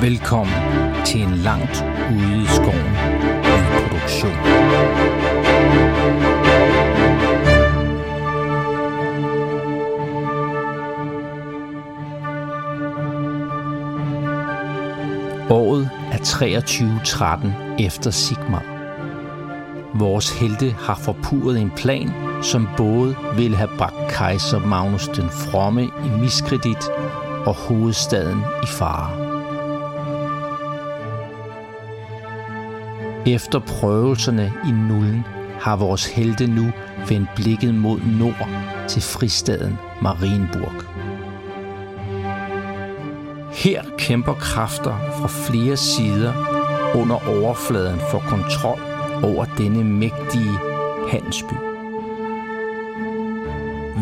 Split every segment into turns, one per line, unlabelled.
Velkommen til en langt ude i skoven ny produktion. Året er 2313 efter Sigmar. Vores helte har forpurret en plan, som både ville have bragt kejser Magnus den Fromme i miskredit og hovedstaden i fare. Efter prøvelserne i nullen har vores helte nu vendt blikket mod nord til fristaden Marienburg. Her kæmper kræfter fra flere sider under overfladen for kontrol over denne mægtige handelsby.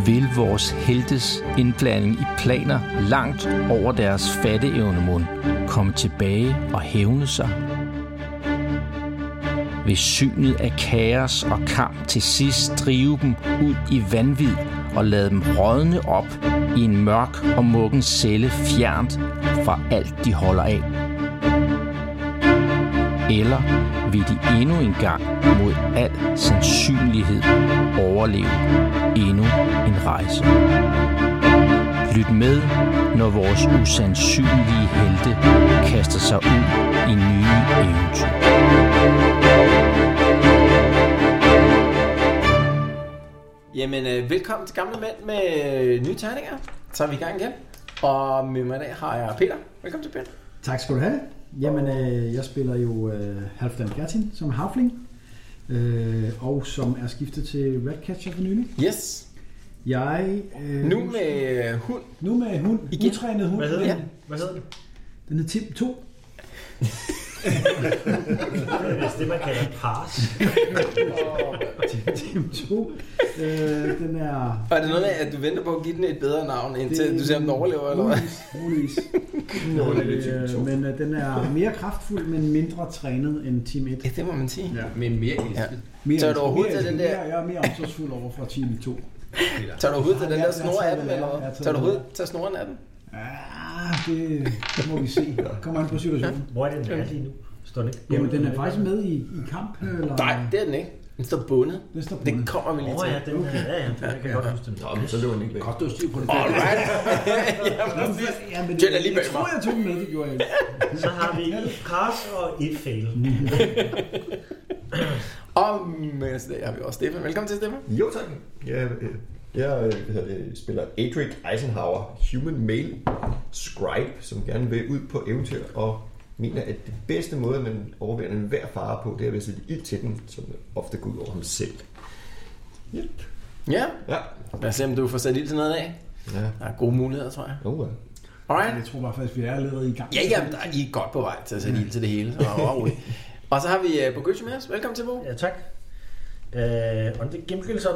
Vil vores heltes indblanding i planer langt over deres fatteevne mund komme tilbage og hævne sig? vil synet af kaos og kamp til sidst drive dem ud i vanvid og lade dem rådne op i en mørk og muggen celle fjernt fra alt, de holder af. Eller vil de endnu en gang mod al sandsynlighed overleve endnu en rejse. Lyt med, når vores usandsynlige helte kaster sig ud i nye eventyr.
Jamen, øh, velkommen til Gamle Mænd med øh, nye terninger. Så er vi i gang igen. Og med mig i dag har jeg Peter. Velkommen til Peter.
Tak skal du have. Jamen, øh, jeg spiller jo øh, Halfdan Gertin som havfling, øh, og som er skiftet til Ratcatcher for nylig.
Yes.
Jeg, øh,
Nu med øh, hund.
nu med hund,
Igen?
Igen. utrænet hund.
Hvad hedder
Ja.
den? Hvad hedder den?
Den hedder Tim 2.
Det er vist det, man kalder en pars.
Tim 2. øh, den er...
Og er det noget med, at du venter på at give den et bedre navn, indtil det... du ser, om den overlever, eller hvad?
Muligvis, muligvis. øh, men øh, den er mere kraftfuld, men mindre trænet end Team 1.
Ja, det må man sige.
Ja.
Men mere
Ja.
elsket.
Mere,
Så er du overhovedet
mere-
til den der-
mere- Jeg er mere omsorgsfuld over for Team 2.
Ja.
Tager du overhovedet til den
Ja,
der
jeg- jeg
snore af
tager
dem,
den,
eller
jeg-
hvad?
jeg
Tager du
tager den.
overhovedet til snoren af dem?
Ah, det, det må vi se. Kommer an på situationen.
Hvor er det, den er lige nu? Står den ikke?
Jamen, den er faktisk med i, i kamp, øh, eller?
Nej, det er den ikke. Den står bundet.
Den står
Det
bundet.
kommer vi lige
Åh
til.
ja, den er... Ja, ja, den jeg kan godt huske den.
Nå, men så løber den ikke væk. Godt, du er styr på det.
Alright. ja, præcis.
Ja, men
Den er
jeg,
lige
jeg
bag
tror, jeg tog den med, det gjorde jeg ikke.
Så har vi et pars og et fail.
Og med os i dag har vi også Stefan. Velkommen til, Stefan.
Jo tak. Jeg, øh, jeg øh, hvad hedder det, spiller Adric Eisenhower, human male scribe, som gerne vil ud på eventyr og mener, at det bedste måde, man overvinder enhver fare på, det er ved at sætte ild til den, som ofte går ud over ham selv. Yep.
Ja.
Ja.
Lad os se, om du får sat ild til noget af.
Ja.
Der er gode muligheder, tror jeg.
Oh, ja.
Alright.
Jeg tror bare faktisk, vi er allerede i gang.
Ja, ja, der, I er godt på vej til at sætte ild til det hele. Så bare roligt. Og så har vi uh, Bogucci med os. Velkommen til, Bo.
Ja, tak. Øh, og det gennemgældelsen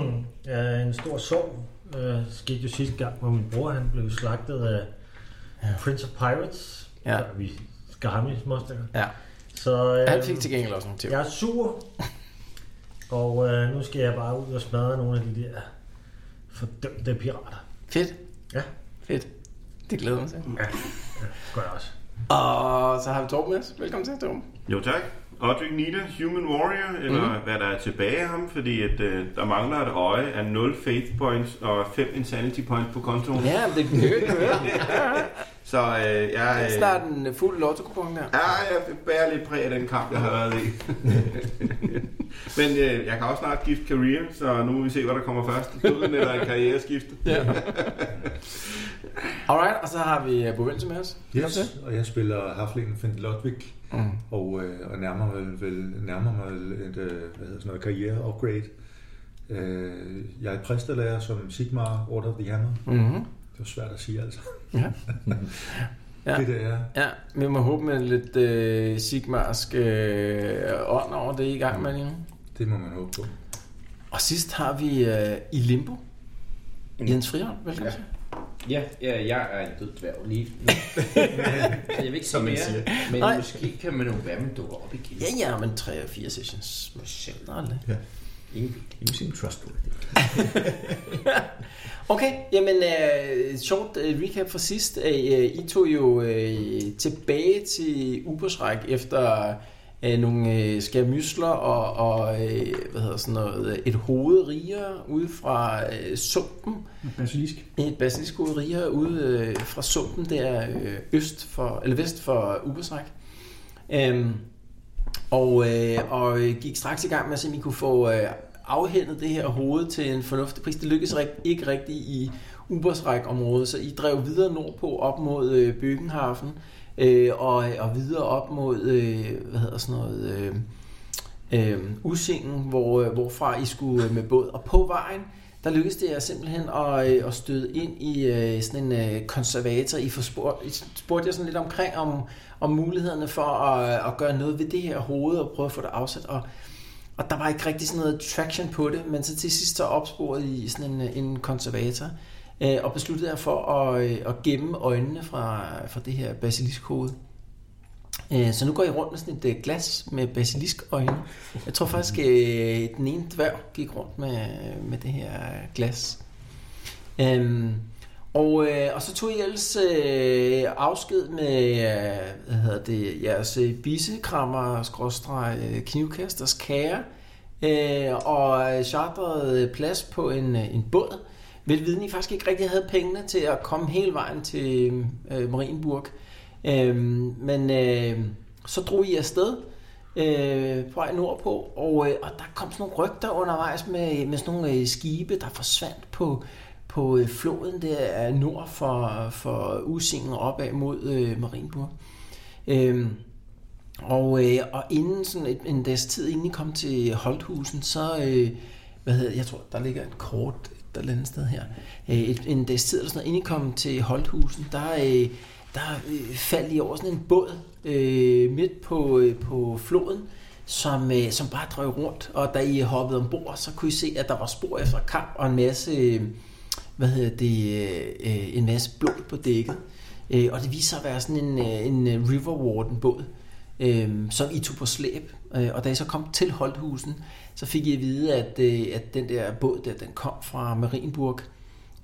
er en stor sorg. Øh, skete jo sidste gang, hvor min bror han blev slagtet af Prince of Pirates.
Ja.
Der er Vi skal ham i småstykker.
Ja.
Så,
Han
øh,
fik til gengæld også nogle tips.
Jeg er sur, og øh, nu skal jeg bare ud og smadre nogle af de der fordømte pirater.
Fedt.
Ja.
Fedt. Det glæder jeg mig til.
Det gør jeg også.
Og så har vi Torben med os. Velkommen til, Torben.
Jo tak. Odrik Nita, Human Warrior, eller
Mhm.
mm. hvad der er tilbage af ham, fordi at, øh, der mangler et øje af 0 faith points og 5 insanity points på kontoen.
Ja, men det kan vi jo ikke høre.
Så øh, jeg,
Det er
øh,
snart en øh, fuld lottokupon der.
ja, jeg bærer lidt præg af den kamp, jeg har været i. Men øh, jeg kan også snart skifte career, så nu må vi se, hvad der kommer først. Døden eller et karriereskifte.
Ja. Alright, og så har vi øh, Bo Vindse med os. Velkommen til.
Yes, og jeg spiller Haflingen Finn Lodvig,
Mm.
og, øh, og nærmer mig, vel, nærmer mig vel et øh, hvad hedder sådan noget, karriere-upgrade. Øh, jeg er præstelærer som Sigmar Order of the Hammer.
Mm-hmm.
Det var svært at sige, altså.
Ja. Ja.
ja. Det der er.
Ja, vi må håbe med lidt øh, sigmarsk øh, ånd over det I er i gang med lige nu.
Det må man håbe på.
Og sidst har vi øh, i limbo. Jens Friholm, velkommen til.
Ja, ja, jeg er en død dværg lige nu. Så jeg vil ikke sige
man
mere,
siger.
men
Nej.
måske kan man jo være, man dukker op igen.
Ja, ja, men 3-4 sessions. Måske aldrig.
Ja. Ingen, you seem trustworthy.
Okay, jamen øh, sjovt øh, recap fra sidst. Øh, I tog jo øh, tilbage til Ubersræk efter øh, nogle øh, skærmysler og, og øh, hvad hedder sådan noget, et hoved rigere ude fra øh, sumpen.
Basilisk.
Et basiliskuderier ude øh, fra sumpen der øh, øst for, eller vest for Ubersræk. Øhm, og, øh, og øh, gik straks i gang med at se, om I kunne få øh, afhændet det her hoved til en fornuftig pris. Det lykkedes rigt, ikke rigtigt i Ubersræk-området, så I drev videre nordpå op mod øh, Byggenhafen, øh, og, og videre op mod, øh, hvad hedder sådan noget... Øh, øh, Usingen, hvor, øh, hvorfra I skulle øh, med båd. Og på vejen, der lykkedes det jer simpelthen at, øh, at støde ind i øh, sådan en øh, konservator. I, får spurgt, I spurgte jer sådan lidt omkring om, om mulighederne for at, at gøre noget ved det her hoved og prøve at få det afsat. Og, og der var ikke rigtig sådan noget traction på det, men så til sidst så opsporede I sådan en, øh, en konservator øh, og besluttede jer for at, øh, at gemme øjnene fra, fra det her basiliskhoved. Øh, Så nu går I rundt med sådan et øh, glas med basiliskøjne. Jeg tror faktisk, øh, den ene dværg gik rundt med, med det her øh, glas. Øhm, og, øh, og så tog I ellers øh, afsked med øh, hvad hedder det, jeres øh, bisekrammer, skråstreg, øh, knivkasters kære, øh, og øh, chartrede plads på en, øh, en båd. Vel viden, I faktisk ikke rigtig havde pengene til at komme hele vejen til øh, Marienburg. Øhm, men øh, så drog I afsted øh, på vej nordpå, og, øh, og der kom sådan nogle rygter undervejs med, med sådan nogle øh, skibe, der forsvandt på, på øh, floden der er nord for, for Usingen opad mod øh, Marienburg. Øhm, og, øh, og inden sådan et, en dags tid, inden I kom til Holthusen, så, øh, hvad hedder, jeg tror, der ligger et kort et eller andet sted her. Øh, et, en dags tid eller sådan noget, inden I kom til Holthusen, der, øh, der øh, faldt I over sådan en båd øh, midt på, øh, på floden, som, øh, som bare drev rundt, og da I hoppede ombord, så kunne I se, at der var spor efter kamp og en masse, øh, hvad hedder det, øh, øh, en masse blod på dækket. Øh, og det viste sig at være sådan en, øh, en øh, River Warden båd, øh, som I tog på slæb. Øh, og da I så kom til Holthusen, så fik I at vide, at, øh, at den der båd der, den kom fra Marienburg.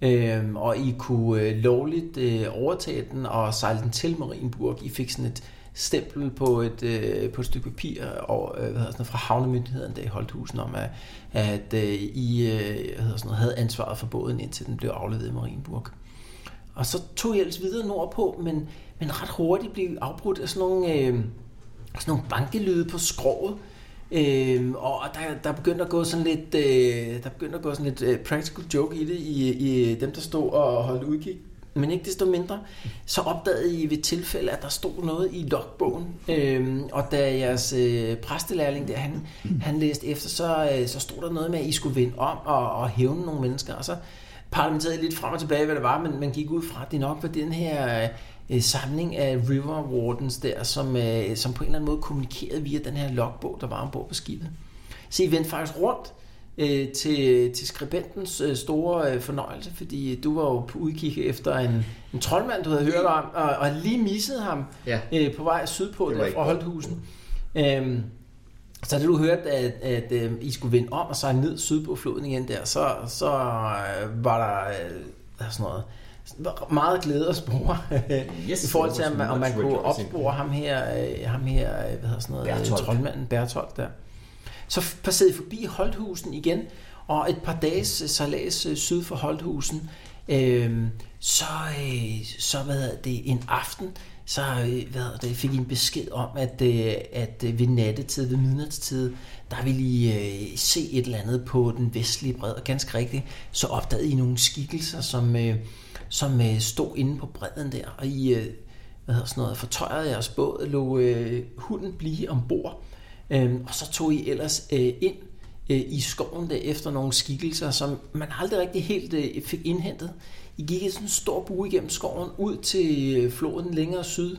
Øh, og I kunne øh, lovligt øh, overtage den og sejle den til Marienburg. I fik sådan et stempel på et, øh, på et stykke papir og, øh, hvad hedder sådan noget, fra havnemyndigheden der i Holthusen om, at, at øh, I øh, hvad hedder sådan noget, havde ansvaret for båden, indtil den blev afleveret i Marienburg. Og så tog jeg ellers videre nordpå, men, men ret hurtigt blev I afbrudt af sådan nogle, øh, sådan nogle bankelyde på skroget. Øhm, og og der, der begyndte at gå sådan lidt, øh, der begyndte at gå sådan lidt øh, practical joke i det, i, i dem, der stod og holdt udkig. Men ikke desto mindre, så opdagede I ved tilfælde, at der stod noget i logbogen. Øhm, og da jeres øh, præstelærling der, han, han læste efter, så, øh, så stod der noget med, at I skulle vende om og, og hævne nogle mennesker. Og så parlamenterede I lidt frem og tilbage, hvad det var, men man gik ud fra, at det nok var den her... Øh, øh, samling af River Wardens der, som, øh, som på en eller anden måde kommunikerede via den her logbog, der var ombord på skibet. Så I vendte faktisk rundt øh, til, til skribentens øh, store øh, fornøjelse, fordi du var jo på udkig efter en, en troldmand, du havde hørt om, og, og lige missede ham
Ja.
øh, på vej sydpå
Det var
der
ikke
fra Holthusen. Øhm, så da du hørte, at, at, øh, I skulle vende om og sejle ned syd på floden igen der, så, så øh, var der øh, sådan noget meget glæde og spore yes, i forhold til, om, om man
much
kunne
rejoicing.
opspore ham her, øh, ham her øh, hvad hedder sådan noget, Bertolt.
Bertolt.
troldmanden Bertolt der. Så f- passerede I forbi Holthusen igen, og et par dages øh, sejlads øh, syd for Holthusen, øh, så, øh, så hvad hedder det, en aften, så øh, hvad hedder det, fik I en besked om, at, øh, at øh, ved nattetid, ved midnatstid, der ville I øh, se et eller andet på den vestlige bred, og ganske rigtigt, så opdagede I nogle skikkelser, som, øh, som øh, stod inde på bredden der, og I øh, hvad hedder sådan noget, fortøjrede jeres båd, lå øh, hunden blive ombord, Øhm, og så tog I ellers øh, ind øh, i skoven der efter nogle skikkelser, som man aldrig rigtig helt øh, fik indhentet. I gik i sådan en stor bue igennem skoven ud til øh, floden længere syd,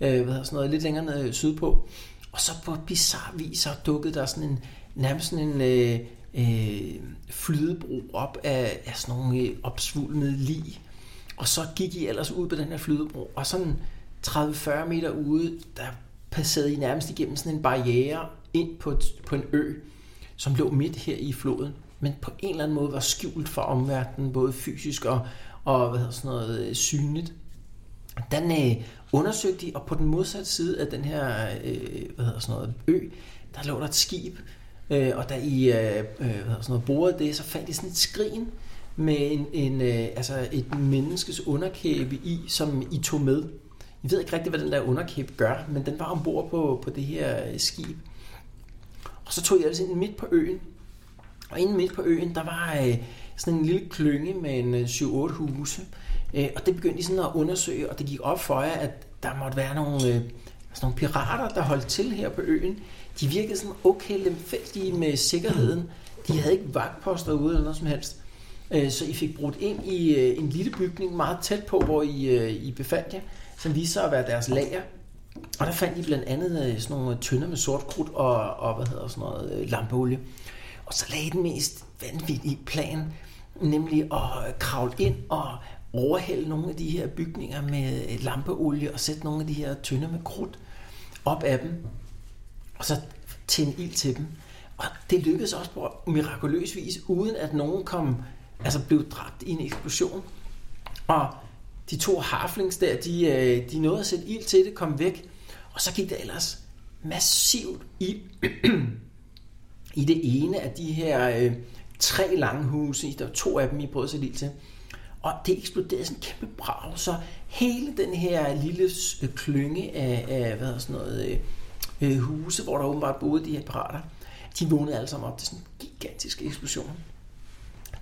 øh, hvad hedder sådan noget, lidt længere ned øh, sydpå. Og så på bizarre vis så dukkede der sådan en, nærmest sådan en øh, øh, flydebro op af, af sådan nogle øh, opsvulmede lig. Og så gik I ellers ud på den her flydebro, og sådan 30-40 meter ude, der passerede I nærmest igennem sådan en barriere ind på, et, på en ø. som lå midt her i floden, men på en eller anden måde var skjult for omverdenen, både fysisk og, og hvad hedder sådan noget, øh, synligt. Den øh, undersøgte de, og på den modsatte side af den her øh, hvad hedder sådan noget, ø, der lå der et skib, øh, og da I øh, øh, hvad hedder sådan noget, borede det, så fandt de sådan et skrin med en, en, øh, altså et menneskes underkæbe i, som I tog med. I ved ikke rigtig, hvad den der underkæbe gør, men den var ombord på, på det her øh, skib. Og så tog I altså ind midt på øen, og inde midt på øen, der var øh, sådan en lille klynge med en øh, 7-8 huse. Øh, og det begyndte de sådan at undersøge, og det gik op for jer, at der måtte være nogle, øh, sådan nogle pirater, der holdt til her på øen. De virkede sådan okay lemfældige med sikkerheden. De havde ikke vagtposter ude eller noget som helst. Øh, så I fik brudt ind i øh, en lille bygning meget tæt på, hvor I, øh, I befandt jer, som viste sig at være deres lager. Og der fandt de blandt andet øh, sådan nogle tønder med sort krudt og, og hvad hedder sådan noget, øh, lampeolie. Og så lagde I den mest vanvittige plan, nemlig at øh, kravle ind og overhælde nogle af de her bygninger med øh, lampeolie og sætte nogle af de her tønder med krudt op af dem. Og så tænde ild til dem. Og det lykkedes også på mirakuløs vis, uden at nogen kom, altså blev dræbt i en eksplosion. Og de to harflings der, de, øh, de nåede at sætte ild til det, kom væk. Og så gik der ellers massivt ild i det ene af de her øh, tre lange huse, der var to af dem, I prøvede at sætte ild til. Og det eksploderede sådan en kæmpe brag, så hele den her lille øh, klynge af, af hvad hedder sådan noget, øh, øh, huse, hvor der åbenbart boede de her pirater, de vågnede alle sammen op til sådan en gigantisk eksplosion.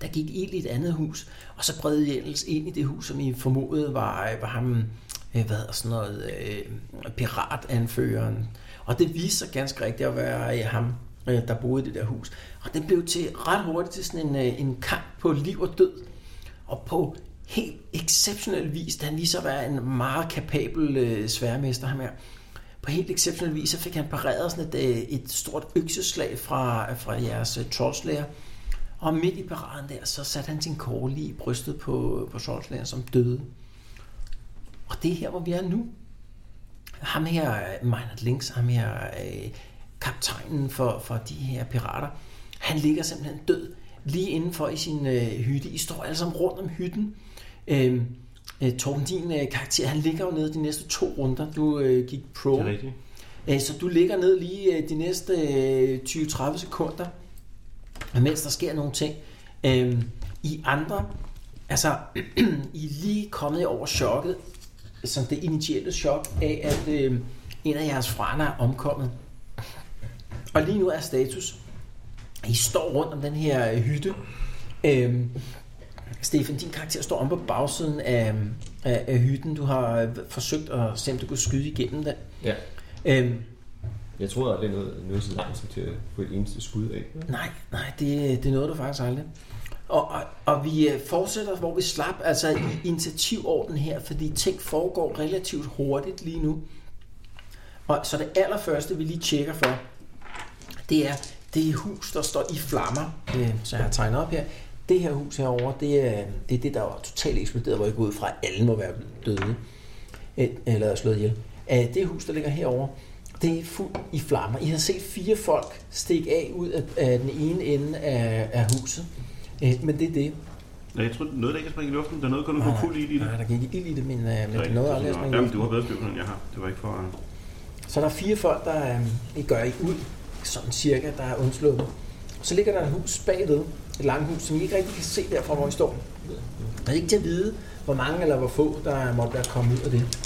Der gik ild i et andet hus, og så bredte I ellers ind i det hus, som I formodede var, øh, var ham, øh, hvad hedder sådan noget, øh, piratanføreren. Og det viste sig ganske rigtigt at være øh, ham, øh, der boede i det der hus. Og det blev til ret hurtigt til sådan en, øh, en kamp på liv og død. Og på helt exceptionel vis, da han lige så var en meget kapabel øh, sværmester ham her, på helt exceptionel vis, så fik han pareret sådan et, øh, et stort økseslag fra, fra jeres øh, troldslager. Og midt i paraden der, så satte han sin kåre lige i brystet på, på troldslageren, som døde. Og det er her, hvor vi er nu. Ham her, øh, Meinert Links, ham her, øh, kaptajnen for, for de her pirater, han ligger simpelthen død lige indenfor i sin øh, hytte. I står alle sammen rundt om hytten. Øh, øh, Torben, din øh, karakter, han ligger jo nede de næste to runder. Du øh, gik pro.
Det er rigtigt.
Øh, Så du ligger ned lige øh, de næste øh, 20-30 sekunder, mens der sker nogle ting. Øhm, I andre, altså I er lige kommet over chokket, som det initielle chok af, at øh, en af jeres franer er omkommet. Og lige nu er status, at I står rundt om den her øh, hytte. Øhm, Stefan, din karakter står om på bagsiden af, af, af hytten. Du har øh, forsøgt at se, om du kunne skyde igennem den.
Ja.
Øhm,
Jeg tror, at det er noget, noget så langt som til at få et eneste skud af.
Nej, nej, det, det nåede du faktisk aldrig. Og, og, og vi øh, fortsætter, hvor vi slap, altså i initiativorden her, fordi ting foregår relativt hurtigt lige nu. Og så det allerførste, vi lige tjekker for, det er det hus, der står i flammer, øh, så jeg har tegnet op her. Det her hus herovre, det er det, er det der var totalt eksploderet, hvor jeg går ud fra, at alle må være døde øh, eller slået ihjel. Øh, Det hus, der ligger herover, det er fuldt i flammer. I har set fire folk stikke af ud af, af den ene ende af, af huset. Øh, Men det er det.
Ja, jeg tror, det er noget, der ikke kan springe i luften. Der er noget, der kun få fuld ild i det.
Nej, der gik ikke ild i det, men, øh, men det nåede aldrig at springe i
Jamen,
luften.
du har bedre styr på den, end jeg har. Det var ikke for... at-
Så der er fire folk, der øh, ikke gør ikke ud, sådan cirka, der er undsluppet. Så ligger der et hus bagved, et langt hus, som I ikke rigtig kan se derfra, hvor I står. Og det er ikke til at vide, hvor mange eller hvor få, der måtte være kommet ud af det.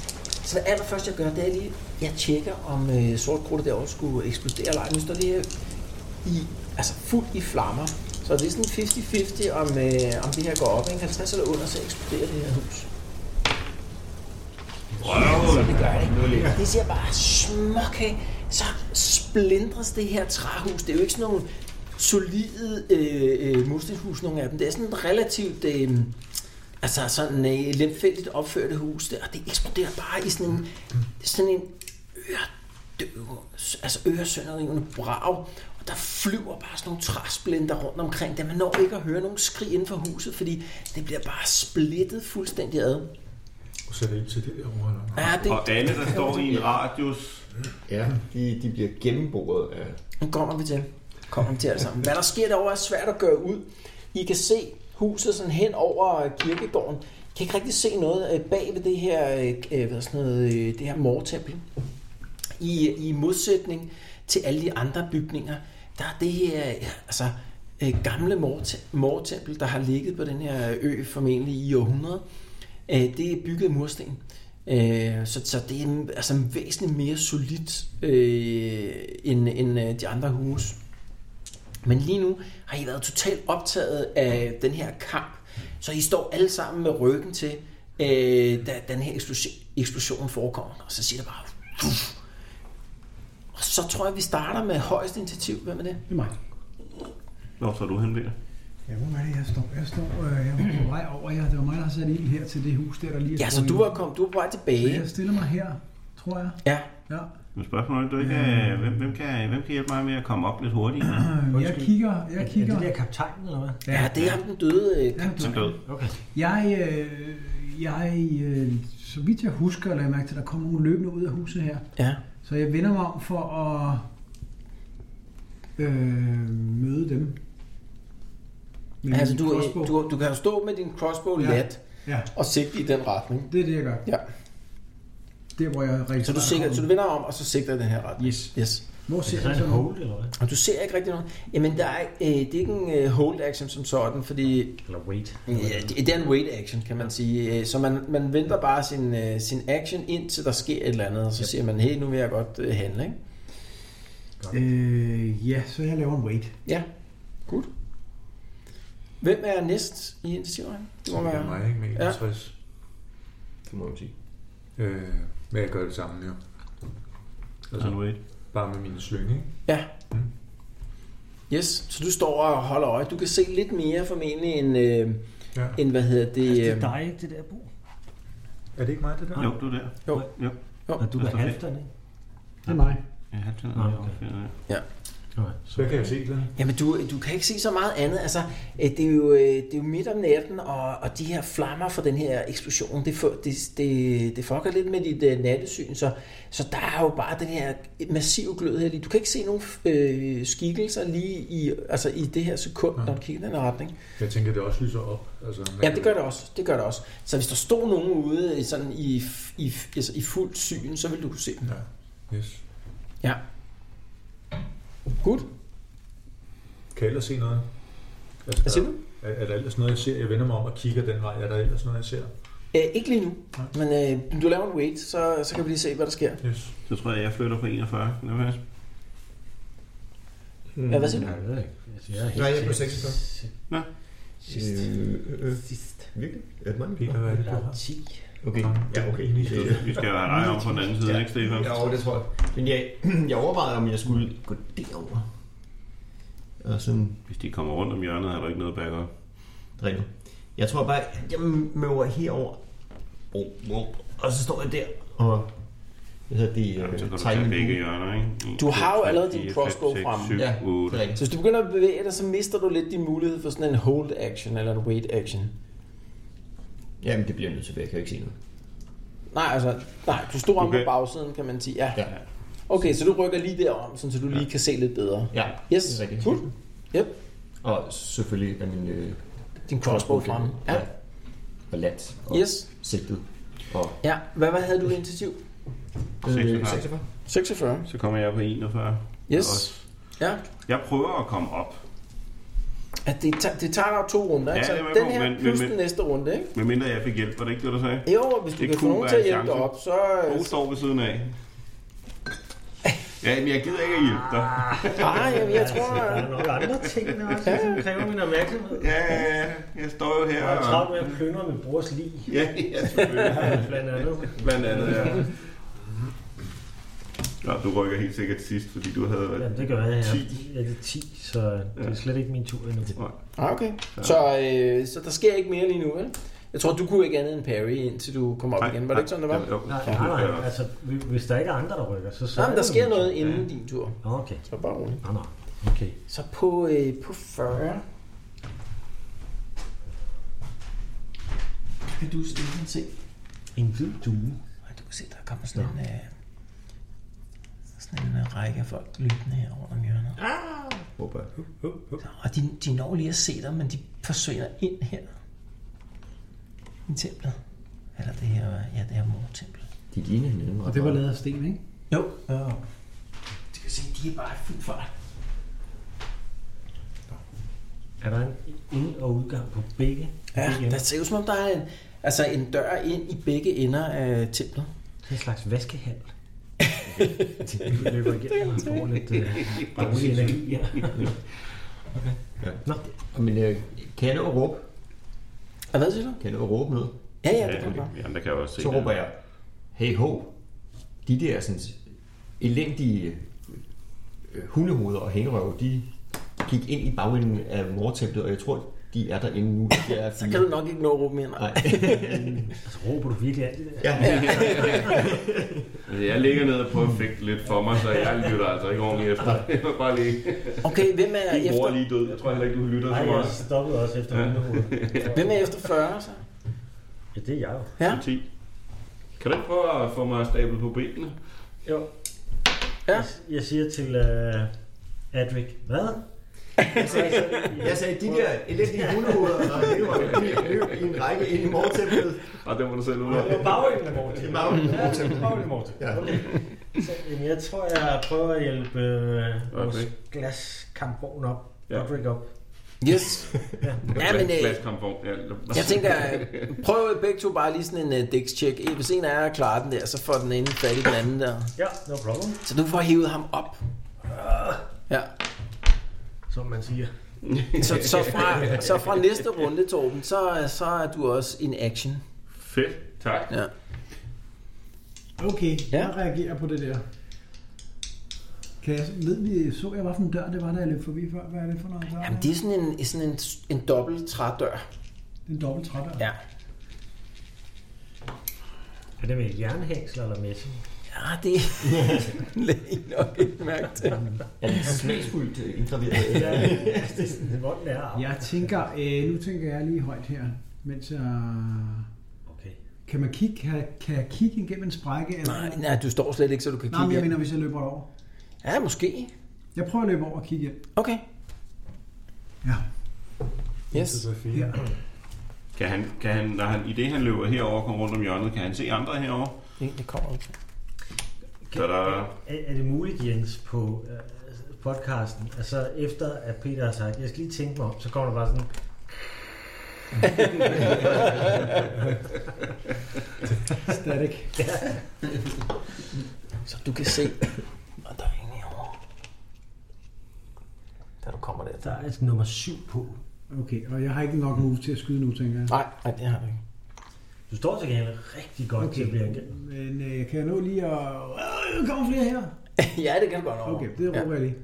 Så det allerførste, jeg gør, det er lige, jeg tjekker, om øh, sortkrudtet derovre skulle eksplodere eller ej. Nu står det her i, altså fuldt i flammer. Så det er sådan 50-50, om, øh, om det her går op. Ikke? 50 eller under, så eksploderer det her hus.
Røv!
Det gør det ikke. Det siger bare smuk af. Så splindres det her træhus. Det er jo ikke sådan nogle solide øh, øh, murstenshus, nogle af dem. Det er sådan et relativt... Øh, altså sådan øh, lemfældigt opførte hus der, og det eksploderer bare i sådan en, sådan en øredøv, altså øresønderrivende brag, og der flyver bare sådan nogle træsplinter rundt omkring det. Man når ikke at høre nogen skrig inden for huset, fordi det bliver bare splittet fuldstændig ad.
Og sætter ild til det derovre. Eller?
Ja, det,
Og alle, der står i en radius...
Ja, de, de bliver gennemboret af...
Nu kommer vi til. kommer de til alt sammen. Hvad der sker derovre er svært at gøre ud. I kan se huset sådan hen over kirkegården. I kan ikke rigtig se noget øh, bag ved det her, øh, øh, hvad er sådan noget, øh, det her mortempel. I, I modsætning til alle de andre bygninger, der er det her ja, altså, øh, gamle mor- mortempel, der har ligget på den her ø formentlig i århundreder. Øh, Det er bygget af mursten. Øh, Så, så det er en- altså en væsentligt mere solidt øh, end, end øh, de andre huse. Men lige nu har I været totalt optaget af den her kamp, så I står alle sammen med ryggen til, øh, da den her eksplosion, eksplosion forekommer. Og så siger det bare... "Puff." Og så tror jeg, vi starter med højeste initiativ. Hvem er det?
Det er mig.
Hvor står du hen, Peter?
Ja, hvor er det, jeg står? Jeg står øh, jeg var på vej over jer. Det var mig, der har sat ild her til det hus, der, der lige er
Ja, så
sprunget
du
ud.
var, kom, du var på vej
Så Jeg
tilbage.
stiller mig her, tror jeg.
Ja,
Ja.
Men spørgsmålet er, du ikke, øh, hvem, hvem, kan, hvem kan hjælpe mig med at komme op lidt hurtigere?
Øh, Jeg
Undskyld.
kigger,
Er,
jeg
er
kigger.
det der kaptajnen, eller hvad?
ja det er ham, den døde øh,
Ja, du-
Han død.
Okay.
Jeg, øh, jeg øh, så vidt jeg husker, lagde jeg mærke til, at der kom nogle løbende ud af huset her.
Ja.
Så jeg vender mig om for at øh, møde dem. Med
Altså,
min
du,
crossbow.
du, du kan jo stå med din crossbow
Ja.
ja. let
Ja,
og sigte i den retning.
det er det, jeg gør.
Ja.
Det er, hvor jeg registrerer.
Så du, sigter, så du vender om, og så sigter i den her retning.
Yes.
Yes.
Hvor ser
Er
jeg
det
så
en
nogen?
hold, eller hvad?
Og du ser ikke rigtig noget. Jamen, der er, øh, det er ikke en øh, hold action som sådan, fordi øh,
Eller wait.
Ja, det det er en wait action, kan man sige. Øh, Så man, man venter bare sin, øh, sin action indtil der sker et eller andet, og så siger man, hey, nu vil jeg godt øh, handle, ikke?
Øh, ja, så jeg laver en wait.
Ja. Godt. Hvem er næst i initiativrækken? Det må
Det er
være...
mig, ikke? Med
Ja.
61.
Det må man sige.
Ja. Øh, men jeg gør det samme, jo.
Altså,
Altså,
wait.
bare med mine slynge, ikke?
Ja.
Mm.
Yes, så du står og holder øje. Du kan se lidt mere formentlig end, øh,
Ja.
end hvad hedder det...
Det er
øh,
dig, det der bo.
Er det ikke mig, det der?
Jo, du er der.
Jo.
jo.
Og du er
Okay.
halvdelen, ikke?
Det er mig.
Ja, han tænder
Ah,
Nå,
mig
okay.
op.
Okay.
Så kan jeg se det.
Jamen, du, du kan ikke se så meget andet. Altså, øh, det er jo, øh, det er jo midt om natten, og, og de her flammer fra den her eksplosion, det, fu- det, det, det fucker lidt med dit øh, nattesyn, så, så der er jo bare den her massive glød her lige. Du kan ikke se nogen øh, skikkelser lige i, altså, i det her sekund, når du kigger i den her retning.
Jeg tænker, det også lyser op. Altså, man
Ja,
kan-
det gør det også. Det gør det også. Så hvis der stod nogen ude i sådan i, f- i, f- altså, i fuld syn, så ville du kunne se dem.
Yes.
Ja. Godt.
Kan jeg ellers se noget? Altså,
Hvad siger du?
Er, er der ellers noget, jeg ser? Jeg vender mig om og kigger den vej. Er der ellers noget, jeg ser?
Æ, Øh, ikke lige nu, men øh, du laver en wait, så, så kan vi lige se, hvad der sker.
Yes.
Så tror jeg, jeg flytter på 41. Kan det passe?
Mm. Ja, hvad siger du?
Jeg ved ikke. Altså, jeg er helt
Nej, jeg er på
sikker.
46.
Nå.
Sidst.
Øh, øh,
Sidst.
virkelig? Er det mange
Peter, hvad er det, du
Der er
har?
10.
Okay. Ja, okay.
Vi skal- Vi skal jo have dig om på den anden side,
Ja.
ikke, Stefan?
Ja, jo, det tror jeg. Men jeg, jeg overvejede, om jeg skulle gå derover. Og sådan
Hvis de kommer rundt om hjørnet, er der ikke noget backup.
Rene. Jeg tror bare, at jeg møver herover. Oh, oh. Og så står jeg der. Og hvad hedder det?
Jamen,
øh,
så kan du
tegner min
tage begge
bue.
hjørner, ikke? En,
Du
to,
har jo
tre,
allerede din
fire,
crossbow
fem, seks,
fremme.
syv,
Ja,
otte.
det er rigtigt.
Så hvis du begynder at bevæge dig, så mister du lidt din mulighed for sådan en hold action eller en wait action.
Jamen, det bliver jeg nødt til, for jeg kan jo ikke se noget.
Nej, altså, nej, du stod om på
Okay.
bagsiden, kan man sige. Ja.
Ja.
Okay, så du rykker lige derom, sådan, så du lige kan se lidt bedre.
Ja,
Yes,
det er rigtigt.
cool. Yep.
Og selvfølgelig er min øh,
Din crossbow fremme. Ja.
Og landt. Og
Yes.
Sigtet. Og
Ja, hvad, hvad havde du i initiativ?
46.
46.
Så kommer jeg på 41.
Yes.
Også.
Ja.
Jeg prøver at komme op.
At det, tager, det tager dig to runder, ikke?
Ja,
Så
det
den
er jeg med på,
her
men-
plus
men-
den næste runde, ikke?
Medmindre jeg fik hjælp, var det ikke det, du sagde?
Jo, og hvis du
Det
kan få
kunne
nogen
være
til at
en
hjælpe dig
chance.
op, så...
Bo står ved siden af. Ja, men jeg gider ikke at hjælpe dig.
Nej, jamen, jeg tror...
Der er nok andre ting, der også ligesom kræver min opmærksomhed.
Ja, ja, ja, jeg står jo her
Jeg er travlt
og...
med at plyndre min brors lig,
Ja, ja, selvfølgelig.
blandt andet.
Blandt andet, ja. Nå, du rykker helt sikkert sidst, fordi du havde
Ja,
været...
det gør jeg. Jeg
10.
er, jeg er 10, så det er slet ikke min tur endnu.
Ah, okay. Så, øh, så der sker ikke mere lige nu, vel? Jeg tror, du kunne ikke andet end parry, indtil du kom op
Nej,
igen. Var det ikke sådan, det var?
Jo, jo.
Nej, nej, nej. Altså, hvi- hvis der ikke er andre, der rykker, så... så
Nej,
er
men der
det
sker
min
noget
tur.
inden din tur.
Nå, Okay.
Så bare roligt.
Nå, nå. Okay.
Så på, øh, på 40... Kan du Stefan se?
En hvid due.
Ej, Du kan se, der kommer sådan en, øh, sådan en øh, række af folk løbende her rundt om hjørnet.
håber jeg.
Og de, de når lige at se dig, men de forsvinder ind her. I templet. Eller det her, ja, det her mortempel.
De ligner hinanden.
Og det var lavet af sten, ikke?
Jo. Ja. Du kan se, de er bare i fuld fart.
Er der en ind- og udgang på begge?
Ja,
begge ender?
der ser ud som om, der er en, altså en dør ind i begge ender af templet.
Det er en slags vaskehal. Vi løber igennem og får lidt øh, dårlig energi. Ja.
Men øh, kan jeg nå at råbe?
Og hvad siger du?
Kan jeg nå at råbe noget?
Ja, ja,
Ja,
det kan du godt.
ja, der kan jeg også se
Så
det.
råber jeg, hey ho, de der sådan, elendige øh, hundehoveder og hængerøve, de gik ind i bagenden af mortemplet, og jeg tror, de er derinde nu. De er
Så kan du nok ikke nå at råbe mere. Nej.
Nej.
Altså, råber du virkelig alt det der?
ja,
Altså, Jeg ligger ned og prøver at fægte lidt for mig, så jeg lytter altså ikke ordentligt efter. Det var bare lige...
Okay, hvem er,
Min bror er
efter,
lige død. Jeg tror heller ikke, du lytter
Nej,
så
jeg
meget.
stoppede også efter hundehovedet.
hvem er efter 40 så?
Ja, det er jeg jo.
Ja,
10. Kan du ikke prøve at få mig stablet på benene?
Jo.
Ja.
Jeg, jeg siger til uh, Adric, hvad?
Jeg sagde, jeg sagde de der elendige hundehoveder og hængerøve, de løb i en række ind i morgentemplet.
Og det må du selv ud af.
øh,
bagøjende Morten.
I bagenden,
Ja, det er bagøjende Morten.
Ja.
Okay. Så, jamen, jeg tror, jeg prøver at hjælpe øh, vores
Okay.
glaskampvogn op.
Ja.
Ja. Adric op.
yes. Ja, men øh,
Glaskomfort. Ja,
jeg tænker, øh, prøv begge to bare lige sådan en uh, dækstjek. Eh, Hvis en af jer klarer den der, så får den ene fat i den anden der.
Ja, no problem.
Så du får hævet ham op. Ja.
Som man siger.
Så, så, fra, så fra næste runde, Torben, så, så er du også in action.
Fedt, tak.
Ja.
Okay,
Ja.
ja. jeg reagerer på det der. Kan jeg, ved vi, så jeg, hvilken dør det var, da jeg løb forbi før? Hvad er det for noget? Der
Jamen, det er sådan en, sådan en, en dobbelt trædør.
Det er en dobbelt trædør.
Ja.
Er det med jernhængsel eller messing?
Ja, det er I nok ikke mærke til.
Er det smagsfuldt øh, indgraveret?
Ja, ja, det er sådan, hvor den er.
Jeg tænker, øh, nu tænker jeg lige højt her, mens jeg...
Okay.
Kan man kigge, kan, kan jeg kigge igennem en sprække? Eller?
Nej, nej, du står slet ikke, så du kan
Nej, men
kigge.
jeg
ind.
mener, hvis jeg løber over.
Ja, måske.
Jeg prøver at løbe over og kigge ind.
Okay.
Ja.
Yes.
Her.
Kan han, kan han, når han, i det han løber herover kommer rundt om hjørnet, kan han se andre herover?
Det det kommer også.
Så der,
Er, er det muligt, Jens, på øh, podcasten, altså efter at Peter har sagt, jeg skal lige tænke mig om, så kommer der bare sådan,
Static.
Så du kan se. Og der er ingen herovre. Da du kommer der.
der er et nummer syv på.
Okay, og jeg har ikke nok move til at skyde nu, tænker jeg.
Nej, nej, det har du ikke.
Du står til gengæld rigtig godt okay. til at blive angrebet.
men øh, kan jeg nå lige at... Øh, der kommer flere her.
ja, det kan du godt over.
Okay, det råber jeg lige.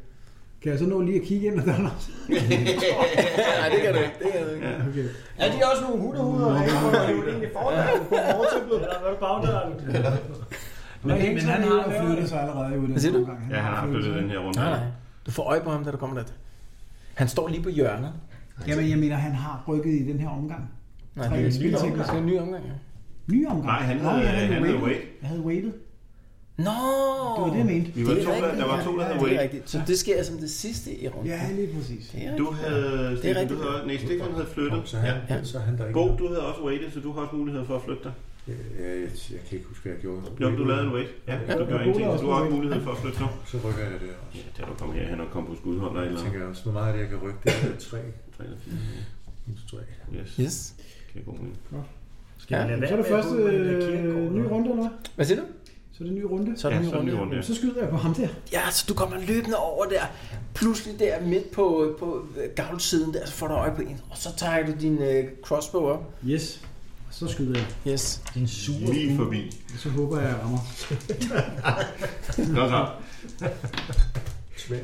Kan jeg så nå lige at kigge ind, og der er noget?
nej, det kan du ikke. Det kan du ikke.
Okay.
Er de også nogle hundehoveder og hængerøve, der løb ind i fordøren på morgentemplet?
Eller hvad er bagdøren?
Men,
Men
men han
hængslerne
har flyttet sig allerede jo i den
Hvad siger du?
omgang.
ja, han har flyttet den her runde.
Nej, nej. Du får øje på ham, da du kommer der. Han står lige på hjørnet.
Jamen, jeg mener, han har rykket i den her omgang.
Nej,
Tre
det er en ny
spilteknisk.
omgang. Det er en ny omgang, ja.
Ny omgang.
Nej, han
Nå,
havde-
jeg
han havde
waited.
waited.
Jeg havde waited.
Nå!
Det var det, jeg mente.
Vi var
Det er
to, der,
rigtigt,
der var
ja.
to, der havde
Det er
wait.
rigtigt. Så det sker som det sidste i runden.
Ja, lige præcis.
Det er
Du
rigtigt.
havde,
Det er
Stefan, du
rigtigt.
havde, nej, Stefan havde flyttet.
Så, han,
Ja.
ja. så er han der ikke.
Bo, du havde også waitet, så du har også mulighed for at flytte dig.
Jeg, jeg, jeg, kan ikke huske, hvad jeg gjorde.
Jo, du lavede en wait. Ja, du
Ja, Bo
gjorde ingenting,
lavede
så du har
også
også
en
mulighed for at flytte nu.
Så rykker jeg det også.
Ja, da du kom herhen og kom på skudholder
Jeg
eller
tænker også, hvor meget er det, jeg kan rykke? Det er tre.
3 eller 4.
tre.
Yes,
Yes.
det er god mening.
Ja.
Lad
Så
være
er det
med at
første
gå med den der kirkegård,
øh, ny
eller?
runde, eller hvad?
Hvad siger du?
Så er det en ny runde.
Så er det
Ja,
en ny
så er
runde.
det en ny
ja.
runde, ja.
Så skyder jeg på ham der.
Ja, så du kommer løbende over der, pludselig der midt på, på gavlsiden der, så får du øje på en, og så tager du din øh, crossbow op.
Yes. Så skyder jeg.
Yes.
Din sure
Lige forbi.
Så håber jeg, jeg rammer.
Nå så.
Svær.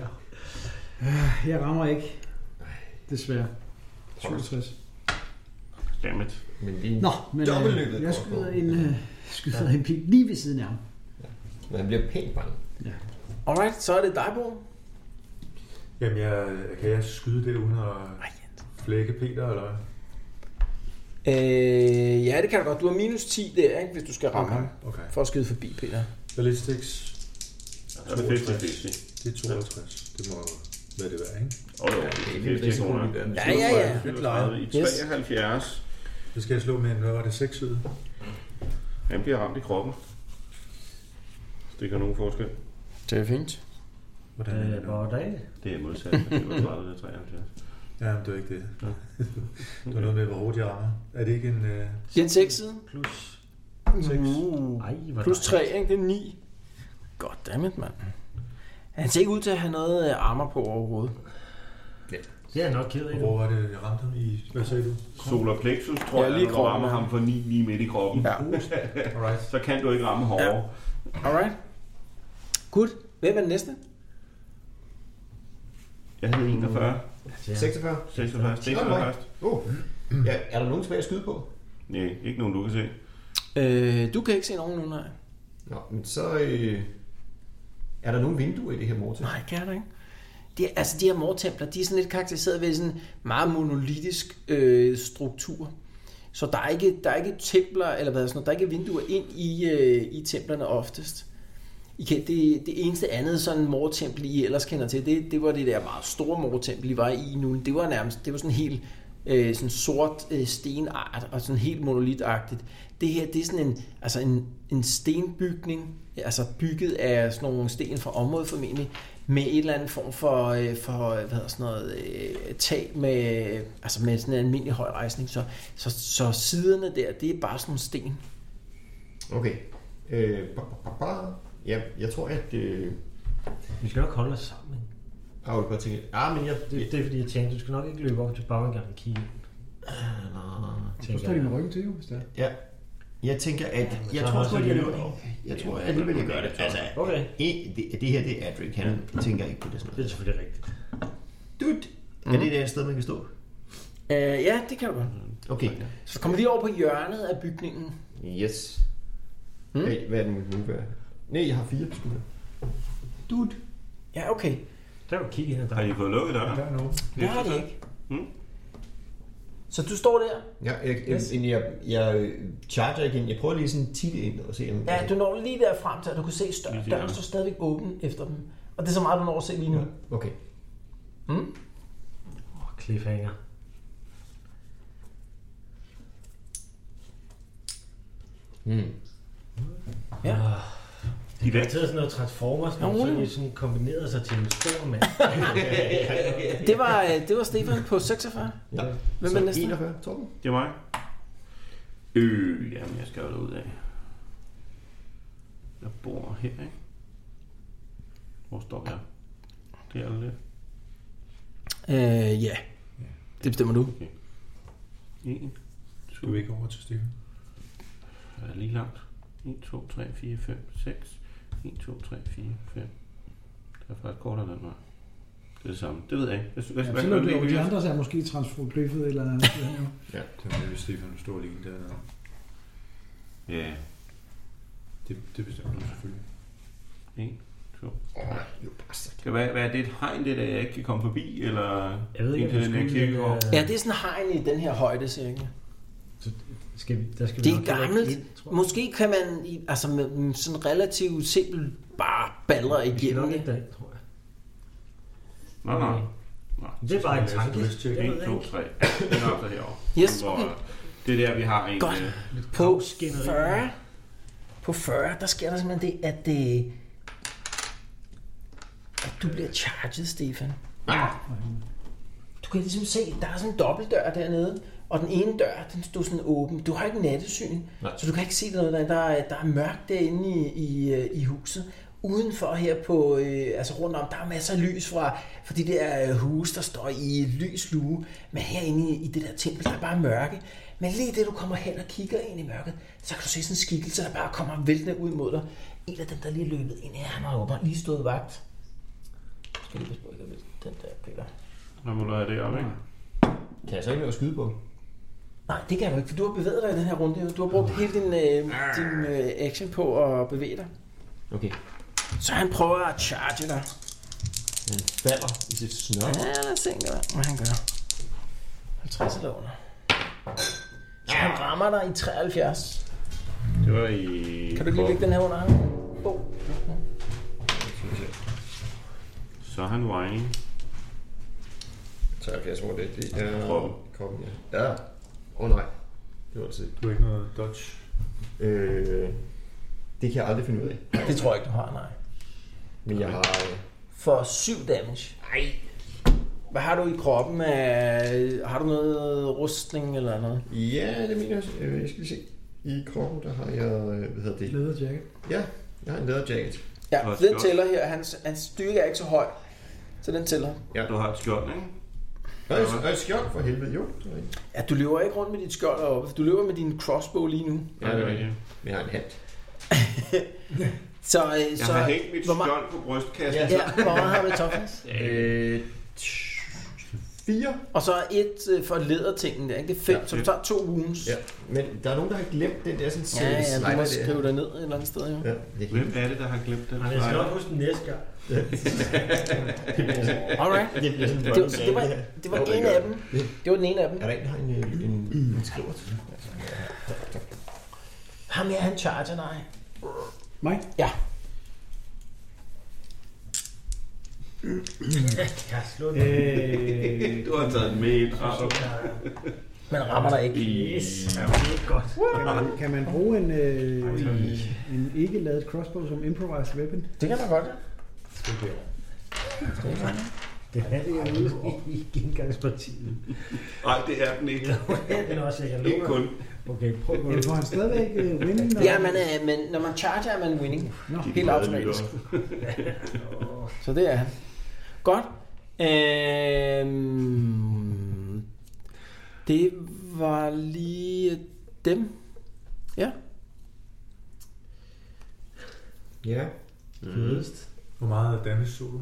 Øh, Jeg rammer ikke. Desværre. 67.
Dammit.
Men det er en
Nå, men
Dobbeltløbet.
øh, jeg skyder en, øh, skyder en pil lige ved siden af ham.
Men han bliver pænt bange.
Alright, så er det dig, Bo.
Jamen, jeg, kan jeg skyde det uden at flække Peter, eller hvad?
Øh, ja, det kan du godt. Du har minus 10 der, ikke, hvis du skal ramme ham.
Okay.
For at skyde forbi, Peter.
Ballistics,
Så er det 50-50.
det er 62. Det må hvad det var, ikke?
Åh oh, jo,
det er
50 kroner.
det er en
Ja, ja, ja.
34 i
Yes.
73.
Så skal jeg slå med en, hvad var det, 6 ud?
Han bliver ramt i kroppen. Det gør nogen forskel.
Det er fint.
Hvordan er
Øh,
det? nu?
hvordan?
Det er modsat. Det er 30 eller 73.
Ja, men det var ikke det. Det var noget med, hvor hårdt jeg rammer. Er det ikke en... Øh,
Den 6 side.
Plus...
Seks.
Uh,
Ej, hvor
plus
dejligt.
3, ikke? Det er 9. Goddammit, mand. Han ser ikke ud til at have noget øh, armor på overhovedet.
Det er jeg nok ked af. nu.
hvor var det, jeg ramte ham i? Hvad sagde du?
Solar plexus, tror
Ja,
jeg,
lige
lige
kroppen,
rammer
ja.
ham for 9 lige midt i kroppen.
Ja.
Alright.
Så kan du ikke ramme hårdere.
Alright. Good. Hvem er den næste?
Jeg hed 41.
Ja.
46.
46. Det er
Nå, nej.
først.
Oh. Ja, er der nogen tilbage at skyde på?
Nej, ikke nogen, du kan se.
Øh, du kan ikke se nogen nu, nej.
Nå, men så øh, er der nogen vinduer i det her mortel.
Nej, kan jeg da ikke. Det, er- altså, de her mortempler, de er sådan lidt karakteriseret ved sådan en meget monolitisk øh, struktur. Så der er ikke, der er ikke templer, eller hvad sådan noget, der er ikke vinduer ind i, øh, i templerne oftest. I kan, det, det eneste andet sådan mortempel, I ellers kender til, det, det var det der meget store mortempel, I var i nu. Det var nærmest, det var sådan helt øh, sådan sort øh, stenart, og sådan helt monolitagtigt. Det her, det er sådan en, altså en, en stenbygning, altså bygget af sådan nogle sten fra området formentlig, med et eller andet form for, øh, for øh, hvad hedder sådan noget, øh, tag med, altså med sådan en almindelig højrejsning. Så, så, så siderne der, det er bare sådan nogle sten.
Okay. Øh, ba, ba, ba, ba. Ja, jeg tror, at... Øh,
Vi skal nok holde os sammen. ikke?
ah, jeg bare tænker, ah, men jeg,
Det, det er fordi, jeg tænkte, du skal nok ikke løbe over til baggangen og kigge. Øh, Eller,
Du
tænker
står din
jeg.
ryggen til, jo, hvis det er.
ja, jeg tænker, at...
men
Jeg
så
tror
har
sgu,
jeg
at
så lige-
jeg løber. Jeg tror at alligevel, jeg gør det. Altså,
Okay,
e, det, det her, det er Adric. Han tænker ikke på det sådan
det er
noget.
selvfølgelig rigtigt.
Dut! Er det der et sted, man kan stå?
Øh, ja, det kan du godt.
Okay.
Så kommer vi lige over på hjørnet af bygningen.
Yes. Mm. Hey, hvad er den nu være? Nej, jeg har fire skud. Dut.
Ja, okay.
Der kan du kigge ind ad
Har
døren.
I fået lukket døren?
Der er nogen.
Det har det ikke.
Mm.
Så du står der.
Ja, jeg, yes. jeg, jeg, jeg charger igen. Jeg prøver lige sådan tit ind og se, om...
Ja, du når lige der frem til, at du kan se, stør-
Lige
døren
der.
står stadigvæk åben efter dem. Og det er så meget, du når at se lige nu.
Okay.
Åh, cliffhanger.
Mm.
Ja.
Ah, Det er altid sådan noget Transformers,
Ja,
men
rolig.
så er de sådan kombineret sig til en stor mand.
Det var, øh, det var Stefan på 46.
Ja.
Hvem er
Så
næste?
41, Torben.
Det er mig. Øh, jamen jeg skal jo derud af. Jeg bor her, ikke? Hvor står jeg? Det er det.
Øh, ja. Det bestemmer du.
1,
Du er ikke over til Steffen.
jeg er lige langt. 1, 2, 3, 4, 5, 6. 1, 2, 3, 4, 5. Det er faktisk kortere den vej. Det er det samme. Det ved jeg ikke. Hvad, hvad,
Ja,
hvad,
så
hvad,
løber det over. De
hvad,
andre så er måske transformløbet et eller andet. sted hen, jo.
Det var nemlig Stefan, du står lige dernede.
Ja,
Det, det bestemmer du selvfølgelig.
1, 2.
Jo, bastard.
Hvad, hvad er det et hegn, det der, jeg ikke kan komme forbi? Eller
Jeg ved ikke,
ind
om
til
vi
den her
skulle,
kirkegård?
øh,
Ja, det er sådan hegn i den her højde, cirka.
Skal vi, der skal vi
Det
nok
er
heller ikke
gammelt.
ind, tror jeg.
Måske kan man i- altså med mm, sådan relativt simpel bare baller
Vi skal
igennem
nok
det.
ikke derind, tror jeg.
Nej, nej.
Det er bare en tanke.
Jeg skal
1,
Jeg ved
2,
ikke.
3. Det er op der herovre.
Yes,
Hvor, øh,
okay.
Det er der, vi har en...
Godt.
øh,
På
Kravskænderi.
40, på 40, der sker der simpelthen det, at, det, at du bliver charged, Stefan. Du kan ligesom se, der er sådan en dobbeltdør dernede, og den ene dør, den stod sådan åben. Du har ikke nattesyn, Nej. så du kan ikke se noget. Der, der, er, der er mørkt derinde i, i, øh, i huset. Udenfor her på, øh, altså rundt om, der er masser af lys fra, fra de der øh, huse, der står i lys lue. Men herinde i, i det der tempel, der er bare mørke. Men lige det, du kommer hen og kigger ind i mørket, så kan du se sådan en skikkelse, der bare kommer væltende ud mod dig. En af dem, der lige er løbet ind her, han har åbenbart lige stået vagt. Jeg skal lige passe på, ikke at vælte den der, Peter.
Når man lader det op, ikke?
Kan jeg så ikke nå at skyde på?
Nej, det kan du ikke, for du har bevæget dig i den her runde. jo. Du har brugt hele din, øh, din øh, action på at bevæge dig.
Okay.
Så han prøver at charge dig.
Han falder i sit snør.
Ja, lad os se, engang, hvad han gør. 50 eller under. Så han rammer dig i 73.
Det var i...
Kan du ikke lige lægge den her under ham? Oh.
Så er han whining.
73, hvor det, det er
Kroppen.
kroppen, ja. Ja. Åh oh, nej. Det var det set.
Du er ikke noget dodge.
Øh, det kan jeg aldrig finde ud af.
Det tror jeg ikke, du har, nej.
Men jeg har... Øh,
For 7 damage. Nej. Hvad har du i kroppen? af- Har du noget rustning eller noget?
ja, det mener jeg. også. Øh, Jeg skal lige se. I kroppen, der har jeg... øh, Hvad hedder det?
Leder jacket.
Ja, jeg har en læderjacket.
Du
Ja,
har
den
skjold.
tæller her. Hans, hans styrke er ikke så høj, så den tæller.
Du har et skjold, ikke?
Og et, og et skjold for helvede, jo. det er rigtigt.
Ja, du løber ikke rundt med dit skjold deroppe. Du løber med din crossbow lige nu.
Ja, det er rigtigt.
rigtigt.
Øh, Men jeg har en hat.
Så, øh,
Jeg
så
har hængt mit
hvor, meget,
skjold på brystkassen.
Ja.
ja, hvor meget har vi i toughness?
Øh, tsh, fire.
Og så et øh, for lædertingen der, ikke? Det er fem,
Ja,
så du tager to wounds.
Ja, men der er nogen, der har glemt den der sådan
ja,
øh,
ja du må
der.
skrive dig ned et eller andet sted, jo.
Ja, det er
Hvem
helt...
er det, der har glemt den?
Nej, jeg skal nok huske den næste gang.
Alright.
Det bliver sådan
Det var, det var, det var en af dem. Det var den ene af dem.
Er der en, der har en, øh, en, en skriver til?
Ham her, han charger dig.
Mig?
Jeg har slået den.
Øh,
Du har taget den med ind. og-
Men rammer dig ikke.
Yes, ja, det er godt.
kan, man, kan man bruge en, øh, en ikke lavet crossbow som improvised weapon?
Det kan man godt.
Det er det, jeg er ude i gengangspartiet.
Nej, det er den ikke.
Den er også, jeg kan
Ikke
lukke.
kun.
Okay, prøv
Men
at
får han stadigvæk øh, winning? Når
Ja, man er, men når man charger, er man winning.
Nå,
Helt automatisk. Så det er han. Godt. Øhm, det var lige dem. Ja.
Ja.
Hvor meget er Dennis så du?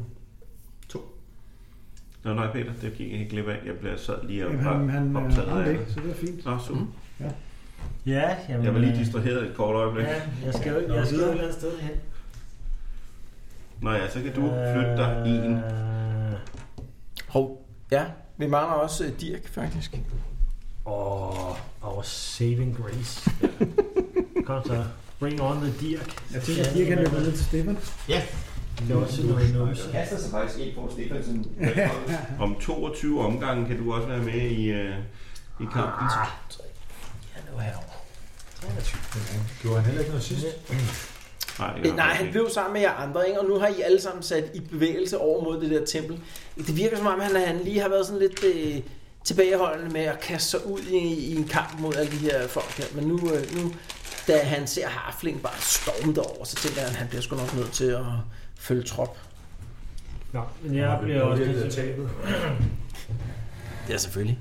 Nå, nej, Peter, det gik jeg ikke glip af. Jeg blev sad lige og
Jamen,
var
han, han øh,
optaget
ramte
af
ikke,
det.
så det er fint.
Nå, så.
Ja, jamen,
Jeg var lige
øh,
distraheret et kort øjeblik.
Ja, jeg skal jo ikke, jeg skal jo et eller andet sted hen.
Nå ja, så kan du flytte dig en.
Øh,
Hov. Ja, vi mangler også øh, Dirk, faktisk.
Åh, our saving grace. Kom så. Bring on the dirk.
Jeg tænker, at de kan løbe ned til Stefan.
Låse noget numse.
kaster sig faktisk ind på Stefansen.
Om 22 omgange kan du også være med i, øh, i kampen.
Han er herovre.
Gjorde han heller ikke noget sidst?
Nej, det gør
Øh, Nej, han
ikke.
blev sammen med jer andre, ikke? og nu har I alle sammen sat i bevægelse over mod det der tempel. Det virker som om, han, han lige har været sådan lidt øh, tilbageholdende med at kaste sig ud i, i en kamp mod alle de her folk her. Men nu, øh, nu da han ser Harfling bare storme derover, så tænker han, at han bliver sgu nok nødt til at følge trop.
Nå, men jeg bliver også
lidt
lidt...
tabet.
Ja, selvfølgelig.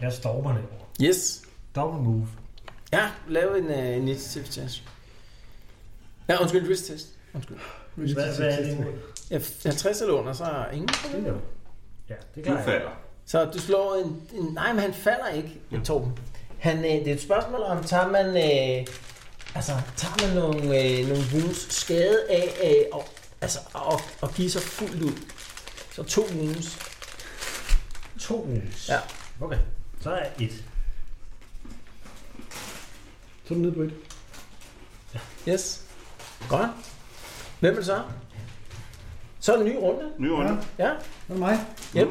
Jeg stormer ned.
Yes.
Double move.
Ja, lav en uh, initiative test. Ja, undskyld, risk test. Undskyld.
Hvad, hvad er det imod?
Ja, 50 eller under, så er ingen problem.
Ja, det
Du
kan jeg.
falder.
Så du slår en... en nej, men han falder ikke, ja. Torben. Han, øh, det er et spørgsmål om, tager man... Øh, altså, tager man nogle, øh, nogle wounds skade af øh, og, altså, og, og give sig fuldt ud? Så to wounds.
To moves.
Ja.
Okay, så er jeg et.
Så er du nede på et.
Yes. Godt. Hvem er det så? Så er det en ny runde.
Ny runde.
Ja.
Så er det mig.
Yep.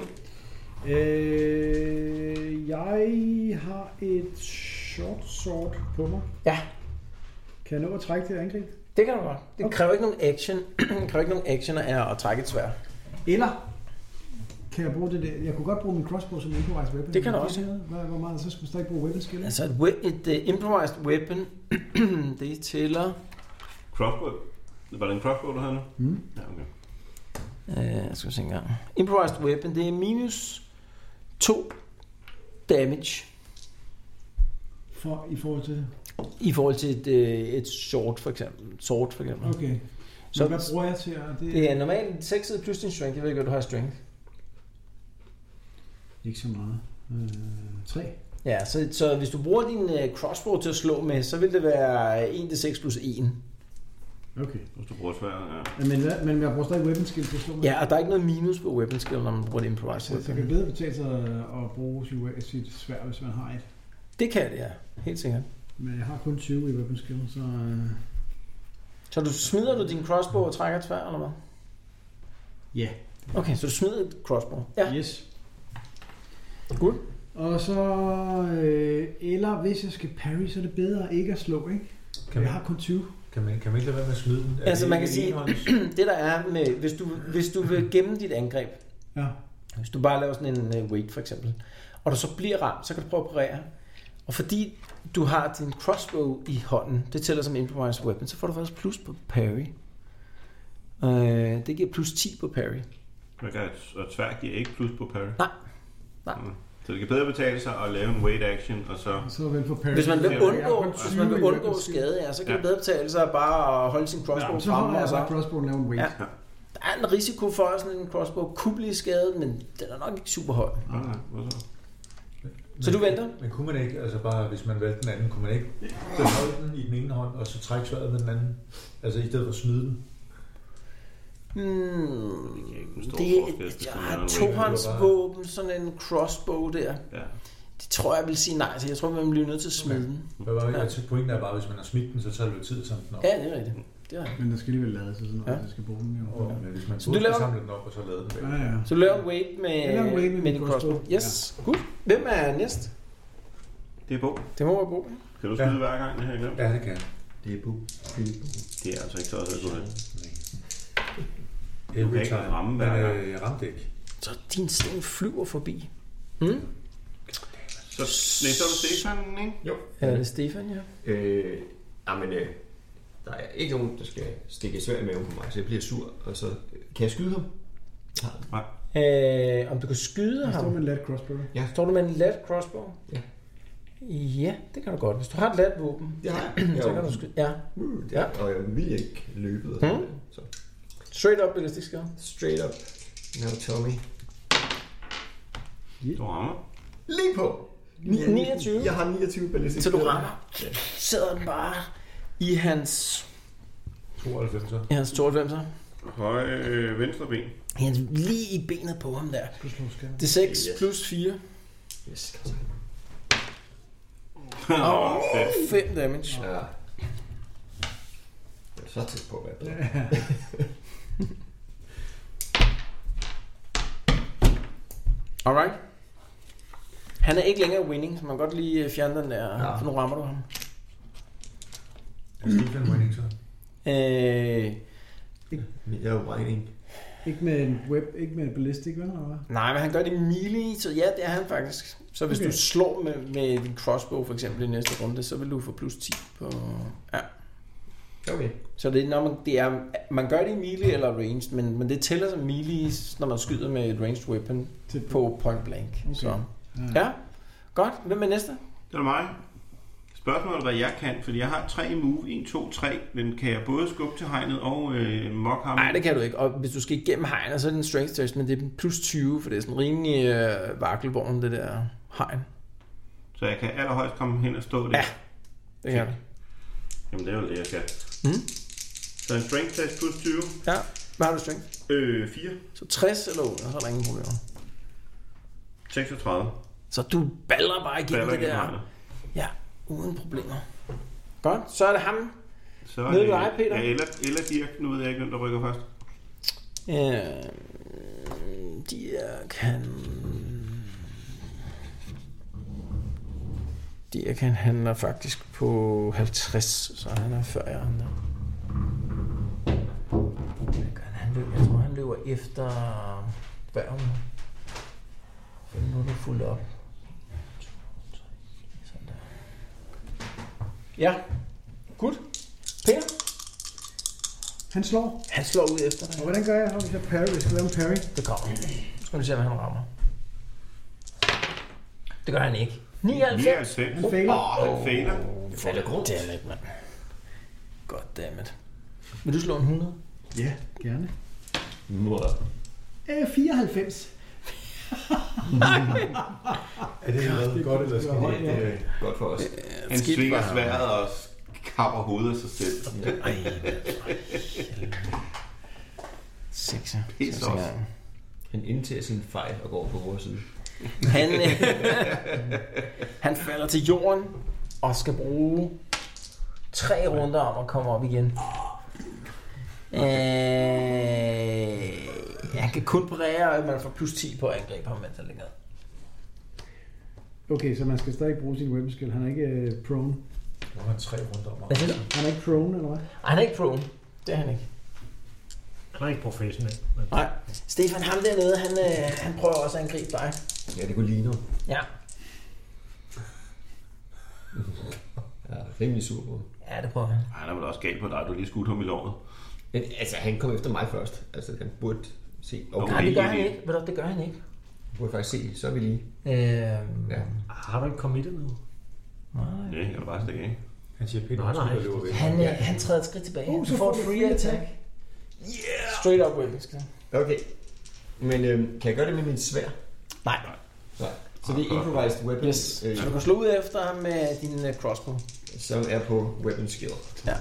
Øh, jeg har et short sword på mig.
Ja.
Kan jeg nå at trække det angreb?
Det kan du godt. Det kræver ikke nogen action. det kræver ikke nogen action at, at trække et svær.
Eller kan jeg bruge det der? Jeg kunne godt bruge min crossbow som improvised weapon.
Det kan du
Men
også.
Her, hvor, hvor meget? Så skulle jeg stadig bruge weapon skill.
Altså et, we- et uh, improvised weapon, det tæller...
Crossbow. Var det en crossbow, du havde nu?
Mm.
Ja, okay.
Øh, jeg skal se en gang. Improvised weapon, det er minus 2 damage
For, I forhold til...
i forhold til et, øh, et sword for eksempel. Sword for eksempel. Okay.
Okay. Så
Så-
hvad bruger jeg til? at- Det,
Det er normalt 6 plus din strength. Jeg ved ikke, hvad du har i strength.
Ikke så meget. Øh, tre.
Ja, så, så hvis du bruger din øh, crossbow til at slå med, så vil det være 1d6 plus 1.
Okay.
Hvis du bruger sværet, ja.
Ja, Men, hvad- men jeg bruger stadig weapon skill til at slå mig.
Ja, og der er ikke noget minus på weapon skill, når man bruger det
Så
improvised
det kan
weapon.
bedre betale sig at bruge sit, we- sit svær, hvis man har et.
Det kan det, ja. Helt sikkert.
Men jeg har kun 20 i weapon skill, så... Øh,
Så du smider du din crossbow og trækker tvær, eller hvad?
Ja.
Okay, så du smider et crossbow.
Yes.
Good.
Og så, øh, eller hvis jeg skal parry, så er det bedre ikke at slå, ikke?
Kan
Jeg
man,
har kun 20.
kan, man, kan man ikke lade være med at smide den? Er
Altså,
det
man kan
en
sige-
enhånds-
Det der er med, hvis du, hvis du vil gemme dit angreb,
Ja.
hvis du bare laver sådan en øh, wait for eksempel, og du så bliver ramt, så kan du prøve at parere. Og fordi du har din crossbow i hånden, det tæller som improvised weapon, så får du faktisk plus på parry. Øh, det giver plus 10 på parry.
Man kan, og tvær giver ikke plus på parry.
Nej. Nej.
Mm. Så det kan bedre betale sig at lave en wait action, og så...
Mm.
Så er vel for parry.
Hvis man
Ja,
vil
ja.
undgå, hvis man vil undgå skade, ja, så kan
Ja.
det bedre betale sig bare at holde sin crossbow
Ja, så
fremme.
holder jeg altså
og
bare crossbowen laver en weight.
Ja. Der er en risiko for, at sådan en crossbow kunne blive skadet, men den er nok ikke super høj.
Nå, nej, hvor så?
Så du venter?
Men kunne man ikke, altså bare hvis man valgte den anden, kunne man ikke beholde den i den ene hånd, og så trække sværet med den anden? Altså i stedet for at smide den?
Hmm,
kan ikke forstå
det er,
forskel, hvis
jeg
man har
har
en
tohåndsvåben, sådan en crossbow der.
Ja.
Det tror jeg vil sige nej til. Jeg tror, man bliver nødt til at smide den.
Hvad var det? Jeg tænkte, pointen er bare, at hvis man har smidt den, så tager det jo tid at samle den op.
Ja, det er rigtigt. Det er rigtigt.
Men der skal alligevel lade sig sådan noget,
Ja.
ja. jeg skal bruge den jo.
Og, men hvis man
Så
burde
du laver-
samle den op, og så lade den
Ja,
bag.
ja.
Så du laver en wait med,
Jeg laver en wait med
med
min
din crossbow.
crossbow.
Yes, good. Hvem er næst?
Det er Bo.
Det må være Bo. ikke?
Kan du
Ja.
skyde hver gang, det her igennem?
Ja, det kan jeg.
Det er bu.
Det er altså ikke så også, at du har.
Every
kan ikke
time.
ramme
men
hver gang.
øh, jeg ramte ikke.
Så din sten flyver forbi.
Så, nej, så er du Stefan, ikke?
Jo.
Ja, det er Stefan, ja.
Øh, jamen, øh, der er ikke nogen, der skal stikke svær i maven på mig, så jeg bliver sur, og så øh, kan jeg skyde ham.
Øh, om du kan skyde
Jeg står
ham?
med en let crossbow.
Står du med en let crossbow?
Ja.
Ja, det kan du godt. Hvis du har et let våben,
Det har jeg.
så kan du skyde. Ja,
Uh,
Ja.
ja. Og jeg vil ikke løbe og
Hmm?
sådan mm. Så
straight up elastisk skade.
straight up. Now tell me.
Du rammer.
Lige på!
29.
Jeg har 29 ballistik.
Så du rammer. Sidder den bare i hans,
92.
i hans 92'er.
Højre øh, venstre ben.
I hans, lige i benet på ham der. Det er 6 yes. plus 4.
Yes.
Åh, fedt.
5 damage.
Ja. Jeg er så tæt på at være bedre.
Alright. Han er ikke længere winning, så man kan godt lige øh, fjerne den der, ja.
Ja.
for nu rammer du ham.
Er Stefan winning så?
Øh,
Men Jeg er jo whining.
Ikke med en web, ikke med en ballistik, vel? Eller hvad?
nej, men han gør det i melee, så ja, det er han faktisk. Så hvis okay.
Okay.
du slår med, med din crossbow for eksempel i næste runde, så vil du få plus 10 på... Ja.
Okay.
Så det, er, når man, det er, man gør det i melee eller ranged, men, men det tæller som melee, når man skyder med et ranged weapon
Tæt
på point blank. Okay.
Okay.
Så. Ja, godt. Hvem er næste?
Det er mig. Spørgsmålet er, hvad jeg kan, fordi jeg har tre i move. 1, 2, 3. Den kan jeg både skubbe til hegnet og øh, mock ham.
Nej, det kan du ikke. Og hvis du skal igennem hegnet, så er det en strength test, men det er plus 20, for det er sådan rimelig øh, vakkelvogn, det der hegn.
Så jeg kan allerhøjst komme hen og stå der.
Ja. Det kan du.
Jamen, det er jo det, jeg skal.
Mhm.
Så en strength test plus 20.
Ja. Hvad har du i strength?
Øh, 4.
Så 60 eller under, så er der ingen problemer.
36.
Så du baller bare igennem
Falder
det
igennem
der.
hegnet.
Ja, uden problemer. Godt, så er det ham.
Så er
Nede
det-
ved dig, Peter.
Ja, eller, eller Dirk. Nu ved jeg ikke, hvem der rykker først.
Øh, Øhm, de er kan... De er kan handler faktisk på 50, så han er før jeg andre. Hvad gør han? Han løber, jeg tror, han løber efter børn. Nu er du fuldt op. Sådan der. Ja, godt. Per,
Han slår.
han slår ud efter dig.
Og hvordan gør jeg, hvis jeg parry? Hvis jeg skal lave en parry?
Det kommer. Nu skal vi se, hvad han rammer. Det gør han ikke. 99.
99.
Han fejler.
altså- Han fejler.
Det falder grund.
Goddammit, mand. Goddammit. Vil du slå en 100?
Ja, gerne.
Mor.
Øh, 94.
Er det noget godt eller skidt?
højt, ja.
Det er godt for os.
Han
Skidt
svinger
for ham.
sværet og kapper hovedet af sig selv.
Ej, Sekser.
Pis
Sekser
off.
gange.
Han indtager sin fejl og går på vores side.
Han, øh, han falder til jorden og skal bruge tre runder om at komme op igen. Øh, han kan kun brære, at man får plus 10 på angreb ham, mens han ligger.
Okay, så man skal stadig bruge sin weapon skill. Han er ikke øh, prone.
Nu har han tre runder om
Hvad siger du?
Han er ikke prone, eller hvad?
Ej, han er ikke prone. Det er han ikke.
Han er ikke professionel. Men...
Nej. Stefan, ham dernede, han, øh, han prøver også at angribe dig.
Ja, det kunne ligne ham.
Ja.
Jeg er rimelig sur på ham.
Ja, det prøver han.
Ej, Han er vel også gal på dig, du lige skudt ham i låret.
Men altså, han kom efter mig først. Altså, han burde se. Okay,
Nej,
okay.
det gør han ikke. Ved du, det gør han ikke.
burde faktisk se. Så er vi lige.
Øh,
Ja.
Har du ikke committed nu?
Ja, jeg kan bare stikke af.
Han siger pænt,
Nej, nej.
at løber væk.
han, øh, han træder et skridt tilbage.
Uh,
Uh,
så
du får
får
et
du
free
free
attack.
attack.
Yeah! Straight up weapon skill.
Okay. Men øhm, kan jeg gøre det med min svær?
Nej.
Nej. Så det er improvised weapon,
Yes.
øh,
Så du kan slå ud efter ham med din øh, crossbow.
som er på weapon skill.
Ja.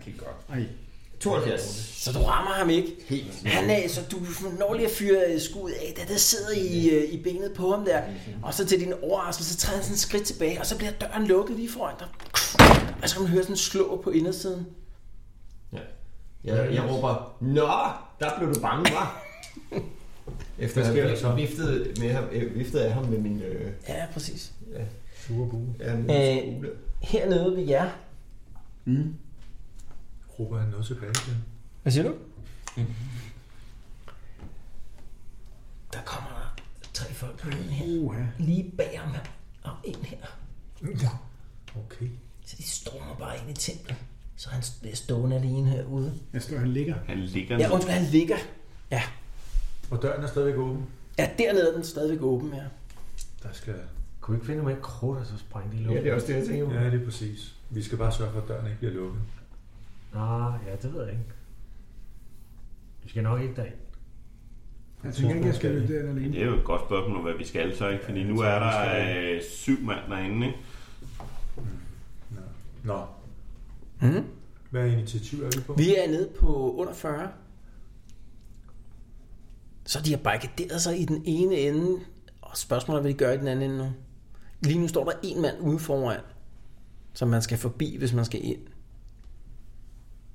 Okay, godt.
Ej.
72.
Så du rammer ham ikke.
Helt.
Han er, så du når lige at fyre øh, skuddet af, da det sidder i, øh, i benet på ham der. Og så til din overraskelse, så træder han sådan et skridt tilbage, og så bliver døren lukket lige foran dig. Og så kan man høre sådan en slå på indersiden.
Ja. Jeg, jeg råber, Nå, der blev du bange, hva'? Efter
Hvad sker der
at
så?
have viftet, med ham, øh, viftet af ham med min... Øh,
Ja, præcis.
Sure bue.
ja, min
Øh.
skole.
Hernede ved jer.
Råber han noget tilbage til?
Hvad siger du? Mhm. Der kommer der tre folk på den her.
Uha.
Lige bag ham her. Og en her.
Ja. Okay.
Så de stormer bare ind i templet. Så han bliver stående alene herude.
Jeg står, han ligger.
Han ligger
Ja, undskyld, han ligger. Ja,
Og døren er stadigvæk åben.
ja dernede er den stadigvæk åben, ja.
Der skal...
Kunne vi ikke finde mere krudt, og så sprænge det i
Ja,
luften?
det er også det, jeg tænker.
Ja, det er præcis. Vi skal bare sørge for, at døren ikke bliver lukket.
Nå, ja, det ved jeg ikke. Vi skal nok ikke derind.
Jeg tænker ikke, jeg skal løbe derinde
Ja,
alene.
Det er jo et godt spørgsmål om, hvad vi skal så, ikke? Fordi nu er der øh, syv mand derinde, ikke?
Nå.
Mhm.
Hvad initiativ er vi på?
Vi er nede på under 40. Så de har barrikaderet sig i den ene ende, og spørgsmålet er, hvad de gør i den anden ende nu. Lige nu står der en mand ude foran, som man skal forbi, hvis man skal ind.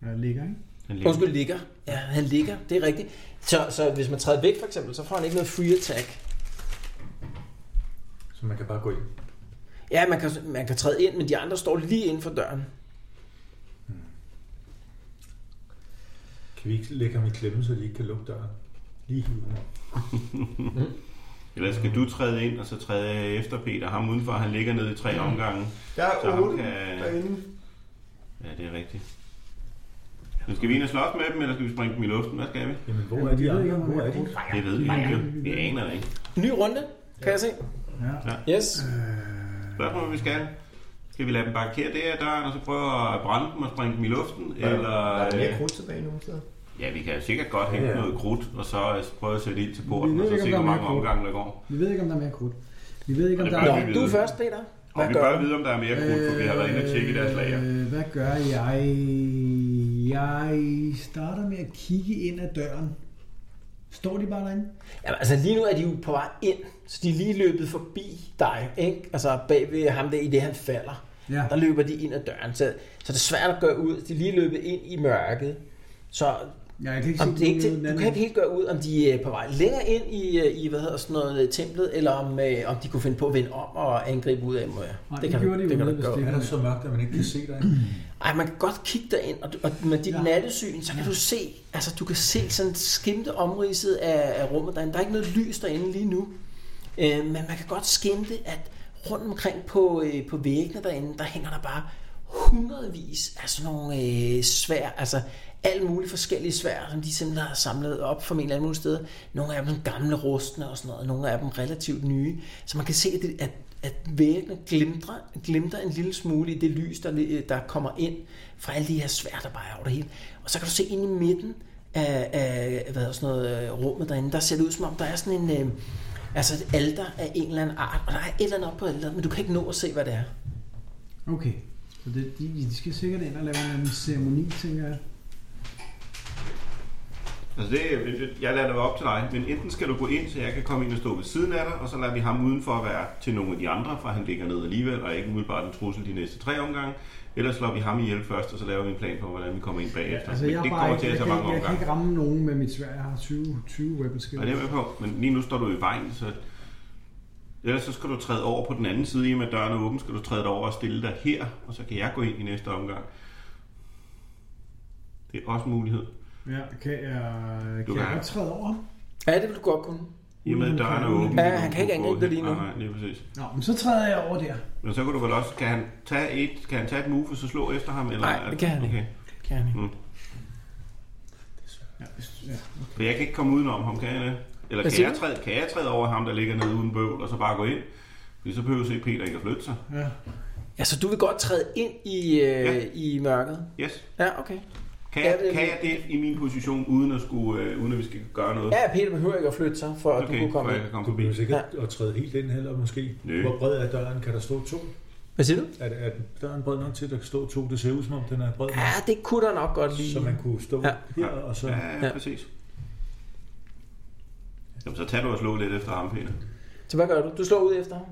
Jeg ligger, ikke?
Han ligger.
Undskyld, ligger. Ja, han ligger. Det er rigtigt. Så, så hvis man træder væk for eksempel, så får han ikke noget free attack.
Så man kan bare gå ind.
Ja, man kan, man kan træde ind, men de andre står lige inden for døren.
Kan vi ikke lægge ham i klemme, så de ikke kan lukke døren? Lige hive ham op.
Eller skal du træde ind, og så træde jeg efter Peter. Ham udenfor, han ligger nede i tre omgange.
Der
Så
er
ham
8
kan...
derinde.
Ja, det er rigtigt. Nu skal vi ind og slås med dem, eller skal vi springe dem i luften? Hvad skal vi?
Jamen, hvor
Jamen,
er
vi
de
ved
andre?
ikke, om han
Hvor
er
er de?
brugt.
Det ved vi ikke. Vi aner det ikke.
Ny runde, kan jeg se.
Ja. Øh.
Yes.
Spørgsmålet, hvad vi skal. Skal vi lade dem barrikere det her døren, og så prøve at brænde dem og springe dem i luften?
Der
Eller,
er mere
øh,
krudt tilbage nogle steder.
ja, vi kan sikkert godt hente
Ja, ja.
noget krudt, og så øh, prøve at sætte ild til
Vi
porten,
ved
og så
ikke, om
se,
der er
hvor mange
mere krudt.
omgange der går.
Vi ved ikke, om der er mere krudt. Vi ved ikke, om
Og
der
det
er...
bør vi
Nå, du er først, Peter.
Og
Hvad
vi
gør
bør
du?
vide, om der er mere krudt, for vi har været inde og tjekke i deres lager.
Øh, Hvad gør jeg? Jeg starter med at kigge ind ad døren. Står de bare derinde?
Jamen, altså lige nu er de jo på vej ind, så de er lige løbet forbi dig, ikke? Altså bag ved ham der, i det han falder.
Ja.
Der løber de ind ad døren, så, så det er svært at gøre ud. De er lige løbet ind i mørket. Så
Ja, jeg kan ikke
Om
se,
det ikke,
nogen
til- du
anden-
kan ikke helt gøre ud, om de er på vej længere ind i, øh, i hvad hedder sådan noget, øh, templet, eller om, øh, om de kunne finde på at vende om og angribe ud af mod jer.
Nej, det gjorde de jo nede ved
Er
Stefan.
der så mørkt, at man ikke kan se dig?
Ej, man kan godt kigge derind, og, du- og med dit ja.
Ja.
nattesyn, så kan du se, altså du kan se sådan skimte omridset af, af rummet derinde. Der er ikke noget lys derinde lige nu, øh, men man kan godt skimte, at rundt omkring på, øh, på væggene derinde, der hænger der bare hundredvis af sådan nogle øh, svær, altså alle mulige forskellige svær, som de simpelthen har samlet op fra en eller anden sted. Nogle af dem gamle rustne og sådan noget, nogle af dem relativt nye. Så man kan se, at, det- at at væggene glimter, glimter en lille smule i det lys, der, li- der kommer ind fra alle de her svær, der bare er over det hele. Og så kan du se ind i midten af, af hvad hedder sådan noget, øh, rummet derinde, der ser det ud som om, der er sådan en, øh, altså et alter af en eller anden art, og der er et eller andet op på alteret, men du kan ikke nå at se, hvad det er.
Okay. Så det, de, de skal sikkert ind og lave en eller anden ceremoni, tænker jeg.
Altså det, jeg lader det være op til dig, men enten skal du gå ind, så jeg kan komme ind og stå ved siden af dig, og så lader vi ham udenfor være til nogle af de andre, for han ligger ned alligevel og er ikke umiddelbart en trussel de næste tre omgange. Ellers slår vi ham ihjel først, og så laver vi en plan for, hvordan vi kommer ind bagefter.
Altså,
men
jeg,
det
har
kommer
bare
til
ikke,
at
jeg,
tage
kan,
mange
ikke- jeg kan
omgange.
ikke ramme nogen med mit svær. Jeg har 20, 20 weapon skills.
Og det er jeg med på, men lige nu står du i vejen, så... Ellers så skal du træde over på den anden side, i og med at døren er åben, skal du træde dig over og stille dig her, og så kan jeg gå ind i næste omgang. Det er også en mulighed.
Ja, kan jeg,
Du
kan jeg
kan.
godt træde over ham?
Ja, det vil du godt kunne.
I og med at døren er åben.
Ja,
så
han kan
du
ikke
gå
angribe dig
hen.
lige nu.
Nej, nej, lige præcis.
Nå, men så træder jeg over der.
Men så kan du vel også, kan han tage et, kan han tage et move og så slå efter ham? Eller?
Nej, det kan han ikke.
Okay.
Kan han ikke.
Ja, hvis- ja.
For jeg kan ikke komme udenom ham, kan jeg det? Eller
Hvad
kan
siger
jeg,
du?
træde, kan jeg træde over ham, der ligger nede uden bøvl, og så bare gå ind? Fordi så behøver se Peter ikke at flytte sig.
ja.
Altså, du vil godt træde ind i, øh,
Ja.
i mørket?
Yes.
Ja, okay.
Kan
Ja,
jeg,
det-
kan jeg det i min position, uden at, skulle, øh, uden at vi skal gøre noget?
Ja, Peter behøver ikke at flytte sig, for at okay, du
Okay,
kunne
for
komme
jeg
ind.
kan komme
Du
forbi.
behøver sikkert at træde helt ind heller måske.
Nø.
Hvor bred er døren? Kan der stå to?
Hvad siger du?
Er, er døren bred nok til, at der kan stå to? Det ser ud som om, den er bred nok.
Ja, det kunne der nok godt lige.
Så man kunne stå
Ja.
her, og så...
Ja, ja,
Ja.
præcis. Jamen, så tag du og slå lidt efter ham, Peter.
Så hvad gør du? Du slår ud efter ham?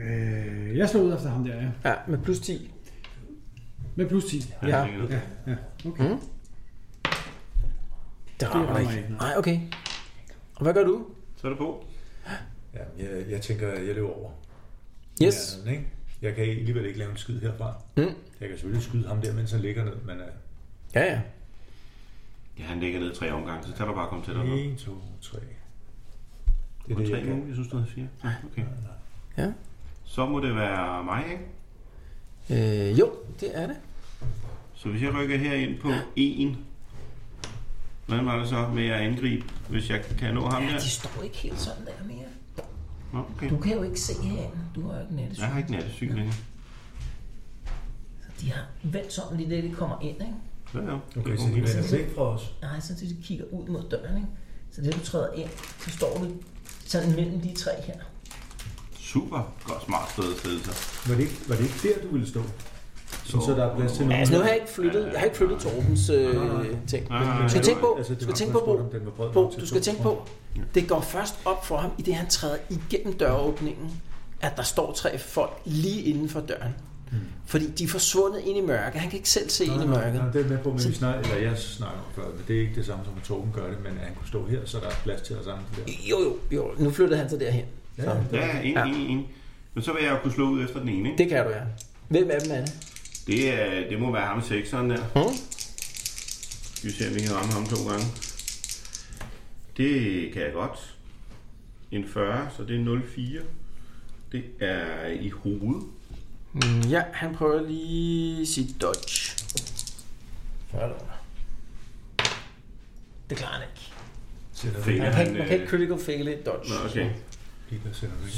Øh, jeg slår ud efter ham der, ja.
Ja, med plus 10.
Med plus 10.
Han
Ja.
ligger ned.
Ja, ja. Okay.
Mm. Det rammer
rammer
dig ikke.
ikke,
Nej, okay. Og hvad gør du?
Så er det på.
Ja, jeg, jeg tænker, at jeg løber over.
Yes.
Ja, den, ikke? Jeg kan alligevel ikke lave en skid herfra.
Mm.
Jeg kan selvfølgelig skyde ham der, mens han ligger ned, men uh,
Ja, ja.
Ja, han ligger ned i tre omgange, så tag du bare og kom til dig. nu.
1, 2, 3. Det
Det
er det,
tre
jeg kan.
uger, jeg synes, du havde fire. Ja, okay.
Ja.
Så må det være mig, ikke?
Øh, jo, det er det.
Så hvis jeg rykker herind på en, hvordan var det så med at angribe, hvis jeg kan nå ham der?
De står ikke helt sådan der mere.
Nå, okay.
Du kan jo ikke se herinde. Du har jo ikke nettesyn.
Jeg har ikke nattesyn længere.
De har vendt sådan lige det, de kommer ind, ikke?
Ja, ja.
Okay, så de vender væk fra os.
Nej, så de kigger ud mod døren, ikke? Så det du træder ind, så står du sådan mellem de tre her.
Super godt smart sted at stille sig.
Var det, ikke, var det ikke der, du ville stå? Sådan, så der er plads til nogen.
Altså nu har jeg ikke flyttet, jeg har ikke flyttet Torbens øh, ting.
Nej, nej,
Du
nej.
skal tænke på,
Altså, det
du skal
var
tænke
kun
på,
spurgt, om den var bred
Bo,
nok
Bo,
til
du
to
skal tænke på, det går først op for ham, i det han træder igennem døråbningen, at der står tre folk lige inden for døren. Fordi de er forsvundet ind i mørket. Han kan ikke selv se ind i mørket.
Mm. Nej, det er med på, men vi
Så-
snakker, eller jeg snakker om før, men det er ikke det samme som, at Torben gør det, men at han kunne stå her, så der er plads til os andre der.
Jo, jo, jo. Nu flyttede han så derhen.
Ja,
Ja, ja, en,
Ja.
en, en. Men så vil jeg jo kunne slå ud efter den ene, ikke?
Det kan du, ja. Hvem af dem er det?
Det, er, det må være ham sekseren der.
Hmm?
Skal vi se, om vi kan ramme ham to gange. Det kan jeg godt. En 40, så det er 04. Det er i hovedet.
Mm, Ja, han prøver lige sit dodge.
Det klarer han ikke.
Sætter vi
Fik
Man kan, ikke- man kan
han...
ikke
øh,
critical fail et dodge.
Nå, øh, okay.
ikke, der sætter vi ikke.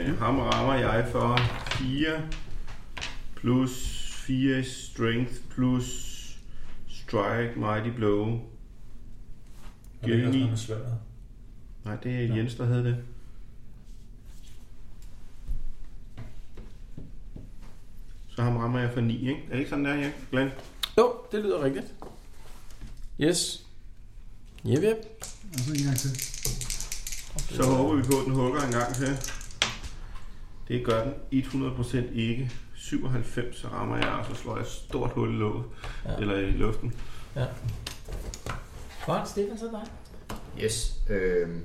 Så øh, ham rammer jeg for 4 plus 4 strength plus strike mighty blow.
Og det er
giver
også
ni.
noget med sværet.
Nej, det er Jens, der havde det. Så ham rammer jeg for 9, ikke? Er det ikke sådan der, Jan? Glenn?
Jo, det lyder rigtigt. Yes. Jep, jep.
Og så en gang til.
Så håber vi på, at den hugger en gang til. Det gør den 100% ikke. 97, så rammer jeg, og så slår jeg et stort hul i låget. Ja.
Ja.
Eller i luften.
Godt, Stefan, så er det dig.
Yes. Øh,
øhm,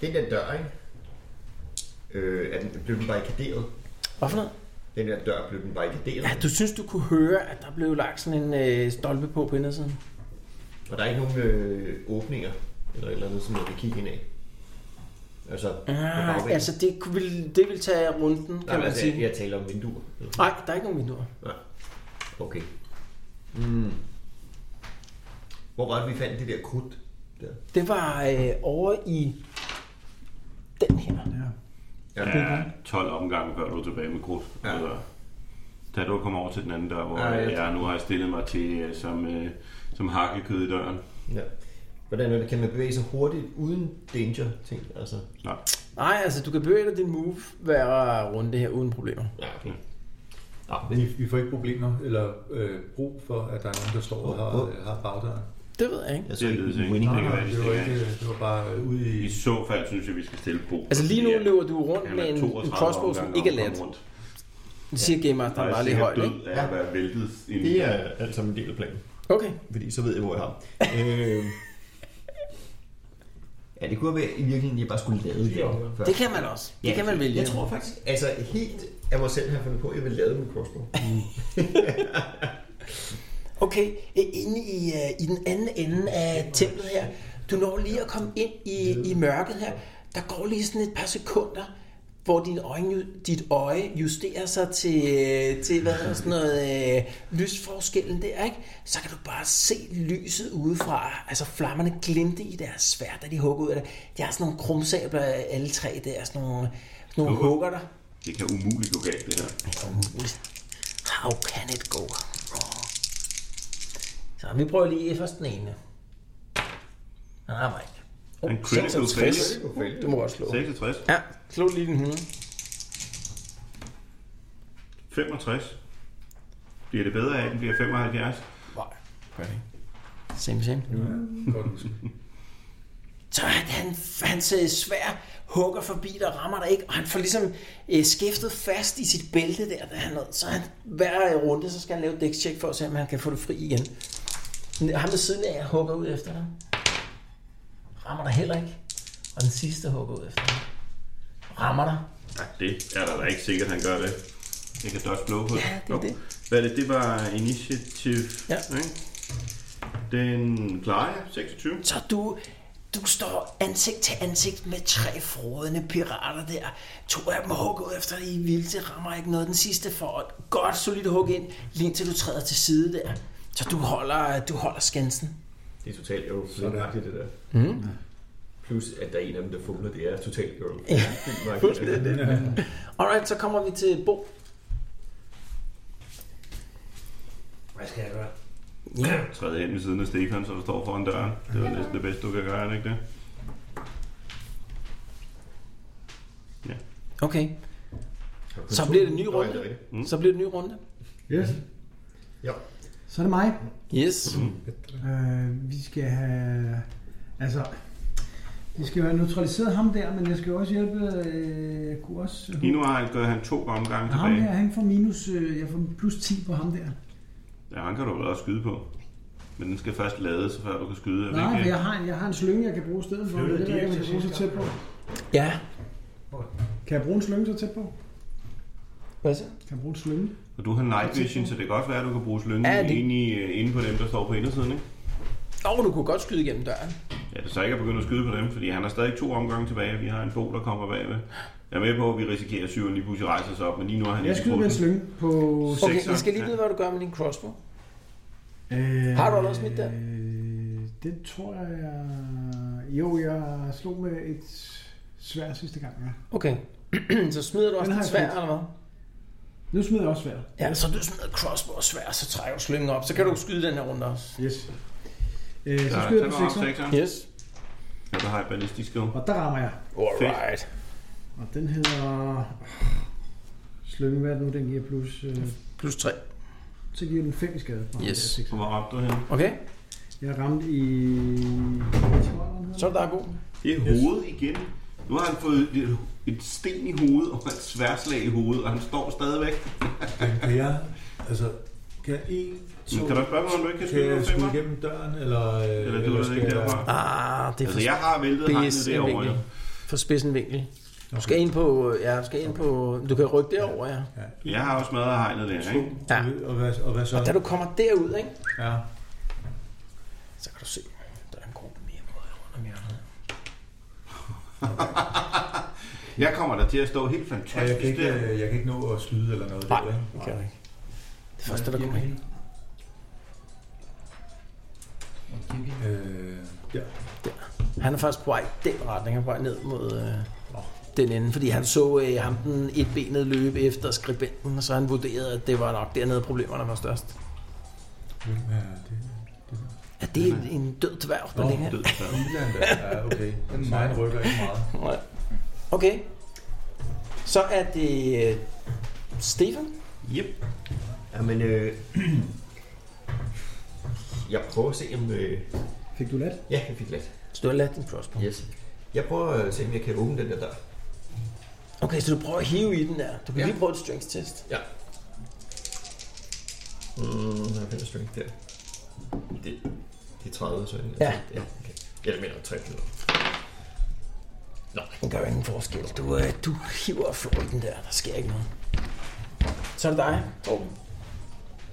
den der dør, ikke? Øh, er den, blev den barrikaderet?
Hvad for noget?
Den der dør, blev den barrikaderet?
Ja, du synes, du kunne høre, at der blev lagt sådan en øh, stolpe på på indersiden.
Og der er ikke nogen øh, åbninger eller et eller andet, som jeg kan kigge ind af? Altså, på
Ah,
bagvæggen?
altså, det kunne- ville, det ville tage runden, kan
Nej, men
man
altså,
sige. Ah.
jeg, jeg taler om vinduer.
Nej, der er ikke nogen vinduer.
Okay. Mm. Hvor var det, vi fandt det der krudt? Der?
Det var øh, over i den her.
Ja.
Ja, 12 omgange, før du er tilbage med krudt.
Ja.
Ja. Altså, da du kommer over til den anden dør, hvor
Ja,
ja,
jeg
jeg, nu har jeg stillet mig til øh, som, øh, som hakkekød i døren.
Ja. Hvordan er det? Kan man bevæge sig hurtigt uden danger, ting? Altså,
Nej.
Nej, altså, du kan bevæge dig din move hver runde her uden problemer.
ja, okay.
Vi, vi får ikke problemer eller øh, brug for, at der er nogen, der står og har, har bagdøren.
Det ved jeg ikke.
Jeg
Det er lidt ikke. Det
winning.
kan være,
det var,
det
ikke,
ikke.
det var bare øh, ude i...
I så fald synes jeg, vi skal stille på.
Altså lige nu
Fordi at-
løber du rundt
han
med
er
en,
32
en crossbow, som
omgange
ikke er
om at
let.
komme rundt.
Det siger Game
Der
Master
er
bare lige
sikkert
højt,
død
ikke?
af at være væltet ind i
Det er alt sammen en del af planen.
Okay.
Fordi så ved jeg, hvor jeg har. øh, ja, det kunne være, i virkeligheden, jeg bare skulle lade det. før.
Det kan man også. Det kan man vælge.
Jeg tror faktisk, altså helt af mig selv har jeg fundet på, at jeg vil lade min crossbow.
Okay, øh, inde i, øh, i den anden ende af templet her, du når lige at komme ind i, i mørket her. Der går lige sådan et par sekunder, hvor din øjne, ju- dit øje justerer sig til, øh, til hvad hedder sådan noget, øh, lysforskellen der, ikke? Så kan du bare se lyset udefra. Altså flammerne glimte i deres svær, da de hugger ud af det. De har sådan nogle krumsabler alle tre der, sådan nogle, sådan nogle hugger der.
Det kan umuligt gå galt, det her.
How can it go wrong? Så vi prøver lige først den ene. Nej, nej. Oh,
En critical
66.
failure.
Uh, Det må godt slå.
66,
Ja, slå lige den 100.
65. Bliver det bedre af, at den bliver 75?
Same, same. Så han, han, hans øh, svær hugger forbi dig, rammer dig ikke, og han får ligesom øh, skæftet fast i sit bælte der, da han nåede. Så han, hver øh, runde, så skal han lave et dækstjek for at se, om han kan få det fri igen. Men Ham ved siden af hugger ud efter dig. Rammer dig heller ikke. Og den sidste hugger ud efter dig. Rammer dig.
Ja, det er der da ikke sikkert, han gør det. Det kan dodge blow på.
Ja, det er
Nå.
det.
Hvad er det? Det var initiativ.
Ja.
Ikke? Den klarer jeg. 26.
Så du, du står ansigt til ansigt med tre frodende pirater der. To af dem hugger ud efter dig i vildt, det rammer ikke noget. Den sidste får et godt solidt hug ind, lige indtil du træder til side der. Så du holder, du holder skansen.
Det er totalt eurofilmagtigt, det der. Mm.
Mhm.
Plus, at der er en af dem, der fumler, det er totalt eurofilmagtigt.
Alright, så kommer vi til Bo.
Hvad skal jeg gøre?
Træder hen ved siden af Stefan, så du står foran døren. Det var næsten det bedste, du kan gøre, er det ikke det?
Okay, så bliver det en ny
Nå, ja, det er
runde.
rigtigt.
Så bliver det en ny runde.
Yes.
Ja.
Så er det mig.
Yes.
Øh, vi skal have... Altså... Vi skal jo have neutraliseret ham der, men jeg skal jo også hjælpe... Øh, jeg kunne også...
Lige nu har han gået han to omgange
ham her,
tilbage.
han får minus... Øh, jeg får plus 10 på ham der.
Ja, han kan du vel også skyde på. Men den skal først lades, før du kan skyde. Er det
Nej,
ikke-
for jeg har, en, jeg har en slynge, jeg kan bruge i stedet for. Det er
Flyttede
det,
de
jeg
ikke
kan
til
bruge så
sidste
tæt på.
Ja.
Kan jeg bruge en slynge så tæt på?
Hvad så?
Kan jeg bruge en slynge?
Og du har night vision, så det kan godt være, at du kan bruge slyngen
Ja,
ja,
det-
det... inde, i, øh, inde på dem, der står på indersiden, ikke?
Åh, oh, du kunne godt skyde igennem døren.
Ja, det er så ikke at begynde at skyde på dem, fordi han har stadig to omgange tilbage. Vi har en bo, der kommer bagved. Jeg er med på, at vi risikerer, at syveren lige pludselig rejser sig op, men lige nu er han
Jeg
ikke i
skyder med en
truslen.
slynge på...
Okay,
Sekseren,
jeg skal lige vide,
ja.
hvad du gør med din crossbow.
Øh,
Har du allerede smidt den?
Øh, det tror jeg... Jo, jeg slog med et svær sidste gang, ja.
Okay, så smider du også
har
den
jeg
svær,
fået.
eller hvad?
Nu smider jeg også svær.
Ja, så du smider crossbow og svær, så trækker du slyngen op. Så kan du skyde den her runde også.
Yes. Øh, så
Ja,
skyder jeg
tag
på
mig op,
6'eren,
sekseren.
Yes.
Ja, der har jeg ballistisk skill.
og der rammer jeg.
Alright.
Og den hedder... Slynge, hvad er det nu, den giver plus... Øh,
Plus 3.
så giver den 5 i skade. Nå,
Yes.
det er seks.
Hvor ramte du henne?
Okay,
Jeg ramte i...
så er det der er god.
Det er hovedet igen. Nu har han fået et, et sten i hovedet og et sværslag i hovedet, og han står stadigvæk.
Kan jeg, altså, kan jeg en, to,
Men kan du ikke spørge mig, om du ikke kan
kan
skyde
jeg
med
skyde
femmer?
igennem døren, eller, øh,
Eller du er ikke derfra?
Ah, det er for,
Altså, jeg har væltet hegnet
BS en
derovre.
vinkel.
jo.
for spidsen vinkel. Du skal ind på, ja, du skal ind på, du kan rykke derover, ja.
Jeg har også smadret hegnet der, ikke?
Ja.
Ja. Og, hvad, og hvad så?
Da du kommer derud, ikke,
Ja.
så kan du se, der er en gruppe mere måde rundt om hjørnet.
Jeg kommer der til at stå helt
Og jeg kan,
fantastisk
ikke,
der.
øh, jeg kan ikke nå at skyde eller noget.
Nej,
der, ikke?
det kan du ikke. Det første, der kommer ind.
Øh, ja.
Han er faktisk på vej i den retning, han er på vej ned mod øh, den ende, fordi han så øh, ham den etbenede løbe efter skribenten, og så han vurderede, at det var nok dernede, problemerne var størst.
Hvem er det?
Ja, det er en, en død dværg, der
Nå,
ligger her.
Død, så.
Milan, der. Ja, okay. Den mine rykker ikke meget.
Nej. Okay. Så er det øh, Stefan.
Yep.
Jamen, øh,
Jeg prøver at se, om... Øh,
Fik du let?
ja, jeg fik let.
Så du har ladt din crossbow.
Yes. Jeg prøver at se, om jeg kan åbne den der dør.
Okay, så du prøver at hive i den der. Du kan
Ja.
lige prøve et strength test.
Ja. Mm, jeg finder strength der. Det, det er 30, så jeg
Ja.
ja okay. Eller mener 30 minutter.
Den gør jo ingen forskel. Du, øh, du hiver og flår i den der. Der sker ikke noget. Så er det dig. Torben.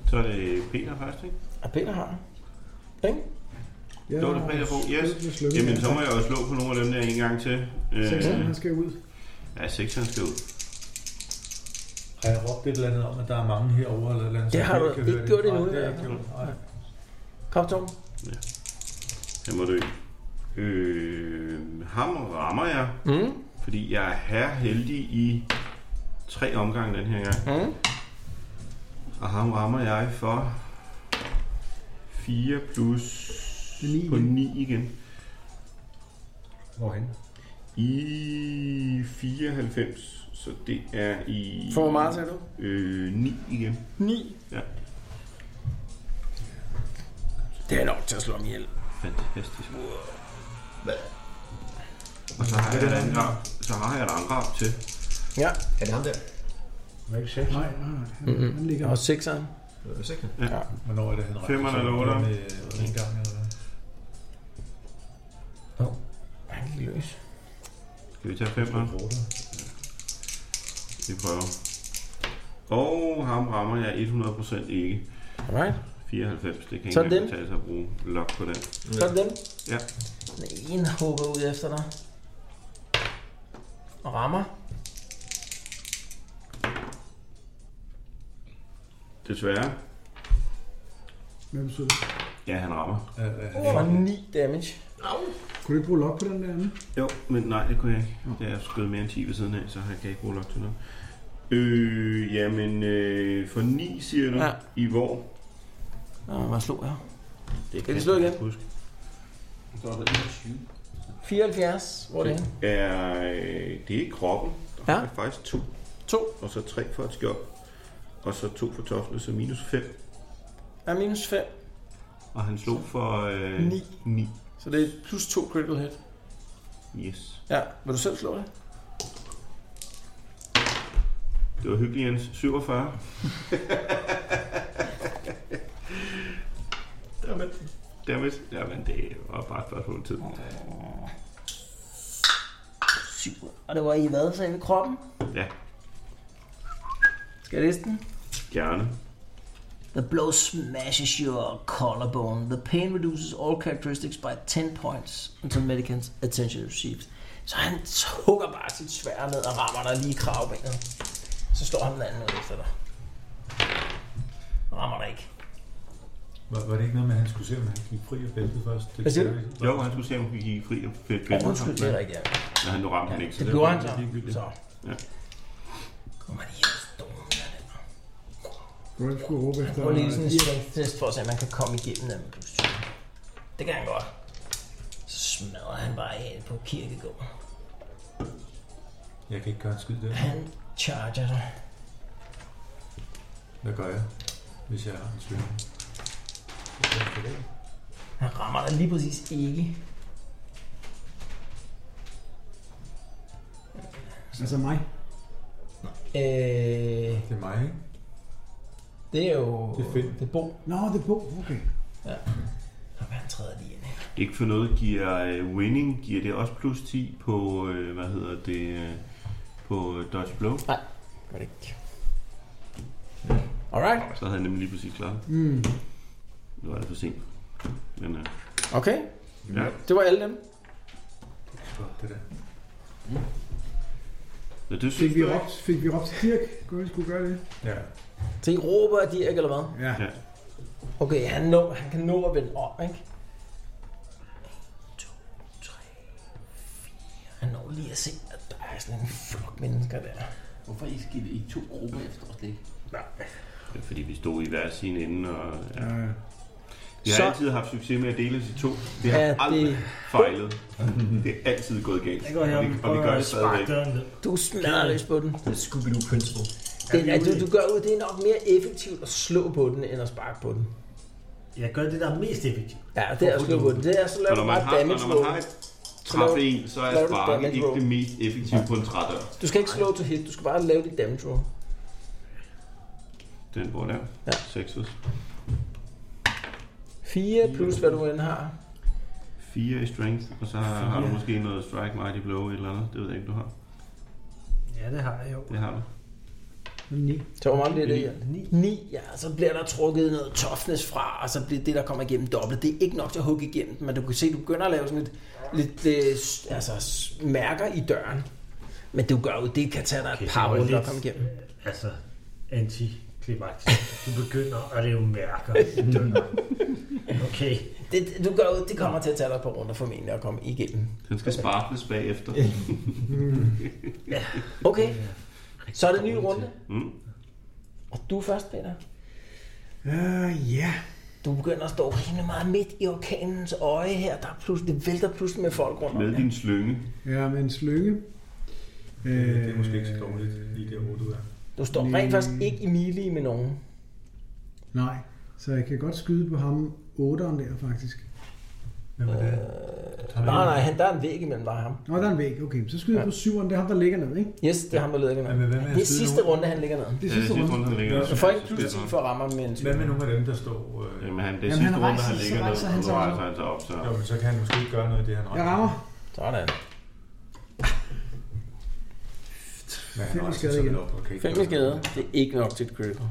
Så er det Peter først, ikke?
Og Peter har. Ikke?
Ja,
Jo, det er Peter på.
Lykkes,
Yes.
lykkes.
Jamen, så må jeg jo slå på nogle af dem der en gang til.
Sekseren,
Øh,
han skal ud.
ja, sekseren skal ud.
Har jeg råbt et eller andet om, at der er mange herovre? Eller et eller andet,
Det har
som ikke
du
kan
ikke
høre
gjort
det? Nej,
endnu,
det
ja.
har jeg ikke gjort. Nej.
Kom, Torben.
Jeg må dø. Øh, ham rammer jeg,
Mm.
fordi jeg er her heldig i tre omgange den her gang.
Mm.
Og ham rammer jeg for 4 plus
Det er ni
på
igen.
9 igen.
Hvorhen?
I 94, så det er i...
For hvor meget sagde du?
Øh, 9 igen.
9.
Ja.
Det er nok til at slå mig ihjel.
Fantastisk. Og så har jeg et angreb, så har jeg et angreb til.
Ja.
Er det ham der?
Må jeg ikke sætte?
Nej, nej, nej. Han,
Mhm.
han ligger
Og sekseren.
Er du sikker?
Hvornår er det, han
Femmeren eller otteren?
Øh, en gang eller hvad?
Han gik løs.
Skal vi tage 5 her?
Otter.
Vi prøver. Og ham rammer jeg 100% ikke.
Alright.
94, det kan ikke
Så er det
engang betale sig at bruge lock på den.
Så er det dem.
Ja.
Den ene hugger ud efter dig. Og rammer.
Desværre.
Hvem så det?
Ja, han rammer.
Øh, øh,
Og 9 damage.
Kunne du ikke bruge lok på den der anden?
Jo, men nej, det kunne jeg ikke. Da jeg skød mere end 10 ved siden af, så har jeg kan ikke bruge lock til noget. Øh, jamen, øh, for 9 siger du,
Ja.
ja. i hvor?
Og hvad slog jeg?
Det
Kan vi slå
jeg
igen?
ikke Huske.
Så er det 74. Hvor er det henne?
Er, øh, det er ikke kroppen. Der
Ja.
er faktisk to,
2.
og så tre for et skjold. Og så to for toflen, så minus 5.
Ja, minus 5.
Og han slog for øh,
Ni.
9.
Så det er plus 2 critical hit.
Yes.
Ja, vil du selv slå det?
Det var hyggeligt, Jens. 47. Dammit. Dammit. Jamen, det var bare et spørgsmål om tid.
Og det var i hvad, sagde vi? Kroppen?
Ja,
Skal jeg læse den?
gerne.
The blow smashes your collarbone. The pain reduces all characteristics by 10 points until medicans attention is received.
Så han hugger bare sit svær ned og rammer dig lige i kravbenet. Så står han den anden ud efter dig. Rammer dig ikke.
Var, var det ikke noget med, at han skulle se, om han gik fri og bæltet først? Det
Hvad siger du?
Jo, han skulle se, om vi gik fri og fedt
Ja, undskyld, det er rigtigt. ja.
Men han nu ramte han ikke, så
Det
det
gjorde
var
han så.
ligegyldigt.
Så.
Ja.
Kommer lige og stummer den.
Kunne du ikke skulle råbe efter? øh,
Prøv lige sådan en strength test for at se, om man kan komme igennem den med plus 20. Det kan han godt. Så smadrer han bare af på kirkegården.
Jeg kan ikke gøre en skid der.
Han charger dig.
Hvad gør jeg, hvis jeg har en svømme?
Han rammer dig lige præcis ikke.
Altså mig.
Øh,
Det er mig, ikke?
det er jo...
Det er fedt.
Det er Bo.
Nå, det er Bo. Okay.
Og han træder lige ind.
Ikke for noget giver øh, winning, giver det også plus 10 på, øh, hvad hedder det, øh, på øh, Dodge Blow.
Gør det ikke. Alright.
Så havde jeg nemlig lige præcis klaret. det.
Mm.
Nu var det for sent. Men øh,
Okay.
ja,
Det var alle dem.
Godt, det der.
så det
Fik
synes
vi
jeg
råbt, fik vi råbt til Dirk? Kunne vi skulle gøre det?
Ja.
Så I råber af Dirk, eller hvad?
Ja.
Ja.
Okay, han, nå, han kan nå at vende om, ikke? 1, 2, 3, 4. Han når lige at se, at der er sådan en flok mennesker der.
Hvorfor I skal i to grupper efter os, det?
Det er fordi vi stod i hver sin ende, og ja.
Ja.
Vi har
Så-
så... altid haft succes med at dele os i to. Det har
Ja,
ja, aldrig
det-
det... fejlet. Det er altid gået galt.
Jeg går her
og, vi,
og
og vi gør
prøver
det
at sparke
stadigvæk.
døren ned.
Du smadrer løs på den.
Det er Scooby-Doo Principle.
den at du, du gør ud, det er nok mere effektivt at slå på den, end at sparke på den.
Jeg gør det, der er mest effektivt.
Ja, det er også noget godt. Det er, så laver
Og
du
når man
bare
har, og
damage
når man har
roll.
et
Så laver-
træffe en, så
laver
er
du
sparken
damage
ikke
roll.
det mest effektive på en trædør.
Du skal ikke slå til hit, du skal bare lave dit damage roll.
Den går der.
Ja.
Seksus.
4 plus hvad du end har.
4 i strength, og så har du måske noget strike, mighty blow eller et eller andet. Det ved jeg ikke, du har.
Ja, det har jeg jo.
Det har du.
Så hvor meget bliver det her?
9.
9, ja, så bliver der trukket noget toughness fra, og så bliver det, der kommer igennem dobbelt. Det er ikke nok til at hugge igennem, men du kan se, du begynder at lave sådan et, lidt øh, s- altså, s- mærker i døren. Men du gør jo, det kan tage dig okay, et par runder at komme igennem.
Altså, anti-klimaks. Du begynder at lave mærker. Okay.
Det, du gør jo, det kommer til at tage dig et par runder formentlig at komme igennem.
Den skal sparkles bagefter.
Okay, så er det en ny runde.
Mm.
Og du er først, Peter.
Ah,
Øh, ja.
Du begynder at stå rimelig meget midt i orkanens øje her. Der er pludselig, det vælter pludselig med folk rundt om.
Med
jer.
din slynge.
Ja, med en slynge.
Det er måske ikke så dårligt, lige der, hvor du er.
Du står rent faktisk ikke i melee med nogen.
Nej, så jeg kan godt skyde på ham 8'eren der faktisk.
Hvem er det?
Nej, nej, han, der er en væg imellem dig og ham.
Nå, der er en væg. Okay, så skyder jeg på 7'eren. Det er ham, der ligger ned, ikke?
Yes, det er ham, der ligger
Ja, men
ned.
hvad med at
Det er
skyde
sidste
nogen?
runde, han ligger ned.
Det er
Ja,
Øh, sidste runde.
runde, han ligger.
Du får ikke plus 10 for at ramme ham med en
Hvad
tyve.
med nogle af dem, der står... Øh...
Jamen, han, det er
Jamen,
sidste
han
runde,
rejser
han
sig,
ligger
så
ned,
rejser han
og nu
sig op.
rejser han sig op, så...
Jo, men så kan han måske ikke gøre noget af det, han
Jeg rammer.
Sådan.
Men han
Fem
rejser
skade
sig
igen.
op og kan ikke
5
gøre
skader.
noget.
Det er ikke nok til et critical.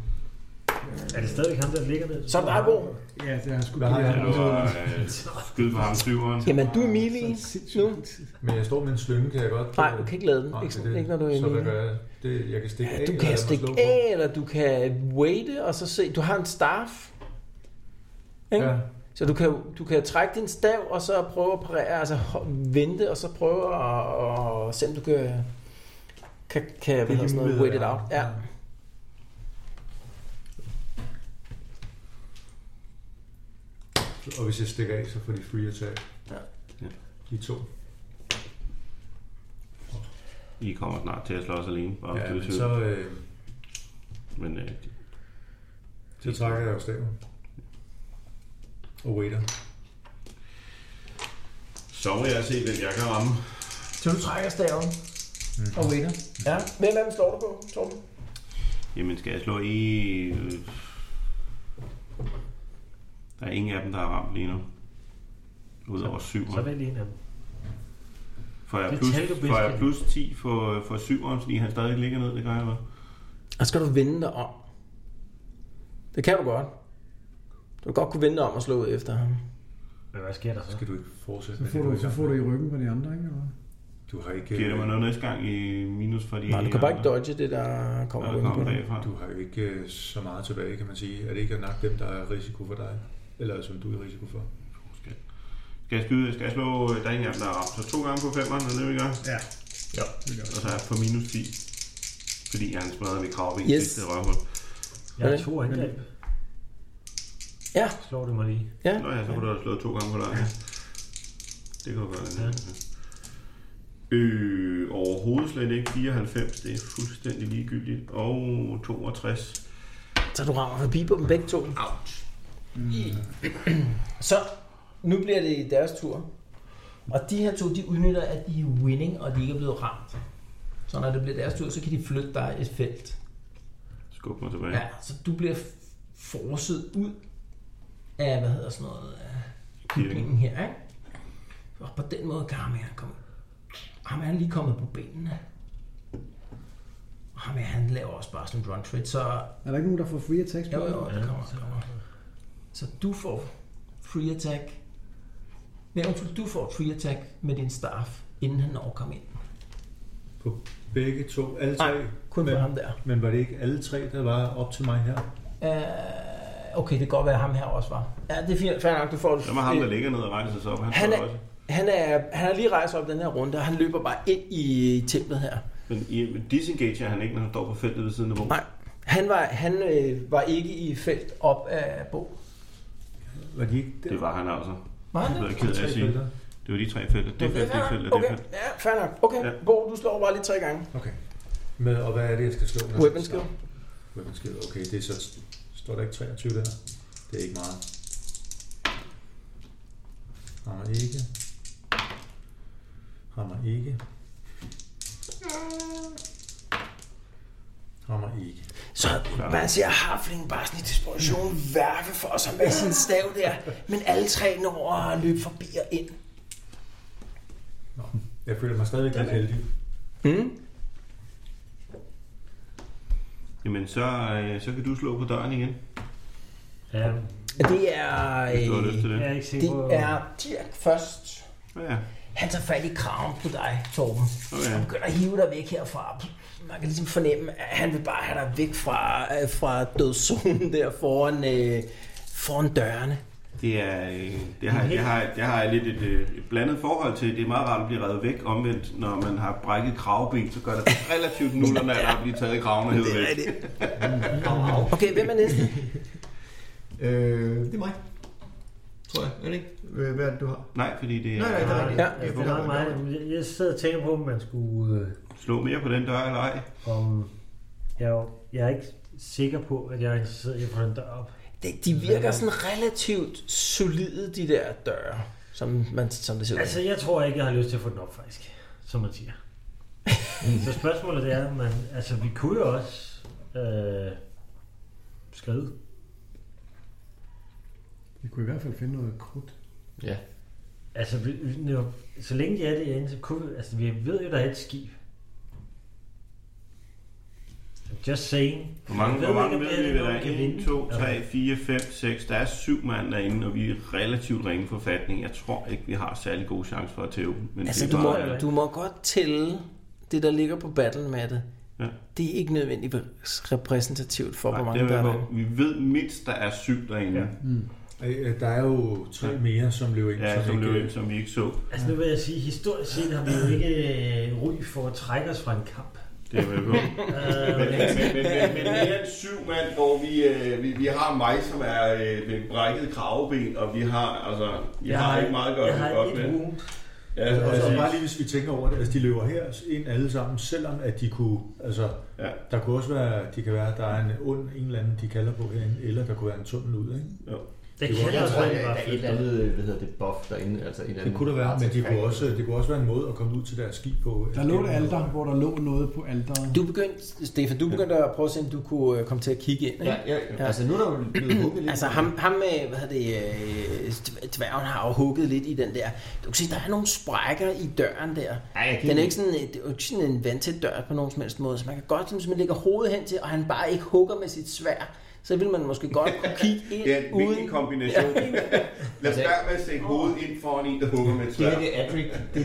Er det stadigvæk ham, der ligger ned?
Så er der Bo.
Ja, det har sgu
Hvad har jeg?
Han lover øh, skyde på ham syveren.
Jamen, du er melee nu.
Men jeg står med en slynge, kan jeg godt...
Nej, du kan ikke lade den.
Nej,
Ikke,
det er det.
ikke når du er i
Så hvad
melee.
gør jeg? Det, jeg kan stikke af,
Du
eller
kan
jeg må
stikke
slå på.
af, eller du kan waite, og så se. Du har en staff. Ikke?
Ja.
Så du kan, du kan trække din stav, og så prøve at parere, altså ho- vente, og så prøve at, at se, om du kan, kan, kan hvad hedder
de
sådan noget,
muligheder,
wait it
der er.
out. Ja.
Og hvis jeg stikker af, så får de free attack.
Ja.
De to.
I kommer snart til at slås alene. Bare
Ja,
ja,
men så, øh,
men øh,
så trækker jeg jo staven. Og waiter.
så må jeg se, hvem jeg kan ramme.
Så du trækker staven
Mhm.
og waiter. Ja. Hvem af dem slår du på, Torben?
Jamen, skal jeg slå i... øh, Der er ingen af dem, der er ramt lige nu. Udover
Så
syveren.
vælg en af dem.
Får jeg
det
plus,
tal, du bedst
får jeg
kan
plus 10 for, for syveren, fordi han stadig ligger ned, det gør jeg vel?
Og skal du vende dig om. Det kan du godt. Du kan godt kunne vende dig om og slå efter ham.
Men hvad sker der så?
Skal du ikke fortsætte
Så
med
får,
det,
du,
er
så
i
får
gang
du
med?
i ryggen på de andre, ikke? Eller? hvad?
Du har ikke...
Giver det mig
øh,
noget næste gang i minus for de
Nej, du kan bare ikke
andre,
dodge det, der kommer
der
rundt på
kommer
dig.
bagfra.
Du har jo ikke øh, så meget tilbage, kan man sige. Er det ikke at nakke dem, der er risiko for dig? Eller som du er i risiko for?
Skal, skal jeg skyde? Skal jeg slå? Der er ingen af dem, der er ramt. Så to gange på femmeren, er det vi gør?
Ja.
Ja, og så er Altså, jeg på minus 10. Fordi han smadrede mit kravben
Yes.
yes. sidste røvhul.
Jeg har
Hvordan?
to angreb.
Ja.
Slår det mig lige.
Nå ja, så kunne du have slået to gange på dig. Det kunne du gøre. Ja. Øh, overhovedet slet ikke. 94, det er fuldstændig ligegyldigt. Og 62.
Så du rammer forbi på dem begge to.
Out.
Så nu bliver det deres tur. Og de her to, de udnytter, at de er winning, og de ikke er blevet ramt. Så når det bliver deres tur, så kan de flytte dig et felt.
Skub mig tilbage.
Ja, så du bliver f- forset ud af, hvad hedder sådan noget, af bygningen her, ikke? Og på den måde kan ham her komme. Ham er han lige kommet på benene. Og ham her, han laver også bare sådan en run trade, så
Er der ikke nogen, der får free attacks på?
Jo, jo, det kommer, det kommer. Så du får free attack. Nej, undskyld, du får free attack med din staff, inden han når at komme ind.
På begge to, alle tre.
Nej, kun
men,
for ham der.
Men var det ikke alle tre, der var op til mig her?
Uh, okay, det kan godt være, at ham her også var. Ja, det er fint. Fair nok, du får...
Så må ham, der ligger ned og rejser sig op. Han,
Øh. han, er,
han også.
han, er, han er lige rejst op den her runde, og han løber bare ind i templet her.
Men i, men disengager han ikke, når han står på feltet ved siden af vågen.
Nej, han var, han, øh, var ikke i felt op af Bo.
Var de ikke der?
Det var han altså.
Var han
Det
det?
er jeg ked af at sige.
felter.
Det var de tre felter. Det felt, det felt, og det
Okay,
felt.
ja, fair nok. Okay,
Ja.
Bo, du slår bare lige tre gange.
Okay. Med, og hvad er det, jeg skal slå? når
Weapon
jeg skal
skill.
starte? Weapon skill. Okay, det er så... Står der ikke 23 der? Det er ikke meget. ikke. Rammer ikke. Rammer ikke.
Så man ser Hafling bare sådan i desperation værve for sig med sin stav der. Men alle tre når at løbe forbi og ind.
Nå. Jeg føler mig stadigvæk lidt heldig.
Jamen, så, øh, så kan du slå på døren igen,
Ja,
Det er...
hvis du har lyst
Øh,
til det.
jeg er ikke sikker på...
det er Dirk først.
Ja,
Han tager fat i kraven på dig, Torben.
okay.
Han begynder at hive dig væk herfra. Man kan ligesom fornemme, at han vil bare have dig væk fra, øh, fra dødszonen der foran, øh, foran dørene.
Det, er, øh, det, har, det, har, det har jeg lidt et, øh, et blandet forhold til. Det er meget rart at blive revet væk omvendt, når man har brækket kravben, så gør det relativt nullerne at blive taget i kraven og hævet væk.
Okay, hvem er næste?
Øh, det er mig. Tror jeg. Er det ikke? Øh, Hvad er det, du har?
Nej, fordi det
Nej, nej, det
er
er rigtigt.
Ja.
Jeg, Altså, det er meget, jeg sidder og tænker på, om man skulle... Øh,
slå mere på den dør eller ej.
om, jeg, er jo- jeg er ikke sikker på, at jeg er interesseret i at få den dør op.
Det- De virker sådan relativt solide, de der døre, som, man, som det ser ud.
Altså, jeg tror ikke, jeg har lyst til at få den op, faktisk. Som man siger. så spørgsmålet det er, man, altså, vi kunne jo også øh, skride.
Vi kunne i hvert fald finde noget krudt.
Ja.
Altså, vi, vi- nu, så længe de er det inde, så kunne vi, altså, vi ved jo, der er et skib. Just saying.
Hvor mange,
Jeg ved
hvor mange
ikke, om
ved vi,
det
hvad der
noget, kan
er?
vinde.
1, 2,
Altså,
3, 4, 5, 6. Der er syv mand derinde, og vi er relativt ringe forfatning. Jeg tror ikke, vi har særlig gode chance for at tæve. Men
Altså,
det
du
er
må,
bare,
du må godt tælle det, der ligger på battlemattet.
Ja.
Det er ikke nødvendigvis repræsentativt for, hvor
Nej,
mange
det
der
er,
er.
hvor- vi ved mindst, der er syv derinde,
Øh, øh, Der er jo tre mere, som løber ind.
ja, som,
ikke- øh,
løb ind, som vi ikke så.
Altså nu vil jeg sige, historisk set har vi jo ikke øh, ry for at trække os fra en kamp.
Det er vel godt.
Øh,
men, men, men, men, men, men mere end syv mand, hvor vi, øh, vi, vi har mig, som er øh, med brækket kraveben, og vi har, altså, jeg har ikke meget godt,
jeg har
godt
et
med.
wound.
Ja,
Altså, og så
præcis.
bare lige hvis vi tænker over det, altså de løber her ind alle sammen, selvom at de kunne, altså
Ja.
ja. der kunne også være, de kan være, der er en ond en eller anden, de kalder på herinde, eller der kunne være en tunnel ud, ikke?
Det
Det
kan
var-
jeg
Jeg
også
tror,
være,
at
vi
der
bare
er et eller
flytter.
andet, øh, hvad hedder det, buff derinde. Altså et eller andet
Det kunne der være, men det kunne,
artefakt.
også, det kunne også være en måde at komme ud til deres skib på. øh,
Der lå et alder, hvor der lå noget på alderen.
Du begyndte, Stefan, du begyndte at prøve at se, om du kunne øh, komme til at kigge ind. Ikke?
Ja, ja, ja, altså nu er der jo blevet hugget lidt.
Altså ham, ham med, hvad hedder det, øh, dv- dværgen har jo hugget lidt i den der. Du kan se, der er nogle sprækker i døren der.
Ej, det-
den er ikke sådan, øh, det er jo ikke sådan en vandtæt dør på nogen som helst måde, så man kan godt, som hvis man lægger hovedet hen til, og han bare ikke hugger med sit svær, så vil man måske godt kunne kigge ind
Det er en
uden...
vigtig kombination. Lad os være med at stikke hovedet ind foran en, der hugger med et
Det
sværd.
her, det er Adric.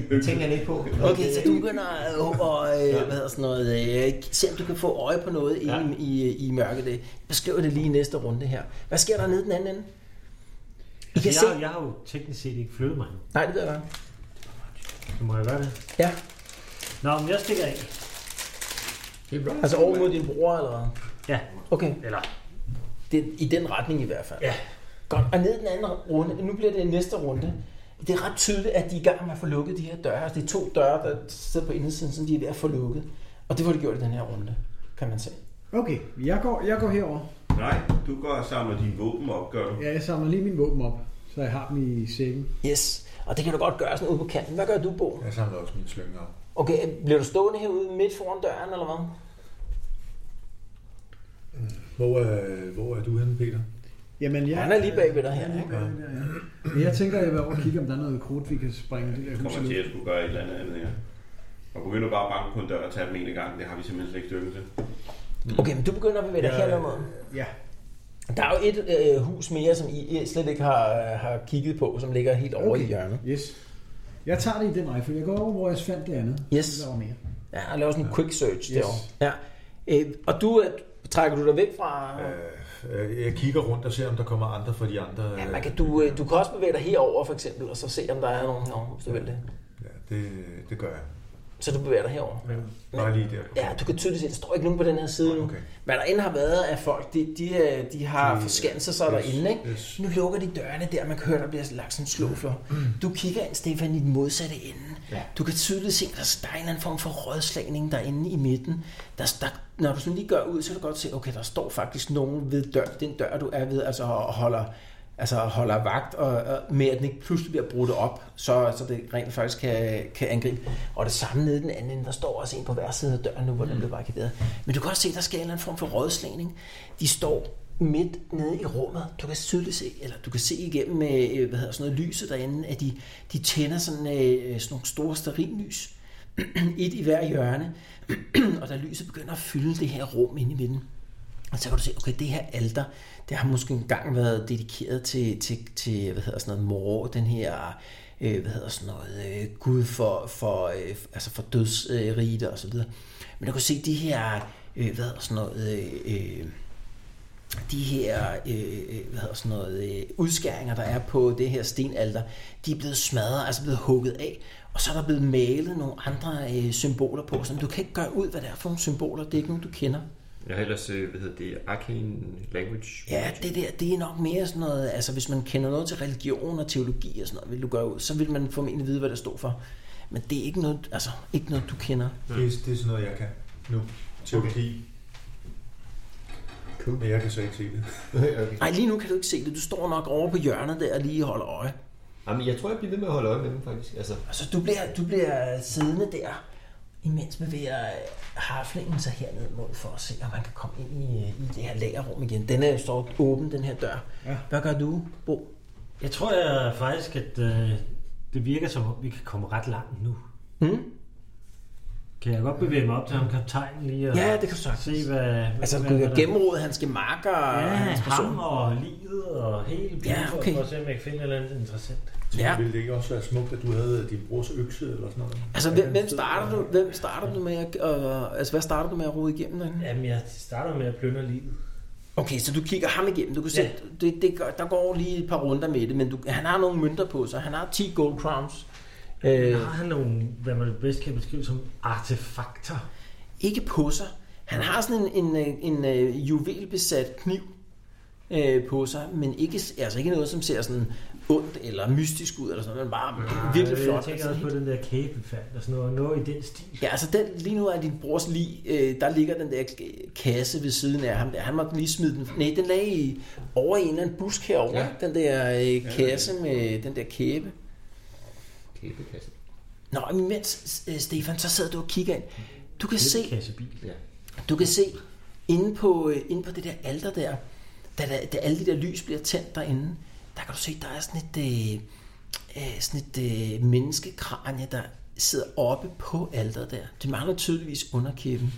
Det tænker jeg lidt på.
Okay, så du begynder at og, øh, hvad hedder sådan noget, øh, se om du kan få øje på noget ja. i, i, i mørket. Øh, Beskriv det lige i næste runde her. Hvad sker der nede i den anden ende? I kan se...
Jeg, jeg har jo teknisk set ikke flyttet mig. nu.
Nej, det ved jeg godt.
Så må jeg gøre det.
Ja,
Nå, men jeg stikker af.
altså over mod din bror eller hvad?
Ja,
Okay,
eller...
det er i den retning i hvert fald.
Ja.
Godt, og ned i den anden runde, nu bliver det næste runde. Det er ret tydeligt, at de er i gang med at få lukket de her døre. Altså, det er to døre, der sidder på indersiden, som de er ved at få lukket. Og det får de gjort i den her runde, kan man se.
Okay, jeg går, jeg går herover.
Nej, du går og samler dine våben op, gør du?
Ja, jeg samler lige mine våben op, så jeg har dem i sækken.
Yes, og det kan du godt gøre sådan ude på kanten. Hvad gør du, Bo?
Jeg samler også mine slynger op.
Okay, bliver du stående herude midt foran døren, eller hvad?
Hvor, øh, hvor er du henne, Peter?
Jamen, jeg,
Han er lige bagved dig her,
Han er lige
ikke?
bagved der, ja. Men jeg tænker, jeg vil over og kigge, om der er noget krudt, vi kan springe det der
Jeg
hus
kommer til
ud.
at skulle gøre et eller andet andet her. Og begynder bare at banke på en dør og tage dem en gang. Det har vi simpelthen slet ikke styrke til.
Okay, men du begynder at bevæge dig
Ja,
her mod.
Ja,
Der er jo et øh, hus mere, som I øh, slet ikke har, øh, har kigget på, som ligger helt over okay. i hjørnet.
yes. Jeg tager det i den rækkefølge. Jeg går over, hvor jeg fandt det andet.
Yes.
Der var mere.
Ja, og laver sådan en quick search yes.
Yes.
derovre. Ja. Øh, og du, øh, trækker du dig væk fra... Øh,
Øh, Jeg kigger rundt og ser, om der kommer andre fra de andre.
ja,
øh,
man kan, du, øh, du kan også bevæge dig herover for eksempel, og så se, om der er nogen herovre, hvis du vil det.
Ja, det, det gør jeg.
Så du bevæger dig herover.
Men bare lige der.
Ja, du kan tydeligt se, der står ikke nogen på den her side nu.
Okay.
Hvad der end har været af folk, de, de, øh, de har forskanset sig derinde, ikke?
yes. Mm.
Nu lukker de dørene der, man kan høre, der bliver lagt sådan en slåflor. Du kigger ind, Stefan, i den modsatte ende. Ja. Du kan tydeligt se, at der er en eller anden form for rådslagning derinde i midten. Der, der, når du sådan lige gør ud, så kan du godt se, okay, der står faktisk nogen ved dør, den dør, du er ved, altså og holder altså holder vagt, og, og med at den ikke pludselig bliver brudt op, så, så det rent faktisk kan, kan angribe. Og det samme nede i den anden ende, der står også en på hver side af døren nu, hvor den blev barrikaderet. Men du kan også se, der sker en eller anden form for rådslægning. De står midt nede i rummet. Du kan tydeligt se, eller du kan se igennem øh, hvad hedder sådan noget lyset derinde, at de, de tænder sådan, øh, sådan nogle store sterillys. Et i hver hjørne. og da lyset begynder at fylde det her rum inde i midten, og så kan du se, okay, det her alter, det har måske engang været dedikeret til, til, til hvad hedder sådan noget, mor, den her, øh, hvad hedder sådan noget, øh, gud for, for, øh, altså for dødsrigter øh, og så videre. Men du kan se de her, øh, hvad hedder sådan noget, øh, øh, de her øh, hvad hedder sådan noget, øh, udskæringer, der er på det her stenalter, de er blevet smadret, altså blevet hugget af, og så er der blevet malet nogle andre øh, symboler på, så du kan ikke gøre ud, hvad det er for nogle symboler, det er ikke nogen, du kender.
Jeg har ellers, øh, hvad hedder det, Arcane Language.
Ja, det der, det er nok mere sådan noget, altså hvis man kender noget til religion og teologi og sådan noget, vil du gøre ud, så vil man formentlig vide, hvad der står for. Men det er ikke noget, altså, ikke noget, du kender.
Det, er- det er sådan noget, jeg kan nu. Teologi. Men jeg kan så ikke se det.
Nej, lige nu kan du ikke se det. Du står nok over på hjørnet der og lige holder øje.
Jamen, jeg tror, jeg bliver ved med at holde øje med dem, faktisk. Altså,
Altså, du bliver, du bliver siddende der, imens bevæger harflingen sig herned mod, for at se, om man kan komme ind i, i det her lagerrum igen. Den er står åben, den her dør. Ja. Hvad gør du, Bo?
Jeg tror jeg faktisk, at øh, det virker som om, vi kan komme ret langt nu.
Mm?
Kan jeg godt bevæge mig op til ham kaptajnen lige og
Ja, det kan du sagtens.
se, hvad...
Altså,
hvad,
du
hvad
kan
der-
gennemrode hans gemakker og
Ja,
hans
ham
person.
og livet og hele byen,
Ja, okay.
for at se, om jeg kan finde et eller andet interessant.
Ja.
Ville det ikke også være smukt, at du havde øh, din brors økse eller sådan noget?
Altså, hvem, hvem, starter du, hvem starter du med at, øh, altså, hvad starter du med at rode igennem den?
Jamen, jeg starter med at plyndre livet.
Okay, så du kigger ham igennem. Du kan se,
Ja.
det, det, gør- der går lige et par runder med det, men du, han har nogle mønter på sig. Han har 10 gold crowns. Øh,
Har han nogle, hvad man bedst kan beskrive som artefakter?
ikke på sig. Han har sådan en, en, øh, en, en juvelbesat kniv øh, på sig, men ikke, altså ikke noget, som ser sådan ondt eller mystisk ud, eller sådan, noget, men bare virkelig
Øh,
flot.
Jeg tænker også på den der kæbe, vi fandt, og sådan noget, noget i den stil.
Ja, altså den, lige nu er din brors lig, øh, der ligger den der k- kasse ved siden af ham der. Han måtte lige smide den. Nej, den lagde i, over i en eller anden busk herovre. Ja. Den der øh, kasse med den der kæbe.
kæbekassen.
Nå, men imens, øh, Stefan, så sidder du og kigger ind. Du kan se,
Kassebil.
Ja.
Du kan se, inde på, øh, inde på det der alter der, da, da, da alle de der lys bliver tændt derinde, der kan du se, der er sådan et, øh, øh, sådan et øh, menneskekranje, der sidder oppe på alteret der. Det mangler tydeligvis underkæben.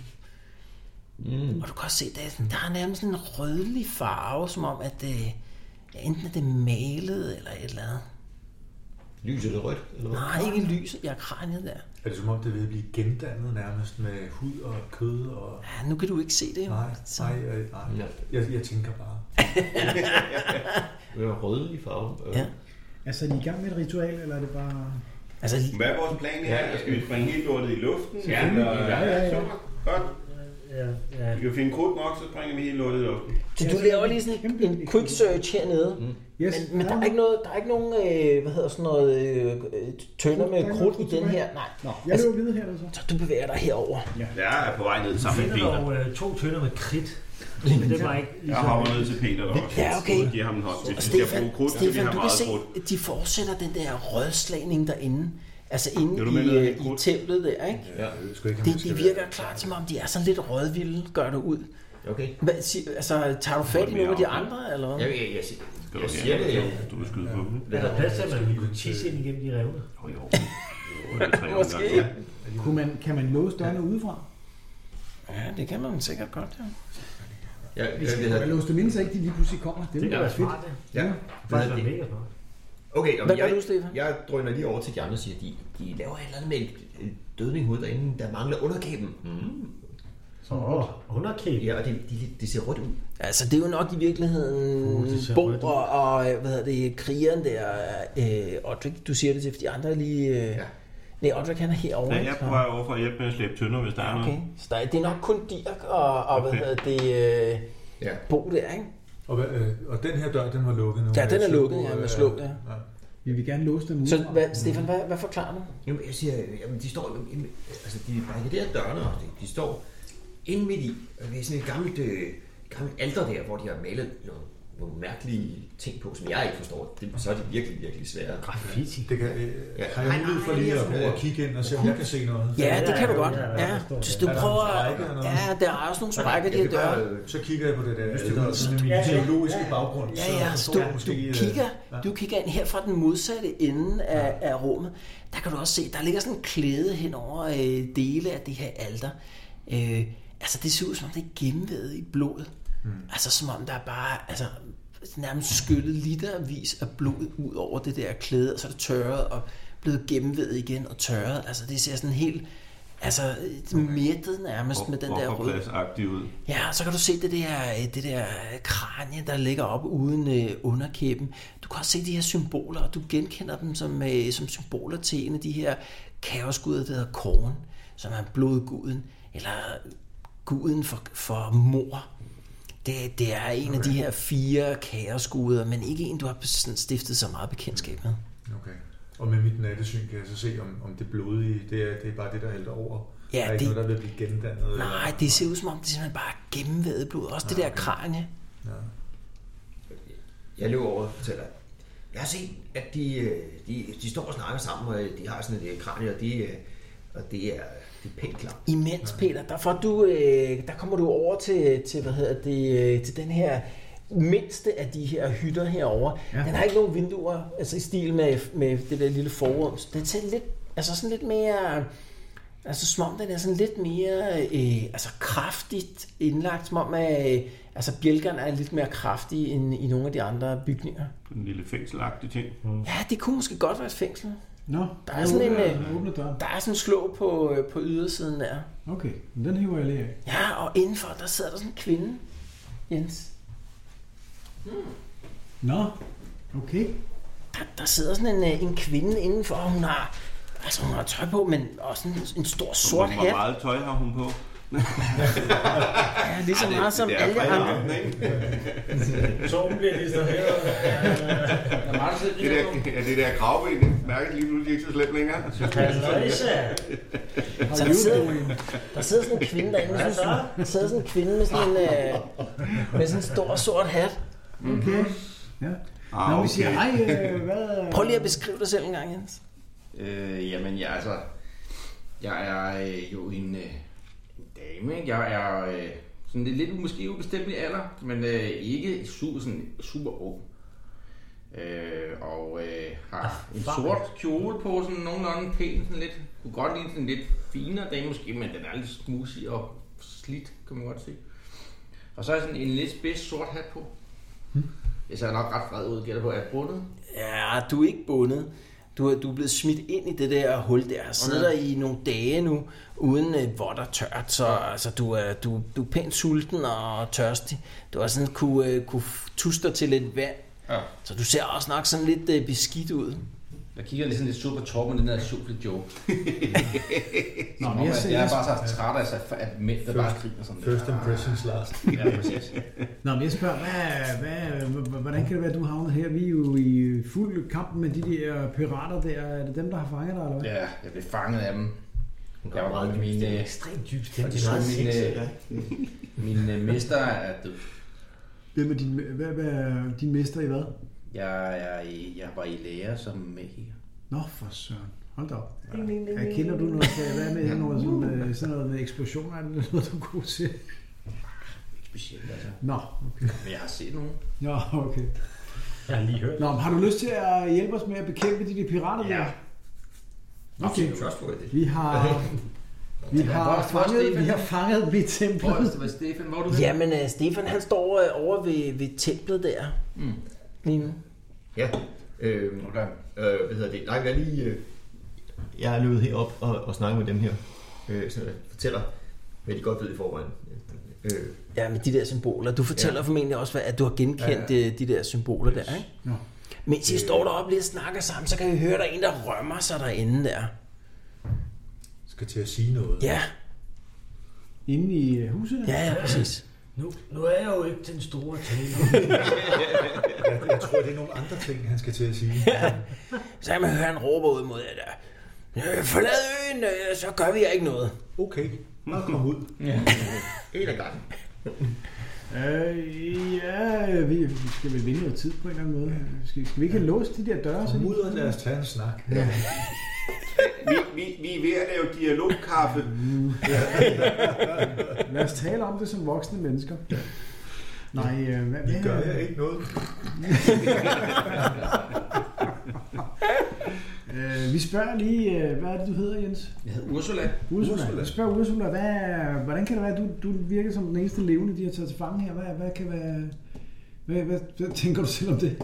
Mm. Og du kan også se, der er, sådan, der er nærmest sådan en rødlig farve, som om, at øh, ja, enten er det malet eller et eller andet.
Lys eller rødt, eller hvad?
Nej, ikke lyset, jeg er kraniet der.
Er det som om, det vil blive gendannet nærmest med hud og kød og...
Ja, nu kan du ikke se det jo.
Nej,
Så-
nej, øh, nej. Jeg, jeg tænker bare.
Det er rød i Øh, farve.
Ja.
Altså, er de i gang med et ritual, eller er det bare...
Altså,
Hvad er vores plan her? Skal vi springe helt lortet i luften?
Ja,
Eller-
ja, ja,
ja.
Super. Godt.
Ja, ja.
Vi kan finde krudt nok, så springer vi helt lortet i luften.
Så du laver lige sådan en, en quick search hernede. Mm.
Yes,
Men, men
ja.
der er ikke noget, der er ikke nogen, øh, hvad hedder sådan noget, øh, øh, tønder
Der er
med
ikke
krudt i
noget
den
tilbage.
her. Nej.
Nå, jeg
altså,
løber videre her, altså.
så du bevæger dig herover.
Jeg er på vej ned sammen med
Finder
Peter.
dog øh, to tønder med kridt. Men det var ikke
Jeg
ligesom...
hopper ned til Peter der også.
Ja, okay.
Giver ham en hånd.
Og
Hvis vi skal
Altså, Stefan,
bruge krudt, så vi
Stefan
har
du kan
meget
se,
krudt.
at de fortsætter den der rødslagning derinde. Altså inde
Er du med ned
i,
i
øh, i
krudt?
templet der, ikke?
Ja. Jeg skal ikke, om
Det,
man
de
skal
virker
være-
klart som om, de er sådan lidt rødvilde, gør det ud.
Okay.
Hvad, sig, altså, tager du fat i nogle af de andre, eller hvad?
Jeg, jeg, jeg, siger-
Skal
jeg
du
siger det,
have?
jeg,
Du vil skyde på dem.
Ligesom, Er der plads til, at man kunne tisse ind igennem de revner?
Jo, jo. Jo, det er tre
Måske.
omgange.
Kunne man, kan man låse dørene udefra?
Ja, det kan man sikkert godt, ja.
jeg, jeg,
Hvis
jeg,
man kan
jeg,
låse dem ind, så ikke de lige pludselig kommer. Det
Det
ville være
kunne være
fedt.
smart, det.
ligesom ja.
Det
Hvad
kunne
hedder
være
det?
mega smart.
Okay,
Hvad
jamen,
gør
jeg,
du, Stefan?
jeg drøner lige over til de andre og siger, de, de laver et eller andet med øh, et dødning hoved derinde, der mangler underkæben. Mm.
Så underkæbe.
Ja, og det, de, de ser rødt ud.
Altså, det er jo nok i virkeligheden
Uh, det ser
Bo
rødt ud.
og, og, øh, hvad hedder det, krigeren der, øh, Odrik, du siger det til, fordi andre er lige... Øh, ja. Nej, Odrik han er herovre.
Ja, jeg er
ikke?
på vej over for at hjælpe med at slæbe tønder, hvis der er
Okay,
noget.
så der, er- det er nok kun Dirk og, og okay.
Okay.
hvad hedder det, øh,
Ja.
Bo der, ikke?
Og, hvad, øh, og den her dør, den var lukket nu.
Ja, den er
Så,
lukket, ja,
øh,
med slå, ja.
Vi vil gerne låse dem udefra.
Så hvad, Stefan, hvad, hvad forklarer du?
Jamen, jeg siger, jamen, de står, jamen, altså, de barrikaderer dørene, og de, de står inde midt i, og det er sådan et gammelt, øh, gammelt alter der, hvor de har malet nogle nogle mærkelige ting på, som jeg ikke forstår, det, så er de virkelig, virkelig svære.
Graffiti.
Det kan, øh,
Ja.
har jeg mulighed for lige at prøve at kigge ind og se, om jeg kan se noget?
Ja, det kan du godt.
Ja, ja,
Ja,
jeg forstår
hvis
det.
du
Er der
prøver...
en sprække eller noget?
Ja, der er også nogle sprækker, i de
Jeg
her
kan
døre.
bare, så kigger jeg på det der ældre, sådan min
Ja, ja.
teologiske
Ja.
baggrund.
Ja, ja,
så
så
står
du,
jeg måske,
du,
øh,
kigger,
ja.
du kigger ind her fra den modsatte ende af, af rummet. Der kan du også se, der ligger sådan en klæde hen over øh, dele af det her alter. Øh, altså det ser ud som om det er gennemvævet i blod.
Hmm.
Mm. Altså som om der er bare altså, nærmest skyllet litervis af blod ud over det der klæde, og så er det tørret og blevet gennemvævet igen og tørret. Altså det ser sådan helt altså mættet nærmest med den der røde
Offerpladsagtig ud.
Ja, og så kan du se det der, øh, det der øh, kranje, der ligger op uden øh, underkæben. Du kan også se de her symboler, og du genkender dem som, øh, som symboler til en af de her kaosguder, der hedder Korn, som er blodguden, eller guden for, for mor. Det, det er en af de her fire kaosguder, men ikke en, du har sådan stiftet så meget bekendtskab med.
Okay. Og med mit nattesyn kan jeg så se, om, om det blodige, det er, det er bare det, der hælder over.
Ja,
der er ikke
det-
noget, der vil blive gendannet.
Nej, det ser ud som om, det simpelthen bare er gennemvævet blod. Også det der kranje.
Jeg løber over og fortæller, jeg har set, at de, øh, de, de står og snakker sammen, og øh, de har sådan et øh, kranie, og, de, øh, og det er, det er pænt klart.
Imens, Peter, der, får du, øh, der kommer du over til, til, hvad hedder det, øh, til den her mindste af de her hytter herover. Ja. Den har ikke nogen vinduer, altså i stil med, med det der lille forrum. Så Den ser lidt, altså sådan lidt mere, altså som om den er sådan lidt mere, øh, altså kraftigt indlagt, som om at, øh, altså bjælkerne er lidt mere kraftige end i nogle af de andre bygninger.
En lille fængselagtig ting.
Ja, det kunne måske godt være et fængsel.
Nå,
Der er sådan en, øh,
jeg åbner døren.
der er sådan en slå på, øh, på ydersiden der.
Okay, men den hiver jeg lige af.
Ja, og indenfor, der sidder der sådan en kvinde, Jens.
Nå, okay.
Der, der sidder sådan en, øh, en kvinde indenfor, og hun har, altså hun har tøj på, men også en, en stor sort
Hvor
hat.
meget tøj har hun på?
Ja, lige så meget som
det er
alle
fredag
andre.
aften, ikke?
Torben bliver distraheret.
Det ligesom- der, ja, det der kravben, jeg mærker lige nu, de er ikke så slemt længere.
Patricia.
Så der sidder, der sidder sådan en kvinde derinde, med sådan, der sidder sådan en kvinde med sådan en, øh, med sådan en stor sort hat.
Ja.
Ah,
Nå, vi
okay.
siger, ej, øh, hvad...
Prøv lige at beskrive dig selv en gang, Jens.
Øh, jamen, jeg er altså... Jeg er øh, jo en, øh, en dame, ikke? Jeg er øh, sådan lidt, lidt måske ubestemmelig alder, men øh, ikke super, sådan, super ung. Øh, og øh, har en sort kjole på, sådan nogenlunde pæn, sådan lidt. Kunne godt lide sådan en lidt finere dame måske, men den er lidt smusig og slidt, kan man godt se. Og så er sådan en lidt spids sort hat på. Jeg ser nok ret vred ud, gætter på, at jeg er bundet.
Ja, du er ikke bundet. Du er, du er blevet smidt ind i det der hul der. Sidder der i nogle dage nu, uden øh, vådt og tørt. Så altså, du, er, du, du er pænt sulten og tørstig. Du har sådan kunne, øh, kunne tuste dig til lidt vand.
Ja.
Så du ser også nok sådan lidt øh, beskidt ud.
Jeg kigger lidt sådan lidt sur på Torben, den der sjofle joke.
Nå,
Nå,
men jeg,
jeg,
jeg,
jeg er
jeg,
bare så træt af, altså, at mænd, der bare griner sådan
First
der.
impressions last.
Ja, præcis.
Nå, men jeg spørger, hvad, hvad, h- h- hvordan kan det være, at du havnet her? Vi er jo i fuld kamp med de der pirater der. Er det dem, der har fanget dig, eller hvad?
Ja, jeg blev fanget af dem. Jeg var meget min, øh,
Ekstremt dyb stemme. Det er meget
min,
sexet.
øh, min øh, mester er død.
Hvem er din, hvad, hvad er din mester i hvad?
Jeg, jeg, jeg var i lære som med her.
Nå, for søren. Hold da op. Ja, kender du noget? til- Hvad med noget, som, øh, sådan noget med eksplosioner? Er det noget, du er god til?
Ikke specielt, altså.
Nå, okay.
Men jeg har set nogen.
Nå, okay.
Jeg har lige hørt.
Nå, men har du lyst til at hjælpe os med at bekæmpe de der pirater der? Okay.
Trustworthy.
Vi har... Vi har,
Hvor- hvor er
fanget,
Stefan?
vi har fanget mit tempel.
Hvor er det, Stefan? Hvor er du henne?
Jamen, øh, Stefan han står øh, over ved, ved templet der. Mm. Lige nu.
Ja. Øhm,
Okay.
øh, hvad hedder det? Nej, jeg er lige... Øh, jeg er løbet herop og, og snakker med dem her. Øh, så jeg fortæller, hvad de godt ved i forvejen. Øh,
Ja, med de der symboler. Du fortæller ja. formentlig også, hvad- at du har genkendt ja, ja. de der symboler yes. Øh. der, ikke?
Nå.
Mens I står deroppe lige og snakker sammen, så kan I høre, at der er en, der rømmer sig derinde der.
Skal til at sige noget.
Ja,
Inde i øh, huset?
ja, ja, præcis.
Nu, nu er jeg jo ikke den store taler.
Jeg, jeg tror, det er nogle andre ting, han skal til at sige.
Så kan man høre, han råber ud mod jer der. "Øh, Forlad øen, øh, så gør vi jer ikke noget.
Okay, bare kom ud.
en af gangen.
Øh, ja, vi, vi skal vel vinde noget tid på en eller anden måde. Skal, skal vi ikke låse de der døre?
Kom ud og lad os tage en snak. Ja.
Vi, vi, vi er ved at lave dialogkaffe.
Lad os tale om det som voksne mennesker. Nej, øh, hvad,
Vi
hvad,
gør her ikke noget.
øh, vi spørger lige, øh, hvad er det, du hedder, Jens?
Jeg hedder Ursula.
Ursula.
Ursula.
Ursula. Vi spørger Ursula, hvad, er- hvordan kan det være, at du, du virker som den eneste levende, de har taget til fange her? Hvad, hvad kan være... Hvad, hvad, hvad, tænker du selv om det?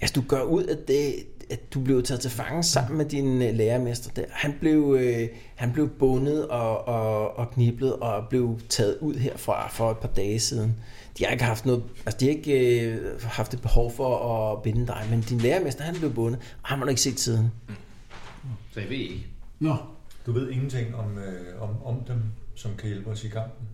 Altså, du gør ud, at, det, at du blev taget til fange sammen med din øh, lærermester der. Han blev, øh, han blev bundet og, og, og kniblet og blev taget ud herfra for et par dage siden. De har ikke haft noget, altså de har ikke øh, haft et behov for at binde dig, men din lærermester, han blev bundet, og ham har du ikke set siden.
Så jeg ved ikke.
Nå,
Du ved ingenting om, øh, om, om dem, som kan hjælpe os i kampen.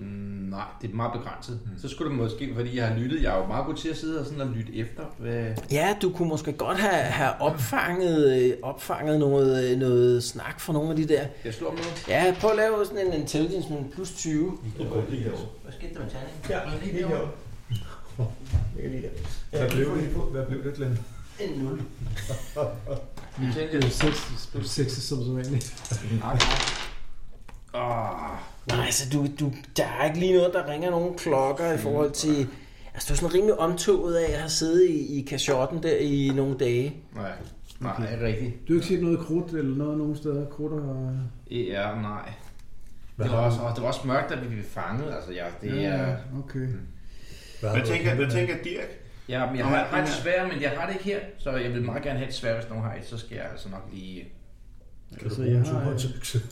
Mm, nej, det er meget begrænset. Mm. Så skulle det måske, fordi jeg har lyttet, jeg er jo meget god til at sidde og sådan og lytte efter. Hvad...
Ja, du kunne måske godt have, have opfanget, øh, opfanget noget, øh, noget snak fra nogle af de der.
Jeg slår om noget.
Ja, prøv at lave sådan en intelligence med en plus 20.
Hvad skete der med Tanning?
Hvad blev det, Hvad blev det Glenn?
En nul.
det er sex, det er sex som så vanligt.
Nej, altså, du, du, der er ikke lige noget, der ringer nogen klokker i forhold til... Altså, du er sådan rimelig omtoget af at have siddet i, i kashotten der i nogle dage.
Nej, nej, ikke rigtigt.
Du har ikke set noget krudt eller noget nogen steder? Krudt og...
Ja, E nej. Det var, også, og det var også mørkt, da vi blev fanget. Altså, jeg, det er,
Okay.
Hvad tænker, hvad tænker Dirk?
ja, men jeg
Nå,
har
men-
ret svært, men jeg har det ikke her. Så jeg vil meget gerne have et svært, hvis nogen har et. Så skal jeg altså nok lige...
Kan du
Så
bruge en
jeg har, øh,
superhåndsøkse?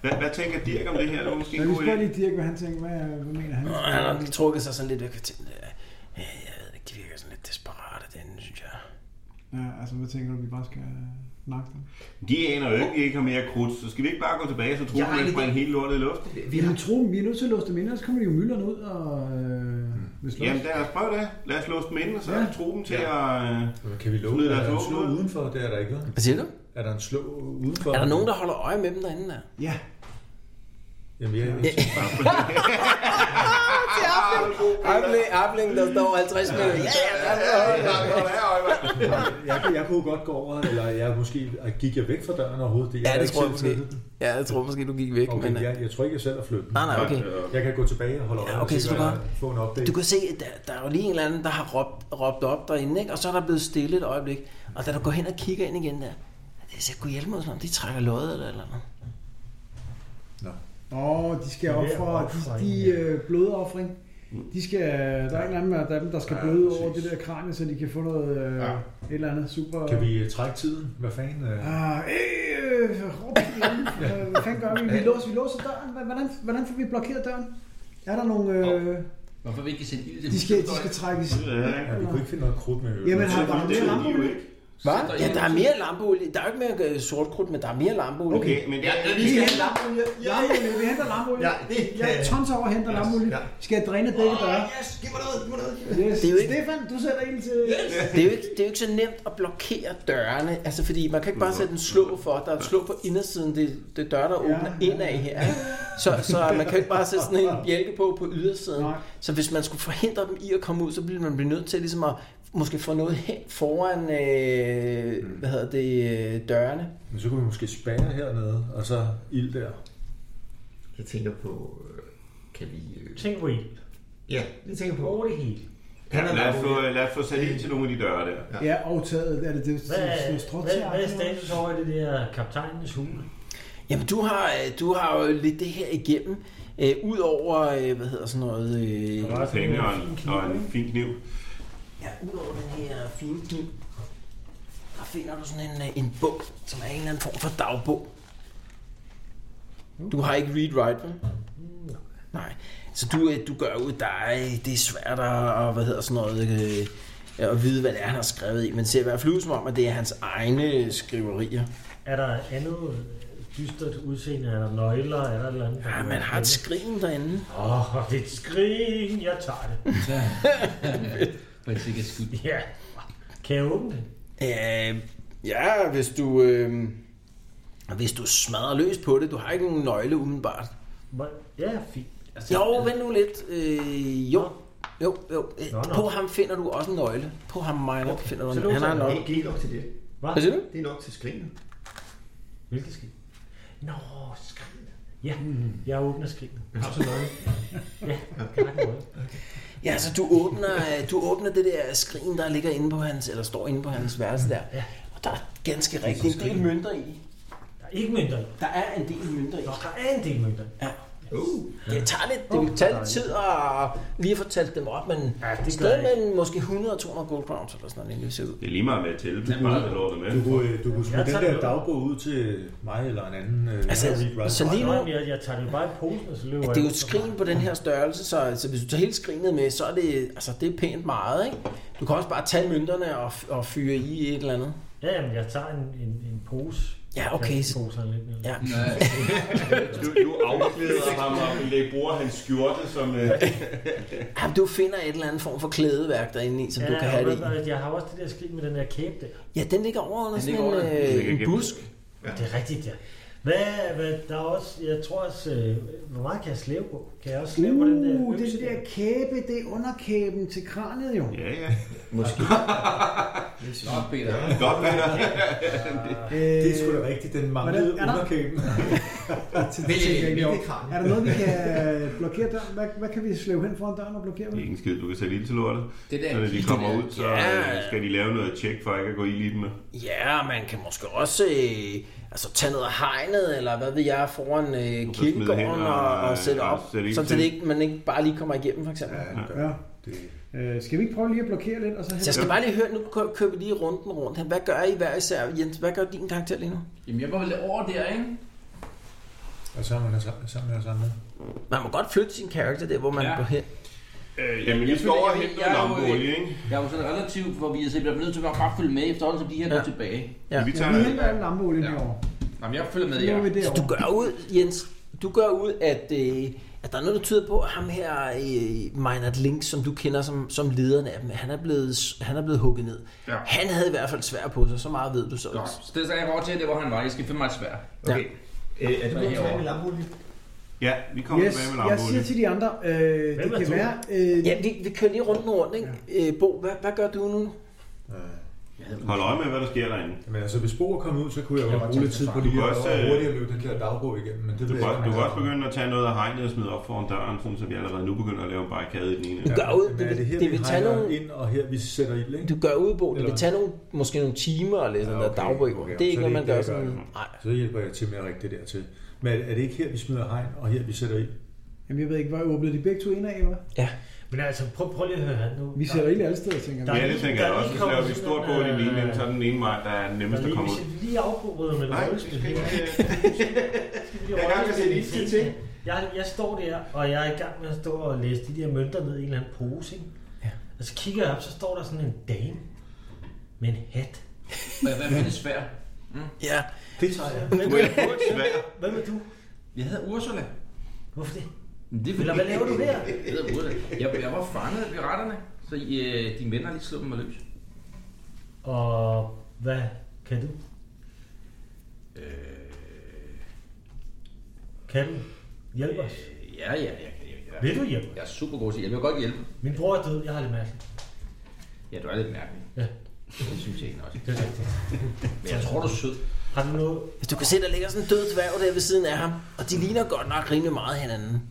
Hvad, hvad tænker Dirk om det her? Det var måske
Men
en
vi
god
spørger
idé.
lige Dirk, hvad han tænker. Hvad, hvad mener han?
Og han har lige trukket sig sådan lidt væk fra tingene. Ja, jeg ved ikke, de virker sådan lidt desperate, den synes jeg.
Ja, altså, hvad tænker du, vi bare skal øh, nakke dem?
De aner jo ikke, at I ikke har mere krudt, så skal vi ikke bare gå tilbage, så tror
Jeg har
vi,
en
at man
idé.
helt lortet i luften?
Vi har tro, vi er nødt til at låse dem ind, ellers kommer de jo mylderne ud og... Øh, hvis
Jamen, lad os prøve det. Lad os låse dem ind, og så ja.
Ja.
tro dem til ja. at... øh,
Kan vi love,
Smid
at der
deres
er en
våben
slå
ud.
udenfor? Det er der ikke. vel?
Hvad siger du?
Er der en slå udenfor?
Er der nogen, der holder øje med dem derinde der?
Ja,
Jamen, jeg, jeg,
Abling, Abling, der står 50 meter. Ja, ja,
jeg, jeg, jeg kunne godt gå over, eller jeg måske gik jeg væk fra døren overhovedet. Det,
ja,
har
det
ikke
tror jeg måske.
selv flyttet den.
Ja, jeg tror måske, du gik væk,
Okay,
men... øh,
jeg, jeg tror ikke, jeg selv har flyttet den.
Nej, nej, okay.
Jeg kan gå tilbage og holde øje
Ja,
og
okay,
se,
så du
hvad-
bare-
få en update.
Du kan se, at der, der er jo lige en eller anden, der har råbt, råbt op derinde, ikke? og så er der blevet stille et øjeblik. Og da du går hen og kigger ind igen der, det ser kunne hjælpe mig, som om de trækker loddet eller eller andet.
Åh, de skal op for de, de øh, blodoffring. De skal, der er en eller anden af dem, der skal
Ja,
bløde
præcis.
over det der kranie, så de kan få noget øh,
Ja.
ja. et eller andet super...
Kan vi øh, trække tiden? Hvad fanden? øh?
Ah, øh, øh, råb igen. Øh, Hvad fanden gør vi? Vi låser, vi låser døren. Hva- Hvordan, hvordan får vi blokeret døren? Er der nogle... Øh,
Hvorfor vi ikke kan sætte ild i det
de, skal,
hus,
de
der
skal
står
trækkes...
Ja, vi kunne ikke finde noget krudt med.
Jamen, har der mere
Det ved I jo
lamper?
ikke.
Så
Hvad?
der er
Ja, der er
en-
mere lampeolie. Der er jo ikke mere øh, sortkrudt, men der er mere lampeolie.
Okay, men det er...
i.
Vi henter lampeolie. Lampeolie, Vi henter lampeolie.
Ja, det kan
Jeg
jeg.
tonser over og henter lampeolie. Skal jeg dræne begge døre?
Yes, giv mig noget, giv mig noget.
Yes.
Det er jo ikke-
Stefan, du sætter ild til...
Det er, jo ikke, det er jo ikke så nemt at blokere dørene, altså fordi man kan ikke bare sætte en slå for, der er et slå på indersiden, det, det er døre, der åbner
Ja.
indad her. ikke? Så, så man kan jo ikke bare sætte sådan en bjælke på på ydersiden.
Nej.
Så hvis man skulle forhindre dem i at komme ud, så ville man blive nødt til ligesom at måske få noget hen foran, øh, hvad hedder det, øh, dørene.
Men så kunne vi måske spære hernede, og så ild der.
Jeg tænker på, øh, kan vi... øh,
Tænk på ild.
Ja, det tænker jeg på.
Over det hele.
Han er
Lad os,
meget
få, lad os få sat ind til nogle af de døre der.
Ja, og taget, er det det,
Hvad,
sådan
er-
noget
hvad, hvad
stråtær?
er status over det der kaptajnens hule?
Jamen, du har, øh, du har jo lidt det her igennem. Øh, Udover, øh, hvad hedder sådan noget... Øh,
Der er sådan
Penge og
en fin
en,
kniv,
og en
ikke?
fin kniv.
Ja, udover den her fine kniv, der finder du sådan en, øh, en bog, som er en eller anden form for dagbog. Du har ikke read-write, vel? Nej. Så du, øh, du gør ud, der er, øh, det er svært at, at- hvad hedder sådan noget, øh, at vide, hvad det er, han har skrevet i. Men det ser i hvert fald ud som om, at det er hans egne skriverier.
Er der andet øh, dystert udseende? Er der nøgler? Er der et eller andet?
Ja, man har et skrin derinde.
Åh, oh, det er et skrin. Jeg tager det.
For et sikkert skyld.
Ja. Kan jeg åbne det?
Øh, ja, hvis du... Øh, hvis du smadrer løs på det, du har ikke nogen nøgle umiddelbart.
Hvor- Ja, fint.
Altså, jo, vent nu lidt. Øh, jo. Jo, jo. Øh,
Nå, nå.
På ham finder du også en nøgle. På ham, Minor, finder du en
Så
nøgle. Han har en
låser
nøgle.
han
Det er ikke nok til det.
Hvad?
Hvad siger du?
Det er nok til sklinger.
Hvilket skib? Nå, skrinet. Ja,
Mm.
jeg åbner skrinet. Har du så noget? ja, jeg har noget.
Ja, så du åbner, øh, du åbner det der skrin, der ligger inde på hans, eller står inde på hans værelse der. Og der er ganske rigtigt en del mønter i.
Der er ikke mønter i.
Der er en del mønter i.
Nå, der er en del mønter i.
Ja. Det tager lidt, det vil tage lidt tid at lige få talt dem op, men
Ja, det
ja,
gør
stadig
jeg
mellem måske 100-200 gold crowns eller sådan noget, inden vi ser ud.
Det er lige meget med at tælle, hvis bare det lort er
Du
med.
kunne, øh, du kunne smide
Jeg
den
tager
der
den.
dagbog ud til mig eller en anden. Øh,
Altså,
rewriter.
så lige nu,
Nå, jeg, jeg tager det jo bare i posen, og så løber
at
jeg.
det er jo
ud.
et skrin på den her størrelse, så, så hvis du tager hele skrinet med, så er det, altså, det er pænt meget, ikke? Du kan også bare tage mønterne og, og fyre i et eller andet.
Ja, jamen, jeg tager en, en, en pose.
Ja, okay, så-
Pose lidt mere.
Ja.
Du, du afklæder ham og lægger- bruger hans skjorte som... Øh,
Jamen, du finder et eller andet form for klædeværk derinde i, som
Ja,
du kan have det i.
og Jeg har også det der skridt med den der kæbe der.
Ja, den ligger over under sådan
ligger
en,
over der.
Den
øh,
ligger
en
gennem.
busk.
Ja. Det er rigtigt, ja. Hvad, hvad, der er også, jeg tror også, øh, hvor meget kan jeg slæve på? Kan jeg også slæve på den der
Uh,
økse
den der kæbe, det er underkæben til kraniet jo.
ja, ja.
Godt, Peter.
Godt, Peter.
Øh,
det er sgu da rigtigt, den manglede
Hvordan er der-
underkæben.
Det tænker jeg ikke over. Er der noget, vi kan øh, blokere døren? Hvad, hvad kan vi slæve hen foran døren og blokere
Det er
med?
ikke en skid, du kan sætte ild til lortet.
Det der
Så når de
kiste
kommer
der.
ud, så
Ja.
øh, skal de lave noget tjek for ikke at gå ild i dem.
øh, Ja, man kan måske også øh, altså, tage noget af hegnet, eller hvad ved jeg, foran øh,
smide
kirkegården
hen
og,
og-
og, sætte
og
op,
sætte ild
sådan så det
til.
ikke, man ikke bare lige kommer igennem, for eksempel. Ja.
Ja. Øh, skal vi ikke prøve lige at blokere lidt? Og så
Så jeg skal bare lige høre, nu kø- kører vi lige runden rundt her. Hvad gør I hver især? Jens, hvad gør din karakter lige nu?
Jamen, jeg må holde over der, ikke?
Og sammen med, sammen med os andre.
Man må godt flytte sin karakter der, hvor man
Ja.
går hen.
Øh, jamen, jeg skal over og hente noget lampeolie, ikke?
Jeg er jo sådan relativt, hvor vi er simpelthen nødt til at bare følge med efterhånden, som de her
Ja.
ja. er tilbage.
Ja.
Vi
Ja,
tager
vi
noget.
henter alle lampeolien
Ja.
herovre.
Jamen, jeg følger med
Så
jer.
går vi
Så du
derovre.
gør ud, Jens, du gør ud, at, øh, at der er noget, der tyder på, at ham her, øh, Meinert Link, som du kender som, som lederen af dem, han er blevet, han er blevet hugget ned.
Ja.
Han havde i hvert fald svær på sig, så meget ved du så.
Godt. Så det sagde jeg over til, det var han var. Jeg skal finde mig et svær.
Okay.
Øh, er det blevet
herovre.
tilbage med lampeolie?
Ja, vi kommer
Yes,
tilbage med
jeg siger
lampeolie.
til de andre, øh, det
er
kan
du?
være... Øh,
Ja, vi, vi kører lige rundt og rundt, ikke? Ja. Øh, Bo, hvad, hvad gør du nu?
Hold øje med, hvad der sker derinde.
Men altså, hvis Bo er kommet ud, så kunne jeg godt bruge lidt tid på
Du
lige
kan
at
også,
og
øh,
hurtigt at løbe den der dagbog igennem. Men det
Du
ved
kan,
jeg
også-
ikke,
du
om
kan
han
også
har.
begynde at tage noget af hegnet og smide op foran døren, sådan, så vi allerede nu begynder at lave en barrikade i den ene.
Du gør ud,
Men
det,
er det
vil-
her,
det
vi
vil tage
hegner
nogle,
ind, og her vi sætter ild, ikke?
du gør ud, Bo, det vil
Eller-
tage nogle, måske nogle timer eller sådan
Ja,
noget
okay,
dagbog.
okay.
Det er ikke
Så
noget,
det
man
er ikke
gør
det, jeg
sådan.
gør
Nej.
Så hjælper jeg til med at rigge det der til. Men er det ikke her, vi smider hegn, og her vi sætter ild?
Jamen, jeg ved ikke, hvor åbnede de begge to ind af, eller? hvad?
Men altså, prøv, prøv lige at høre her nu.
Vi sætter ild alle steder, tænker
Der
jeg.
Ja, det tænker jeg
Der er
også.
lige
Så laver vi
kommet
stort på
sådan,
i den ene,
øh,
enden, så er den ene vej, der er
Der
nemmest at
lige,
komme
vi
ud.
skal lige afbryde med
Nej,
noget
vi
rødspil.
skal ikke... øh,
Jeg
er i gang med at sætte ild til.
Jeg, jeg står der, og jeg er i gang med at stå og læse de der mønter ned i en eller anden pose. Ikke? Ja. Og så kigger jeg op, så står der sådan en dame med en hat.
Hvad, hvad er det svær?
Ja.
Du er på et svær.
Hvad med du?
Jeg hedder Ursula.
Hvorfor det?
Men Det
Eller hvad laver du der?
Jeg, hedder Ursula. jeg, jeg var fanget af piraterne, så I, øh, dine venner har lige slået mig løs.
Og hvad kan du?
Øh,
Kan du hjælpe os?
ja, ja, ja. ja, ja.
Vil du hjælpe os?
Jeg er super god til hjælp. Jeg vil godt hjælpe.
Min bror er død, jeg har lidt mærke.
Ja, du er lidt mærkelig.
Ja.
Det synes jeg egentlig også.
Det er rigtigt.
Men jeg tror, du er sød.
Har du noget?
Du kan se, der ligger sådan en død dværg der ved siden af ham, og
Mm.
de ligner godt nok rimelig meget hinanden.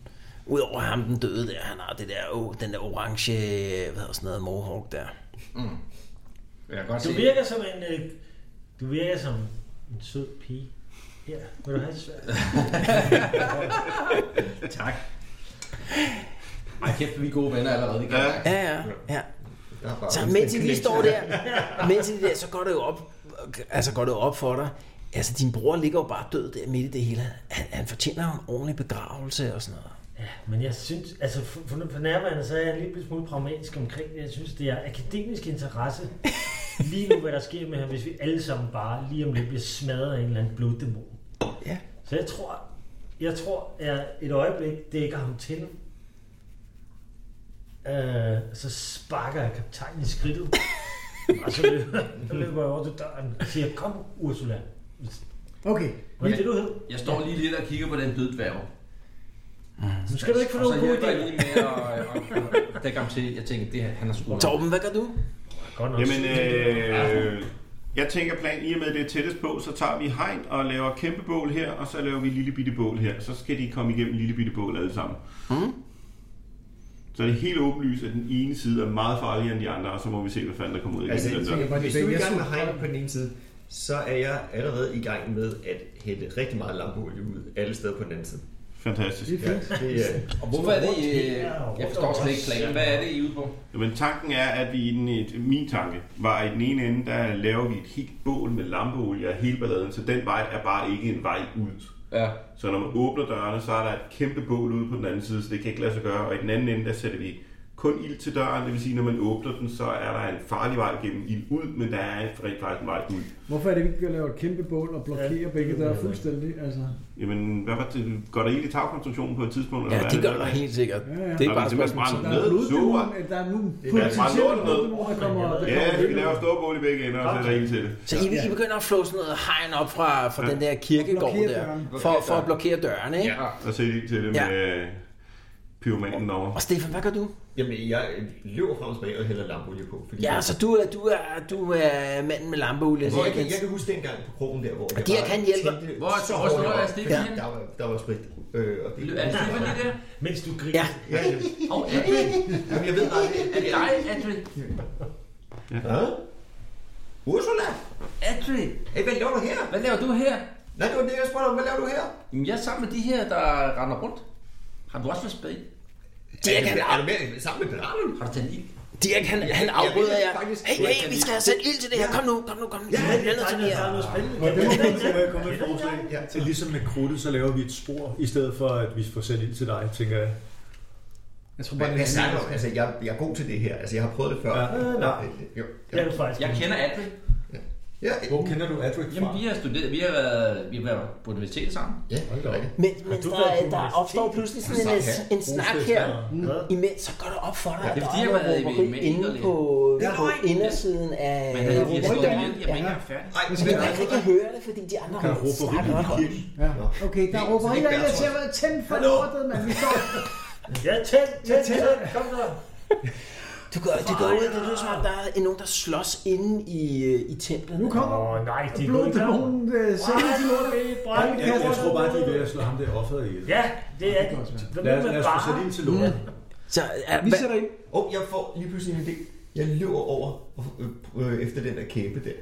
Udover ham, den døde der, han har det der, oh, den der orange, hvad hedder sådan noget, mohawk der.
Jeg kan godt
Du
se.
virker som en... Øh, du virker som en sød pige. Ja, vil du have et svær?
Tak. Ej, kæft, vi er gode venner allerede. Vi kan
Ja.
mærke.
Ja, ja, ja.
Jeg har bare
Så
lyst til
mens I
en
lige
knæk.
står der, mens I der, så går det jo op, altså går det jo op for dig. Altså, din bror ligger jo bare død der midt i det hele. Han, han fortjener jo en ordentlig begravelse og sådan noget.
Ja, men jeg synes, altså for, for, for nærværende, så er jeg en lille smule pragmatisk omkring det. Jeg synes, det er akademisk interesse lige nu, hvad der sker med ham, hvis vi alle sammen bare lige om lidt bliver smadret af en eller anden bloddæmon.
Ja.
Så jeg tror, jeg tror, jeg et øjeblik dækker ham til. Øh, så sparker jeg kaptajnen i skridtet. og så løber, så løber jeg over til døren og siger, kom Ursula.
Okay,
Hvad er det, du hed?
Jeg står lige lidt og kigger på den døde dværg.
Nu skal du ikke få
Og så
nogen gode
hjælper jeg
idéer.
lige med at og- dække ham til. Jeg tænkte, det her, han har skudt.
Torben, hvad gør du?
Godt nok.
Jamen, øh, jeg tænker plan, i og med det er tættest på, så tager vi hegn og laver kæmpe bål her, og så laver vi lille bitte bål her. Så skal de komme igennem lille bitte bål alle sammen.
Mm.
Så er det helt åbenlyst, at den ene side er meget farligere end de andre, og så må vi se, hvad fanden der kommer ud
Altså,
altså, den der.
bare,
hvis
de
du er i
begge
gang med
to-
hegn på den ene side, så er jeg allerede i gang med at hælde rigtig meget lampeolie ud alle steder på den anden side.
Fantastisk.
Det er
Ja,
fint.
det er,
Og hvorfor er det, øh,
Ja,
jeg forstår slet ikke planen. Hvad er det, I er ude på?
Men tanken er, at vi i den, et, min tanke var, at i den ene ende, der laver vi et helt bål med lampeolie og hele balladen, så den vej er bare ikke en vej ud.
Ja.
Så når man åbner dørene, så er der et kæmpe bål ude på den anden side, så det kan ikke lade sig gøre. Og i den anden ende, der sætter vi kun ild til døren, det vil sige, når man åbner den, så er der en farlig vej gennem ild ud, men der er rent faktisk en vej ud.
Hvorfor er det vigtigt at lave et kæmpe bål og blokere
Ja.
begge døre fuldstændig? Altså,
Jamen, hvad var det? Går der ild i tagkonstruktionen på et tidspunkt?
Ja,
hvad
det
er
gør der helt sikkert.
Ja, ja.
Det er
Nå,
bare
men
et
det er
spørgsmål.
bare
om tid.
der
Ned,
er bloddæmoner,
sur.
der er nu
er
potentielt
bare ned.
bloddæmoner, der kommer. der kommer
Ja, vi
ind.
laver store bål i begge ender, og sætter ild til det.
Så I, I begynder at flå sådan noget hegn op fra, fra den der kirkegård
Blokere
der,
døren.
for, for at blokere dørene, ikke?
Ja.
Og sætter ild til det
Ja.
med øh, pyromanen over.
Og Stefan, hvad gør du?
jamen, jeg løber frem og tilbage og hælder lampeolie på. Fordi
Ja, så du er, du er, du er manden med lampeolie.
Altså, jeg,
Jens.
kan, jeg kan huske dengang på krogen der, hvor jeg
de her kan hjælpe.
tændte
Hvor er-
så
hvor står
hårdt
der
op,
Stefan
fordi
henne?
Der var, der var sprit. Øh, og det,
Er det Stefan lige der?
Mens du griner.
Ja.
Ja, ja.
Og er det,
Jamen, jeg ved bare, det
er det dig, Adri?
Hvad? Ursula?
Adri,
Hey, hvad laver du her?
hvad laver du her?
Nej, det var det, jeg spurgte om. Hvad laver du her?
Jamen, jeg er sammen med de her, der render rundt. Har du også været spæd?
Dirk, han,
er du med sammen med piraterne?
Har du taget ild?
Dirk, han, han afbryder jer.
faktisk-
Hey, hey, vi skal have sat ild til det her. Kom nu, kom nu, kom nu. Ja,
Ja,
vi bliver nødt til
der
det
er
her.
noget spændende.
Og det må jeg komme med et forslag. Ja. Ligesom med krudtet, så laver vi et spor, i stedet for at vi får sendt ild til dig, tænker jeg.
Jeg tror
Hvad
bare, det
hvad
er
snakker du om? Altså, jeg, jeg er god til det her. Altså, jeg har prøvet det før.
Ja.
Øh, nej. Jo.
Det er du faktisk.
Jeg kender Adri.
Ja,
Hvor kender du Adric fra?
Jamen, vi har studeret, vi har været, vi har været på universitetet sammen.
ja.
Hold da op.
Men, men
du
der,
været på
er- der opstår pludselig sådan en,
Snak
en snak her, imens så går det op for dig, at
Det
der er
er fordi, jeg har
noget
været i-
rummeri
i
inde
England.
på, øh, på indersiden af
Men havde de har studeret,
rummeriet.
jeg var ikke engang færdig.
Ej, men
Men man kan ikke høre det, fordi de andre
Kan
har
råbe på
snakket
hvilken
om det.
Ja. Okay, der råber
det er
ikke, at jeg
Bertolt.
ser, hvad tænd for lortet, mand. Vi står
Ja, tænd, tænd, tænd. Kom så.
Du går, det går ud, det lyder som om, der er nogen, der slås inde i, øh, i templet.
Nu kommer
Åh, nej, det er ikke klar.
bloddæmonen øh, selv til lortet.
Jeg, jeg tror bare, de er ved at slå ham der offeret ihjel.
Ja, det er det. Hvad
Lad os,
med
lad os få sat
bare?
ild til lortet.
Så, er,
Vi
hvad,
sætter ind.
Åh, jeg får lige pludselig en idé. Jeg løber over øh, øh, efter den der kæbe der.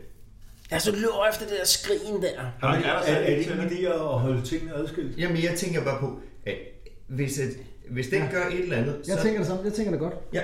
altså, du løber efter det der skrigen der.
Har man,
Ja,
er,
der
er,
sat
er
ild
det
til
en
det?
idé at holde tingene adskilt?
Jamen, jeg tænker bare på, at hvis, at, hvis den gør et eller andet,
Jeg
så...
tænker det samme. Jeg tænker det godt.
Ja.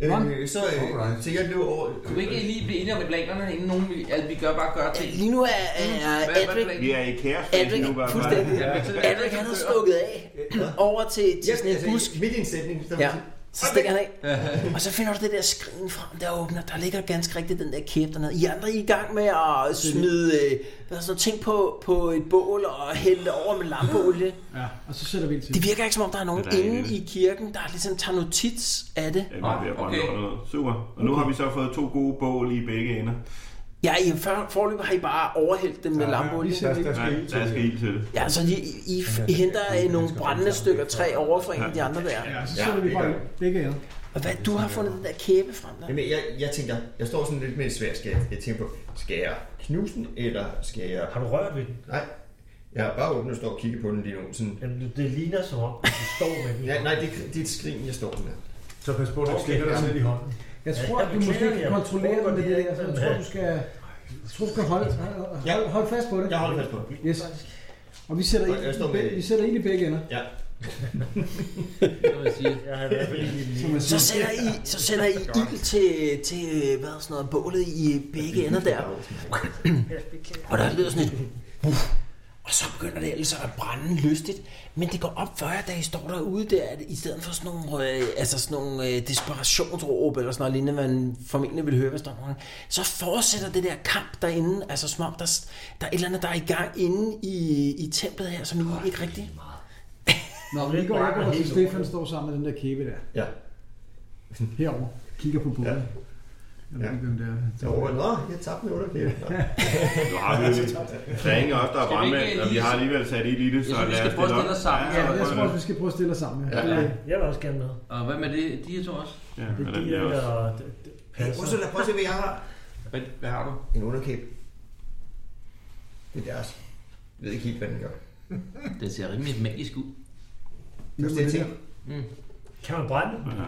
Nå.
Øh, så, øh,
Alright.
så jeg løber over... Øh,
Kunne vi ikke lige blive enige om planerne, inden nogen vi, at vi gør bare gør ting?
Lige nu er, er
Mm. Hvad, hvad er
Adric,
planen?
Vi er i kaosfasen nu,
Adric,
bare.
fuldstændig, Adric, han er stukket af over til,
Ja,
til sådan
altså,
en busk.
Midt i en sætning. Så,
Ja. Så stikker han af. Og så finder du det der skrin frem, der åbner. Der ligger ganske rigtigt den der kæp dernede. I andre I er i gang med at smide øh, hvad er sådan, noget, ting på, på et bål og hælde det over med lampeolie.
Ja, og så sætter vi ind til.
Det virker ikke som om, der er nogen
Ja,
der
der er
er inde
en-
i kirken, der ligesom tager notits af det.
Ja, vi er ved at brænde
Okay.
lortet ned. Super. Og nu har vi så fået to gode bål i begge ender.
Ja, i for- forløbet har I bare overhældt dem med lampeolie.
Vi
Der,
sætter ind.
der
Ja,
skal ild til
der skal
det.
ild til det.
Ja, så I, I, I henter øh, nogle brændende stykker træ over fra en af de andre der.
Så sætter vi bare ind. Begge ender.
Og hvad, du har fundet den der kæbe frem der?
Jamen, jeg, jeg tænker, jeg står sådan lidt med et svært skab. Jeg tænker på, skal jeg knuse den, eller skal jeg...
Har du rørt ved den?
Nej, jeg har bare åbnet og står og kigger på den lige nu. Sådan,
Jamen, det- det ligner som om, du står med den.
ja, nej, det, det er et skrin, jeg står med.
Så pas på, at du ikke stikker dig selv i hånden.
Jeg tror,
Ja,
at
jeg
du måske
beklager,
kan
jeg
kontrollere
håber,
den.
det er
Det
ikke
der. Jeg
den
tror,
her.
du skal... Jeg tror, du skal holde, hold, hold fast på det.
Jeg holder fast på.
Yes. Og vi sætter,
Jeg står
ind,
med-
vi sætter ind i begge ender.
Ja.
Det må jeg sige.
Jeg har i hvert fald ikke en
Som man
Så
siger.
sætter I, så sætter I ild til, til hvad er sådan noget, bålet i begge ender der. Og der lyder sådan et... Uff. Og så begynder det ellers at brænde lystigt. Men det går op for jer, da I står derude der, at i stedet for sådan nogle, øh, altså sådan nogle øh, desperationsråb eller sådan noget lignende, man formentlig vil høre, hvis der er nogen, så fortsætter det der kamp derinde, altså som om der, s- der er et eller andet, der er i gang inde i, i templet her, som nu ikke rigtigt.
Nå, men vi går ikke over til Stefan står sammen med den der kæbe der.
Ja.
Herover Kigger på båden. Jeg ved ikke, hvem det er.
Så råber jeg, nå, jeg tabte med 88. Nå.
Nu har vi jo lige ringe også, der er
Skal vi ikke øh,
brandmænd, og vi
lige-
har alligevel sat et i det, så
Jeg synes, vi
lad
skal
os
prøve at
stille
stille
op.
os sammen.
Ja, ja,
Ja,
Jeg tror også, vi skal prøve at stille os sammen. Ja.
prøv
Ja.
Jeg vil også gerne med.
Og hvad med det? de her to også?
det. Ja, men den
Biler
er også.
og d- d-
Hey,
passer.
Ursula, prøv at se, hvad jeg har.
Hvad, hvad har du?
En underkæb. Det er deres. Jeg ved ikke helt, hvad den gør.
Det ser rimelig magisk ud.
Det er det, jeg tænker.
Kan man brænde den?
Ja.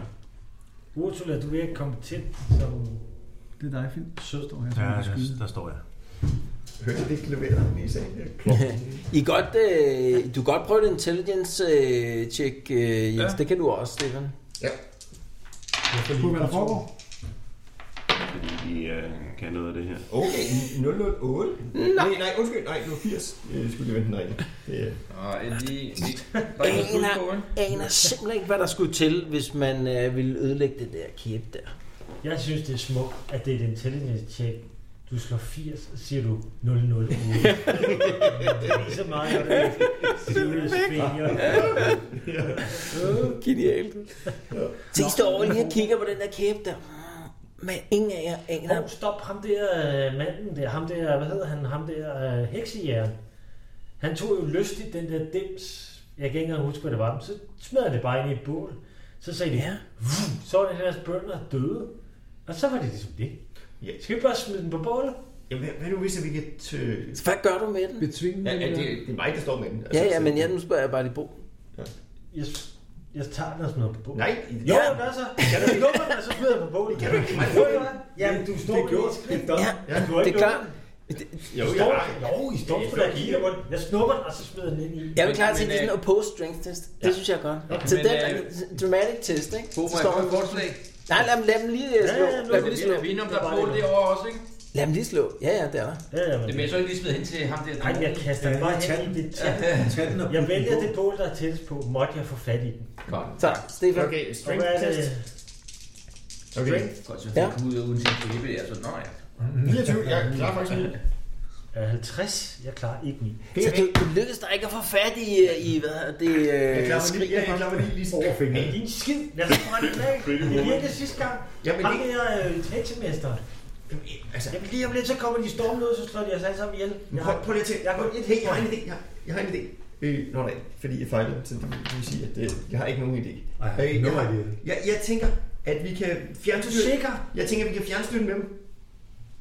Ursula, du er ikke kompetent som
Det er dig, Finn.
søster.
Står her, så
Ja,
må du
der,
skyde.
der står jeg.
Hørte det ikke leveret i sagen?
I godt, øh, du kan godt prøve det intelligence øh, check, øh, Jens. Ja.
Ja.
Det kan du også, Stefan.
Prøv, hvad der foregår.
Fordi de øh, kan noget af det her.
Okay, 008. Nej, nej, undskyld, nej, det var 80. Jeg skulle lige vente den rigtige. Det er...
Og lige... Der er ikke noget skole.
aner simpelthen ikke, hvad der skulle til, hvis man øh, ville ødelægge det der kæbe der.
Jeg synes, det er smukt, at det er et intelligence check. Du slår 80, og så siger du 008. det er så meget, at det er serious failure.
Genialt. Så I står over lige og kigger på den der kæbe der. Men ingen af jer aner.
Nå, stop ham der øh, manden der, ham der, hvad hedder han, ham der øh, heksejæren. Han tog jo lystigt den der dims, jeg kan ikke engang huske, hvad det var, men så smed han det bare ind i et bål. Så sagde de, ja. så var det at deres bønder døde. Og så var det ligesom det.
Ja.
Skal vi bare smide den på bålet?
Jamen, hvad, hvad nu hvis vi kan... Tø...
Hvad gør du med den?
Betvinge
Ja, ja,
det,
det,
der.
det er mig, der står med den.
Ja, ja, men ja, nu spørger jeg bare lige Bo.
Jeg, jeg tager den og smider den på bålet.
Nej,
Jo, ja. gør så. Kan du lukke den, og så smider jeg på bålet? Kan du ikke? Jamen, du står med et skridt.
Ja,
Ja, du har
det
ikke
er klart.
jo,
lukket den.
jeg
Står-
har.
Jo, I står for at kigge på den. Jeg snupper den, og så smider den ind i.
Jeg vil klart
Men-
sige, at det er sådan en
men,
opposed strength test. Det synes jeg er godt. Okay,
Okay,
så
men,
den
øh,
er dramatic test, ikke?
Bo, må
Så
jeg
står
få
man-
et forslag?
Nej, lad dem, lad dem lige øh,
Ja,
slå.
ja, nu-
Lad
Er
dem
vi
lige slå.
er vi enige om, der er bål derovre også, ikke?
Lad dem lige slå. Ja, ja, det er der.
Ja, ja, men...
Det er jeg så ikke lige smide hen til ham der.
Nej, jeg kaster den bare hen i det tæt.
Tag den og
Jeg vælger det bål, der er tættest på. Måtte jeg få fat i den?
Godt.
Så, Stefan.
Okay,
Og
strength
hvad er det?
test. Okay,
Godt, så
Ja.
jeg kom ud uden sin kæbe der, så nå ja.
29. Jeg klarer faktisk lige.
Øh, 50. Jeg klarer ikke min.
Så du, du lykkedes dig ikke at få fat i, øh, i hvad hedder det
Jeg
øh,
klarer mig lige, ja, jeg klarer mig lige, lige over
Men din skid, lad os få det af.
Pretty
Det
woman.
virkede sidste gang.
Jamen,
Ham
det-
der øh, heksemester.
Altså,
Jamen lige om lidt, så kommer de stormende ud, så slår de os alle sammen ihjel. Jeg har,
prøv, prøv lige at tænke.
jeg har kun et
hey, jeg har en idé. Jeg, jeg har en idé. Øh, nå nej, fordi jeg fejlede, så det vil sige, at det, jeg har ikke nogen idé. Øh,
Ej, no
jeg, har-
idea.
jeg, jeg tænker, at vi kan
Er du
fjernstyre...
sikker?
Jeg tænker, at vi kan fjernstyre med dem.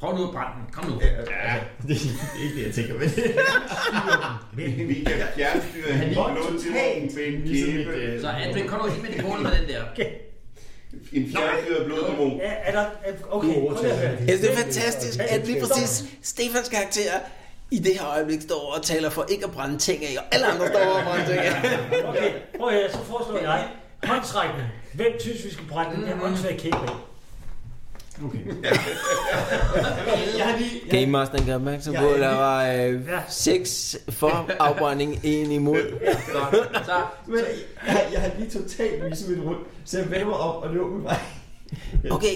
Prøv nu at brænde den. Kom nu.
Ja, altså, det er ikke det, jeg tænker, men...
Vi kan fjernstyre
Han
en
var
blodtilvågen
totalt
med en
ligesom
kæbe.
et, øh,
Så Andrik, kom nu ind med det bål med den der.
En fjernstyret blodtilvågen.
Er, er der... Er, okay,
Du
prøv lige at
overtager
høre.
det.
Ja, det er fantastisk, at lige præcis Stefans karakter i det her øjeblik står over og taler for ikke at brænde ting af, og alle andre står over og brænde ting af.
Okay, prøv at høre, så foreslår jeg håndtrækning. Hvem synes, vi skal brænde den her håndsvær kæmpe af?
Jeg har lige...
Game Masteren gør opmærksom på, at der var øh, seks for afbrænding, en imod.
Godt. Så
Men jeg, har- jeg har lige totalt viset mit rundt, så jeg vender mig op og løber ud vej.
Okay,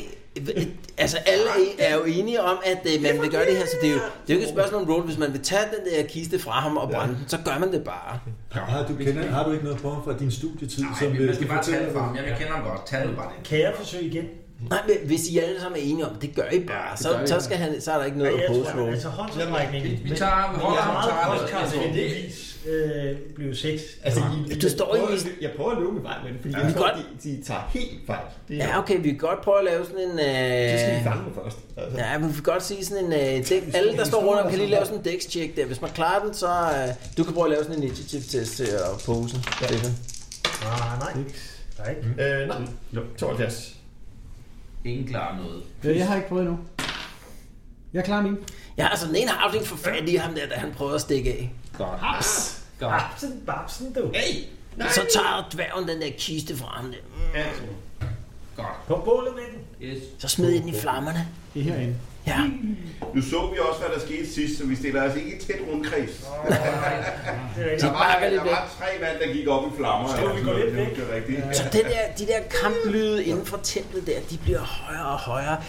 øh, altså alle er jo enige om, at øh, man vil gøre det her, så det er jo, det er jo ikke et spørgsmål om roll. Hvis man vil tage den der kiste fra ham og brænde den, så gør man det bare.
Har du, kender, har du ikke noget form fra din studietid,
nej,
som
men
øh,
man skal
du
bare tage
fortæller
det fra ham.
om?
Jeg kender ham godt. Tag det bare den.
Kan jeg forsøge igen?
Nej, men hvis I alle sammen er enige om, det gør I bare, så, så, skal han, så er der ikke
Nej,
noget
jeg
at pose
tror,
roll.
altså håndtrækning.
Vi tager, vi holder ham, tager det.
podcast øh, blev sex.
Altså, I,
Du står
jeg prøver,
i-
at lø- jeg prøver at løbe med vej, men fordi
vi
jeg tror,
godt-
de, de tager helt fejl. Det,
Ja, okay, vi kan godt prøve at lave sådan en...
Så skal vi
Øh,
fange dem først. Altså.
ja, men vi kan godt sige sådan en... Øh, dæk, alle, der står rundt om, kan lige lave sådan en dækscheck der. Hvis man klarer den, så... Øh, du kan prøve at lave sådan en initiativ-test til at pose. Ja.
Ah, nej. Der er ikke.
Øh, nej, Jo, 72.
Ingen klarer noget.
Ja, jeg har ikke prøvet endnu. Jeg klarer min.
Ja, altså den ene har haft for fat i ham der, da han prøvede at stikke af.
Godt. Haps. Godt.
Babsen, babsen, du.
Hey.
Så tager dværgen den der kiste fra ham der.
Godt.
På bålet med den.
Yes.
Så smider I den i flammerne.
Det er herinde.
Ja.
Nu så vi også, hvad der skete sidst, så vi stiller os ikke i tæt rundkreds.
Det er rigtigt.
Der var,
bakker lidt
der var tre mand, der gik op i flammer.
Så vi går lidt væk.
Det er rigtigt.
Så det der, de der kamplyde inden for templet der, de bliver højere og højere.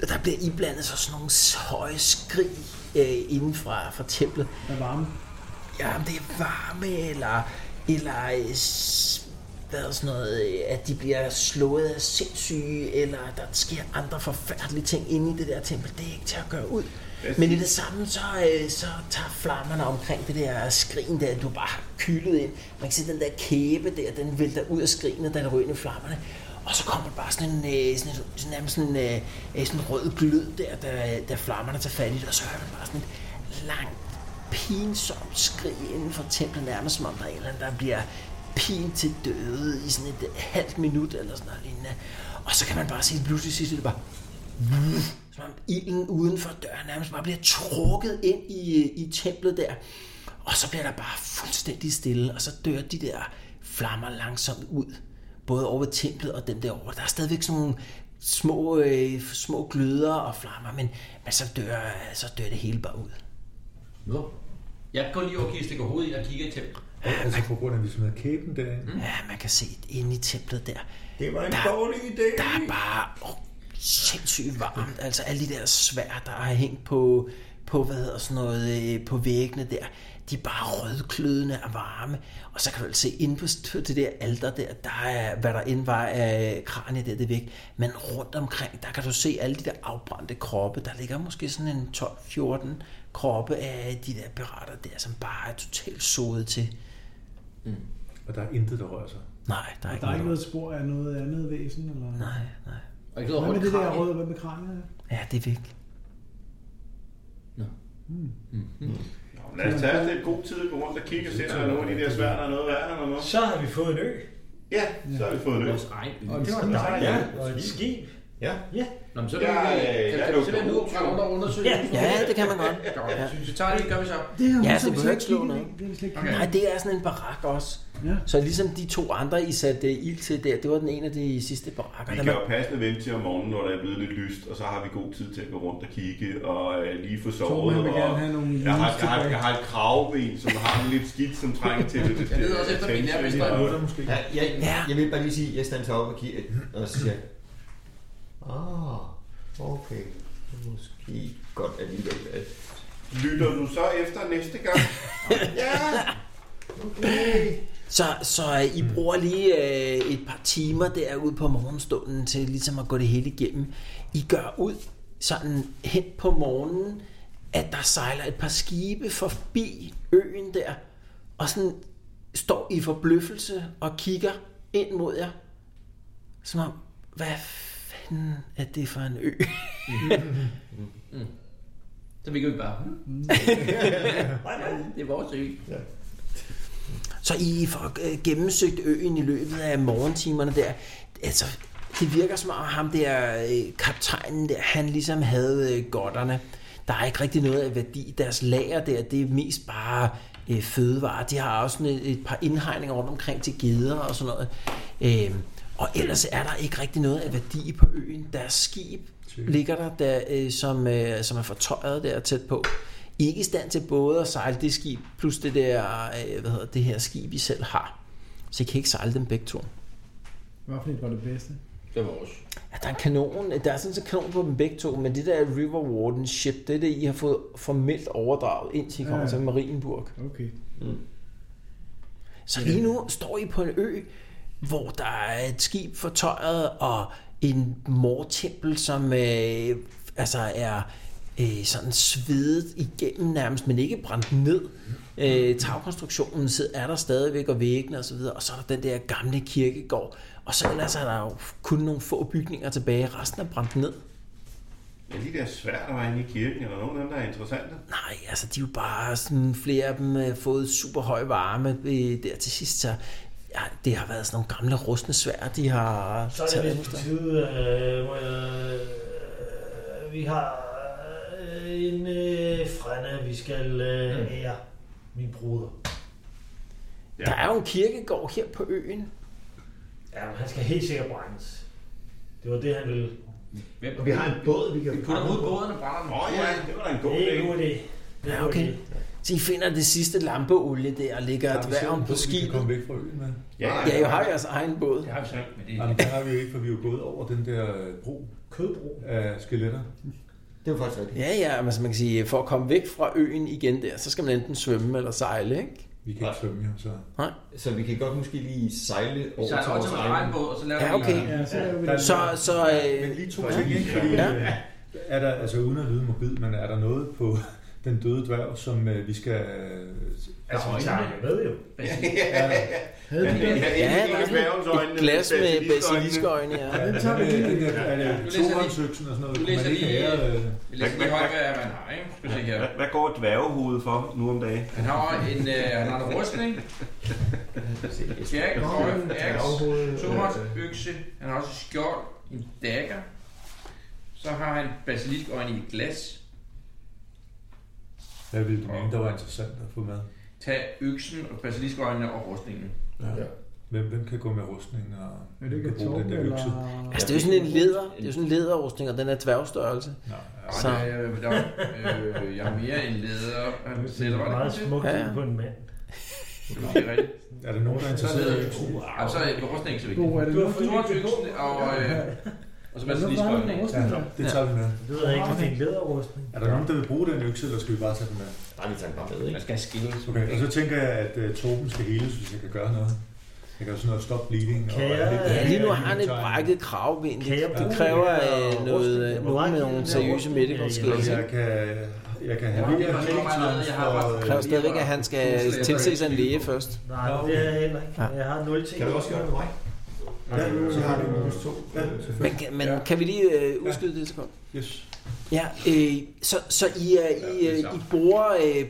Der bliver iblandet så sådan nogle høje skrig øh, inden fra, fra templet.
Der er varme.
Ja, om det er varme, eller, eller øh, s- hvad er sådan noget, øh, at de bliver slået af sindssyge, eller der sker andre forfærdelige ting inde i det der tempel. Det er ikke til at gøre ud. Men i det samme, så, øh, så tager flammerne omkring det der skrin der, du bare har kylet ind. Man kan se den der kæbe der, den vælter ud af skrinet, den røde flammerne. Og så kommer der bare sådan en, øh, sådan, et, sådan, nærmest sådan en øh, øh, sådan en rød glød der, da, da flammerne tager fat i det, og så hører man bare sådan et langt pinsomt skrig inden for templet, nærmest som om der er en eller anden, der bliver pint til døde i sådan et øh, halvt minut eller sådan noget lignende. Og så kan man bare se, pludselig sidste det bare, som om ilden uden for døren nærmest bare bliver trukket ind i, øh, i templet der. Og så bliver der bare fuldstændig stille, og så dør de der flammer langsomt ud. Både over ved templet og den der over. Der er stadigvæk sådan nogle små, øh, små gløder og flammer, men, men så, dør, så dør det hele bare ud.
Nå.
Jeg går lige over og stikker hovedet ind og kigger i templet.
Altså på grund af, at vi smider kæben derinde. Mm.
Ja, man kan se inde i templet der.
Det var en
Der-
dårlig idé.
Der er bare oh, sindssygt varmt. Altså alle de der svær, der har hængt på, på, hvad hedder sådan noget, øh, på væggene der. De er bare rødklødende og varme. Og så kan du altså se, inde på st- det der alter der, der er, hvad der end var af kranje der, det er væk. Men rundt omkring, der kan du se alle de der afbrændte kroppe. Der ligger måske sådan en 12-14 kroppe af de der pirater der, som bare er totalt sodet til.
Og der er intet, der rører sig.
Nej, der er ikke
Der er ikke
noget.
noget spor af noget andet væsen? Eller...
Nej, nej.
Og ikke noget
Hvad med
rødt
det der
kranje.
røde? Hvad med kraniet?
Ja, det er væk.
Lad os tage os lidt god tid at gå rundt og kigge og se, om der er nogle af de der svær, der er noget værd eller noget.
Så har vi fået en ø.
Ja, så har vi fået løs.
Vores egen ø.
Det var dejligt. Ja. Og et skib.
Nå, men så
Ja,
kan vi
øh,
kan-
jeg
kan vi
lugter
simpelthen nu og komme rundt og undersøge.
Ja.
Ja, det kan man godt.
Ja. Så vi tager det, gør vi så.
Det her
Ja,
hus,
det behøver
vi slet
ikke slå
kigget
noget.
ind i, Det har vi slet ikke
Okay.
kigget
Nej, det er sådan en barak også.
Ja.
Ja. Så ligesom de to andre, I satte øh, ild til der, det var den ene af de sidste barakker.
Vi
Der
kan jo
var,
passende vente til om morgenen, når der er blevet lidt lyst, og så har vi god tid til at gå rundt og kigge og øh, lige få sovet.
Torben, han vil
og
gerne have nogle
jeg, har,
lys
jeg, har,
tilbage.
jeg har et kravben, som har en lidt skidt, som trænger til det.
Jeg leder også efter min nærmeste.
Der måske.
Ja, jeg,
Ja.
jeg vil bare lige sige, at jeg standser op og kigger, og så siger jeg, ah, okay, det er måske godt alligevel, at
Lytter du så efter næste gang?
så så øh, I bruger lige øh, et par timer derude på morgenstunden til ligesom at gå det hele igennem. I gør ud sådan hen på morgenen, at der sejler et par skibe forbi øen der, og sådan står i forbløffelse og kigger ind mod jer, som om, hvad fanden er det for en ø?
Så vi kan vi bare. hmm? Ja, Det er vores ø.
Så I får øh, gennemsøgt øen i løbet af morgentimerne der. Altså, det virker som om ham der, øh, kaptajnen der, han ligesom havde øh, godterne. Der er ikke rigtig noget af værdi. Deres lager der, det er mest bare øh, fødevarer. De har også sådan et, et par indhegninger rundt omkring til geder og sådan noget. Øh, og ellers er der ikke rigtig noget af værdi på øen. Deres skib ligger der, der øh, som, øh, som er fortøjet der tæt på. I er ikke i stand til både at sejle det skib, plus det der, øh, hvad hedder det her skib, I selv har. Så I kan ikke sejle dem begge to.
Hvad for et var det bedste?
Det er vores.
Ja, der er en kanon, der er sådan en kanon på dem begge to, men det der River Warden ship, det er det, I har fået formelt overdraget, indtil I kommer
Ja.
til Marienburg.
Okay.
Så lige nu står I på en ø, hvor der er et skib fortøjet og en mortempel, som øh, altså er øh, sådan svedet igennem nærmest, men ikke brændt ned. Øh, tagkonstruktionen sidder- er der stadigvæk, og væggene og så videre, og så er der den der gamle kirkegård. Og så ellers er der jo kun nogle få bygninger tilbage. Resten er brændt ned.
Ja, de der svær, der var inde i kirken, er der nogen af dem, der er interessante?
Nej, altså de er jo bare sådan, flere af dem øh, har fået super høj varme øh, der til sidst, så ja, det har været sådan nogle gamle rustne svær, de har
Så er det ligesom-
taget
vist på
efter.
tide, øh, hvor jeg, øh, vi har øh, en øh, frænde, vi skal
Mm.
øh, ære. Min bruder.
Ja.
Der er jo en kirkegård her på øen.
Ja, men han skal helt sikkert brændes. Det var det, han ville.
Hvem?
Og vi har en båd, vi kan...
Vi putter dem ud i båden og brænder dem.
Åh oh, ja, det var da en god
Det er en
idé.
god idé. Det er en
Ja,
god
okay.
idé.
Så I finder det sidste lampeolie der og lægger
Der er vi selv en
dværgen
båd,
på
vi kan komme
skibet.
væk fra øen med.
Ja, I har jeres egen båd.
Det har vi så ikke, men det
Jamen, der har vi jo ikke, for vi er jo gået over den der øh, bro
Kødbro.
af skeletter.
Det var faktisk rigtigt.
Ja, ja, men altså man kan sige, for at komme væk fra øen igen der, så skal man enten svømme eller sejle, ikke?
Vi kan ikke svømme, jo, så...
Så vi kan godt måske lige sejle
Vi
over
sejler over
vores
til en
egen-
regnbåd, og så laver
Ja,
vi-
okay.
Ja, så laver vi
Der-
det.
Så, så øh,
Men lige to ting, ikke? Fordi, øh, er der, altså uden at lyde morbid, men er der noget på den døde dværg, som øh, vi skal... Øh,
Altså, vi tager det med jo.
Havde vi det?
ja, der er sådan et- et glas med basiliskøjne. Ja.
Den tager vi lige.
den der, er det
Nu læser jeg lige-
tohåndshøksen og sådan noget?
nu
Kunne
læser
man ikke
jeg lige-
have... Øh,
Vi læser lige højt, hvad man har, ikke? Skal vi se her.
Hvad, hvad går dværgehovedet for nu om dagen?
Han har en, øh, han har en rustning. Skærk, høj, aks, tomat, økse. Han har også et skjold, en dagger. Så har han basiliskøjne i et glas.
hvad ville du mene, der var interessant at få med?
Tag øksen og basiliskøjnene og rustningen.
Ja. Hvem, hvem kan gå med rustning og
Er det
hvem
ikke
kan bruge
Torben
den der
eller...
økse?
Altså, det er jo sådan en leder, det er jo sådan en lederrustning, og den er dværgstørrelse.
Nej,
Og
Så.
der, er- der, er- øh, jeg har mere en læder. Han
Det er
sætter mig
meget smukt
Ja, ja.
ja. på en mand.
rigtigt.
er der nogen, der er
Så
interesseret i
hedder
økse?
Og så er rustningen så vigtigt.
Hvor er det?
Du har fået
Tomat, øksen og, øh, og så basiliskøjne. ikke?
Ja, det tager vi med.
Det ved jeg ikke, om det er en læderrustning.
Er der nogen, der vil bruge den økse, eller skal vi bare tage den med?
Nej, vi tager den bare med, ikke?
Man skal skilles.
Okay, og så tænker jeg, at uh, Torben skal heles, hvis jeg kan gøre noget. Jeg kan jo sådan noget stop bleeding.
Kan
og,
jeg-
Øh, Ja, lige nu har han et
Tegn.
brækket kravben.
Kan jeg
Det,
bruge
det kræver
det her
øh, noget,
rustning? Hvor
nogen med
meget
nogle
giver
seriøse
den her
medical
rustning?
Og
skills.
Jeg
ikke?
kan, jeg kan have
Ja, det er også
healing
meget
times
andet, jeg har
for,
bare-
Det
øh,
kræver stadigvæk, at han skal tilse sig en læge først.
Nej, det er jeg heller ikke. Jeg har nul ting.
Kan du også gøre det med mig?
Ja, så har du minus to. Ja,
Men,
selvfølgelig.
kan- men kan vi lige øh, udskyde det et sekund?
Yes.
Ja, øh, så, så I, er, I, øh, I bruger øh,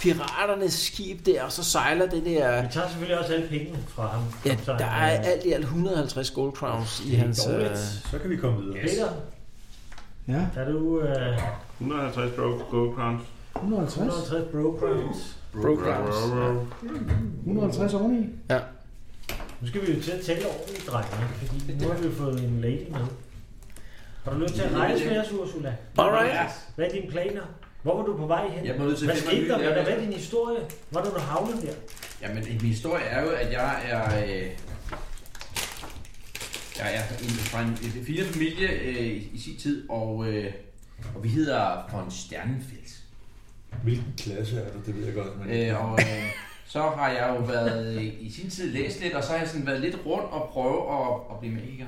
piraternes skib der, og så sejler det der...
Vi tager selvfølgelig også alle pengene fra ham.
Ja,
Så,
der
øh,
er alt i alt 150 gold crowns i hans... Øh,
dårligt.
Så kan vi komme videre.
Peter,
Ja,
er du øh,
150 bro, go crowns.
150.
150 bro crowns?
Bro crowns.
Bro, bro.
150 oveni.
Nu skal vi jo til at tale ordentligt, drenge, fordi nu har vi jo fået en lady med. Har du lyst til at rejse med os, Ursula?
Alright.
Hvad er dine planer? Hvor var du på vej hen?
Jeg var nødt til at
Hvad
finde
skete
mig
der?
en ny
Hvad
lærer.
hvad er din historie? Var du der havnet der?
Jamen, min historie er jo, at jeg er... Øh, jeg er en, fra en, en fire familie øh, i, i sin tid, og, øh, og vi hedder von Sternenfels.
Hvilken klasse er du? Det ved jeg godt. Men...
Øh, og øh, så har jeg jo været øh, i sin tid læst lidt, og så har jeg sådan været lidt rundt og prøve at, at blive magiker.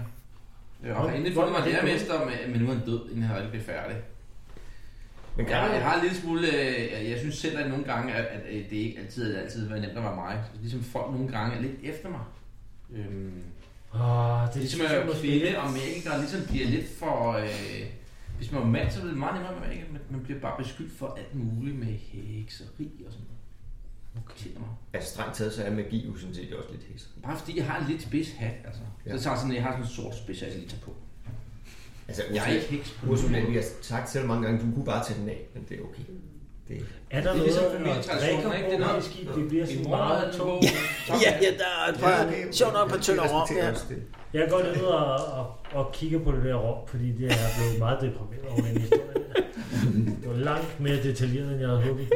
Øh, og har endelig fundet mig lærermester, men, men nu er han død, inden han rigtig blev færdig.
Men
Jeg,
kan
jeg
jeg...
har en lille smule, øh, jeg, jeg synes selv, at nogle gange, at, at øh, det ikke altid, altid har været nemt at være mig. Så ligesom folk nogle gange er lidt efter mig. Øhm,
Åh, det er
Ligesom at være kvinde og magiker ligesom bliver lidt for... Øh, hvis man er mand, så er det meget nemmere med magiker, men man bliver bare beskyldt for alt muligt med hekseri og sådan noget. Okay. Mig.
Altså, strengt taget, så er magi jo sådan set også lidt hæseri.
Bare fordi jeg har en lidt spids hat, altså. Ja.
Ja.
Så tager jeg sådan, jeg har sådan en sort spids, jeg lige tager på.
Altså,
Jeg er ikke heks på nogen
Ursula, vi
måde.
har sagt selv mange gange, du kunne bare tage den af, men det er okay. Det er
Er der
Det er ligesom
noget, når
familietraditioner, ikke?
drikker
Det er noget-
på skib, det bliver
Det
sådan
er meget
meget tungt.
Ja, ja, der er et par... Sjovt nok, et par tønder rom. Ja.
Jeg går ned og, og, og kigger på det der rom, fordi det er blevet meget deprimeret over den historie. der. Det var langt mere detaljeret, end jeg havde håbet.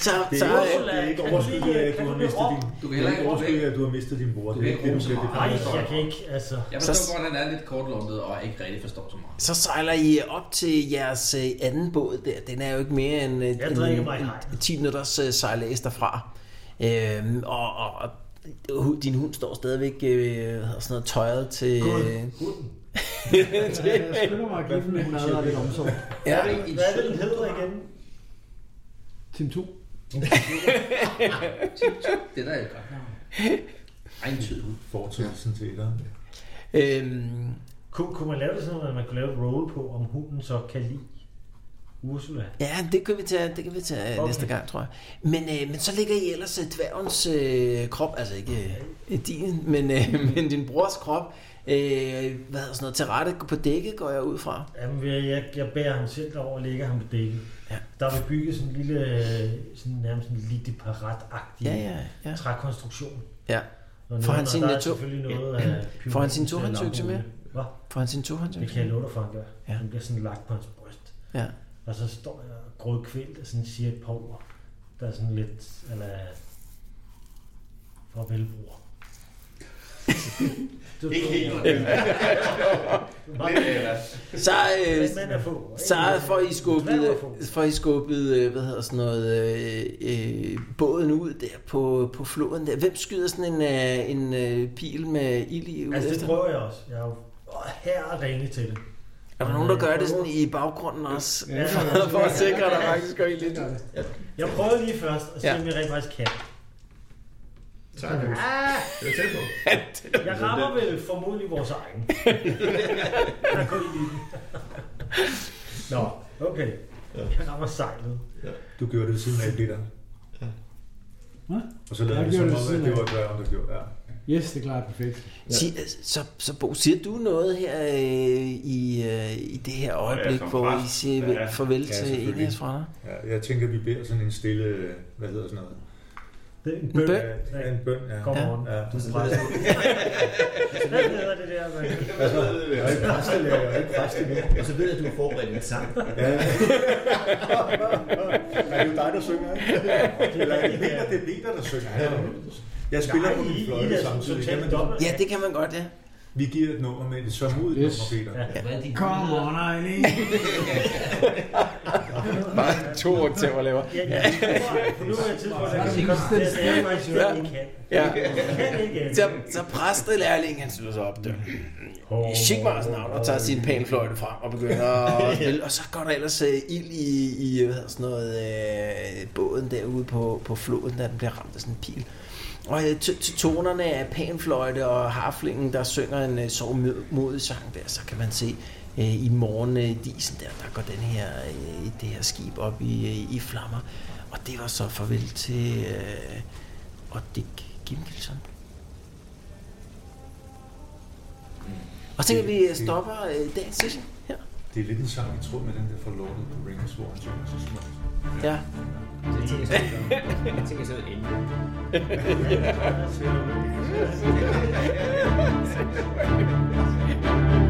Så,
Det
så,
er,
øh,
ikke, det er ikke overskyldig af, at du har mistet din...
Du
Det
kan
er
heller
ikke
ikke
overskyldig af, at du har mistet din bror. Det er
kan
ikke
ikke
det, du
rose
skal
mig.
Nej,
det
jeg kan ikke, altså...
Jeg
Så-
forstår godt, at han er lidt kortlundet og ikke rigtig forstår så meget.
så sejler I op til jeres øh, anden båd der. Den er jo ikke mere end, øh,
Jeg drikker
end,
mig en
end 10 minutters øh, sejlads derfra. Øhm, og, og, og hu- din hund står stadigvæk øh, hvad hedder sådan noget, tøjet til...
Ja, jeg skynder mig at give den en mad og lidt omsorg.
Ja,
Hvad er det, den hedder igen?
Team 2.
Det der er jo godt. Ej, en tyd.
Fortællelsen til dig.
øhm,
Kunne, kunne man lave det sådan, at man kunne lave et roll på, om hunden så kan lide Ursula?
ja, det kan vi tage, det kan vi tage okay.
Okay.
næste gang, tror jeg. Men, øh, men så ligger I ellers øh, dværgens øh, krop, altså ikke øh, din, men, øh, men din brors krop, øh, hvad hedder sådan noget, til rette på dækket, går jeg ud fra.
Jamen, jeg, jeg, jeg bærer ham selv derover og lægger ham på dækket. Ja. Der er bygget sådan en lille, øh, sådan nærmest en lille parat-agtig
Ja, ja, ja.
trækonstruktion.
Ja.
Og
Får han
og
sin
der er
netto-
selvfølgelig noget af
Får han sin
pyramiden til at lappe
tohåndsøkse med?
ud. Hvad?
Får han sin tohånds?
Det kan jeg love dig for, han gør.
Ja.
Ja. Han bliver sådan lagt på hans bryst.
Ja.
Og så står jeg og grådkvælt og sådan siger et par ord, der er sådan lidt, eller for velbruger. Du,
Ikke helt.
du,
Lidt eller.
Så, øh,
Men man er få, ikke?
så får I
Man
skubbet,
er få.
får I skubbet øh, hvad hedder sådan noget, øh, øh, båden ud der på, på floden der. Hvem skyder sådan en, øh, en øh, pil med ild i ud
altså, det
efter?
prøver jeg også. Jeg er jo åh, her og ringe til det.
Er der nogen, der gør det sådan i baggrunden også?
Ja.
for at sikre, at der faktisk går ild i det.
Jeg prøver lige først, og se
Ja.
om jeg rent faktisk kan. Ah,
Tak. Det er tæt på.
Jeg rammer vel formodentlig vores egen. Der går i den. Nå, okay. Jeg rammer sejlet.
Du gjorde det ved siden af det der.
Hva?
Og så lavede
Jeg
det
gjorde det ved
som om, at
siden
det
af.
var hvad om, der gjorde. Ja.
Yes, det klarer jeg perfekt.
Sig, øh, så, så Bo, siger du noget her øh, i, øh, i det her øjeblik,
som
hvor I
præst.
siger
Ja,
ja,
ja.
farvel
Ja,
til en af
selvfølgelig.
jeres frænder?
ja. jeg tænker, vi beder sådan en stille, hvad hedder sådan noget?
Det er en
bøn.
bøn.
Ja, en bøn, ja.
Kom on.
Ja,
Du er præst. Hvad hedder det der, man?
Jeg er ikke præstelærer, jeg er ikke præst endnu.
Og så Altså, ved jeg, at du har forberedt en sang.
Ja. er det jo dig, der synger, ikke? Eller er det Peter, det er Peter, der synger. Ja. Jeg spiller på min fløjte samtidig. Kan man det?
Ja, det kan man godt, ja.
Vi giver et nummer med et så modigt
Yes.
nummer, Peter.
Ja.
Hvad er din
Come on, Eileen!
Bare to oktaver laver.
Ja, ja. For nu er jeg tidspunkt, at jeg kan konstatere, at jeg slet ikke kan.
Ja.
Jeg kan ikke andet.
Så, så præstelærlingen, han slutter sig op der. Sigmarsen navn og tager sin panfløjte frem og begynder at spille. Og så går der ellers øh, ild i, i hvad hedder sådan noget, øh, båden derude på, på floden, da den bliver ramt af sådan en pil. Og øh, til til tonerne af panfløjte og harflingen, der synger en øh, så mod- modig sang der, så kan man se øh, i morgen øh, disen der, der går den her, øh, det her skib op i, øh, i flammer. Og det var så farvel til øh, og Dick Gimkelson. Og så kan vi øh, stoppe øh, dagens session her.
Det er lidt en sang, jeg tror, med den der forlortet på Ring of Swords. som jeg synes, man-
Ja.
Jeg tænker sådan, jeg tænker sådan, inden.
Ja, så-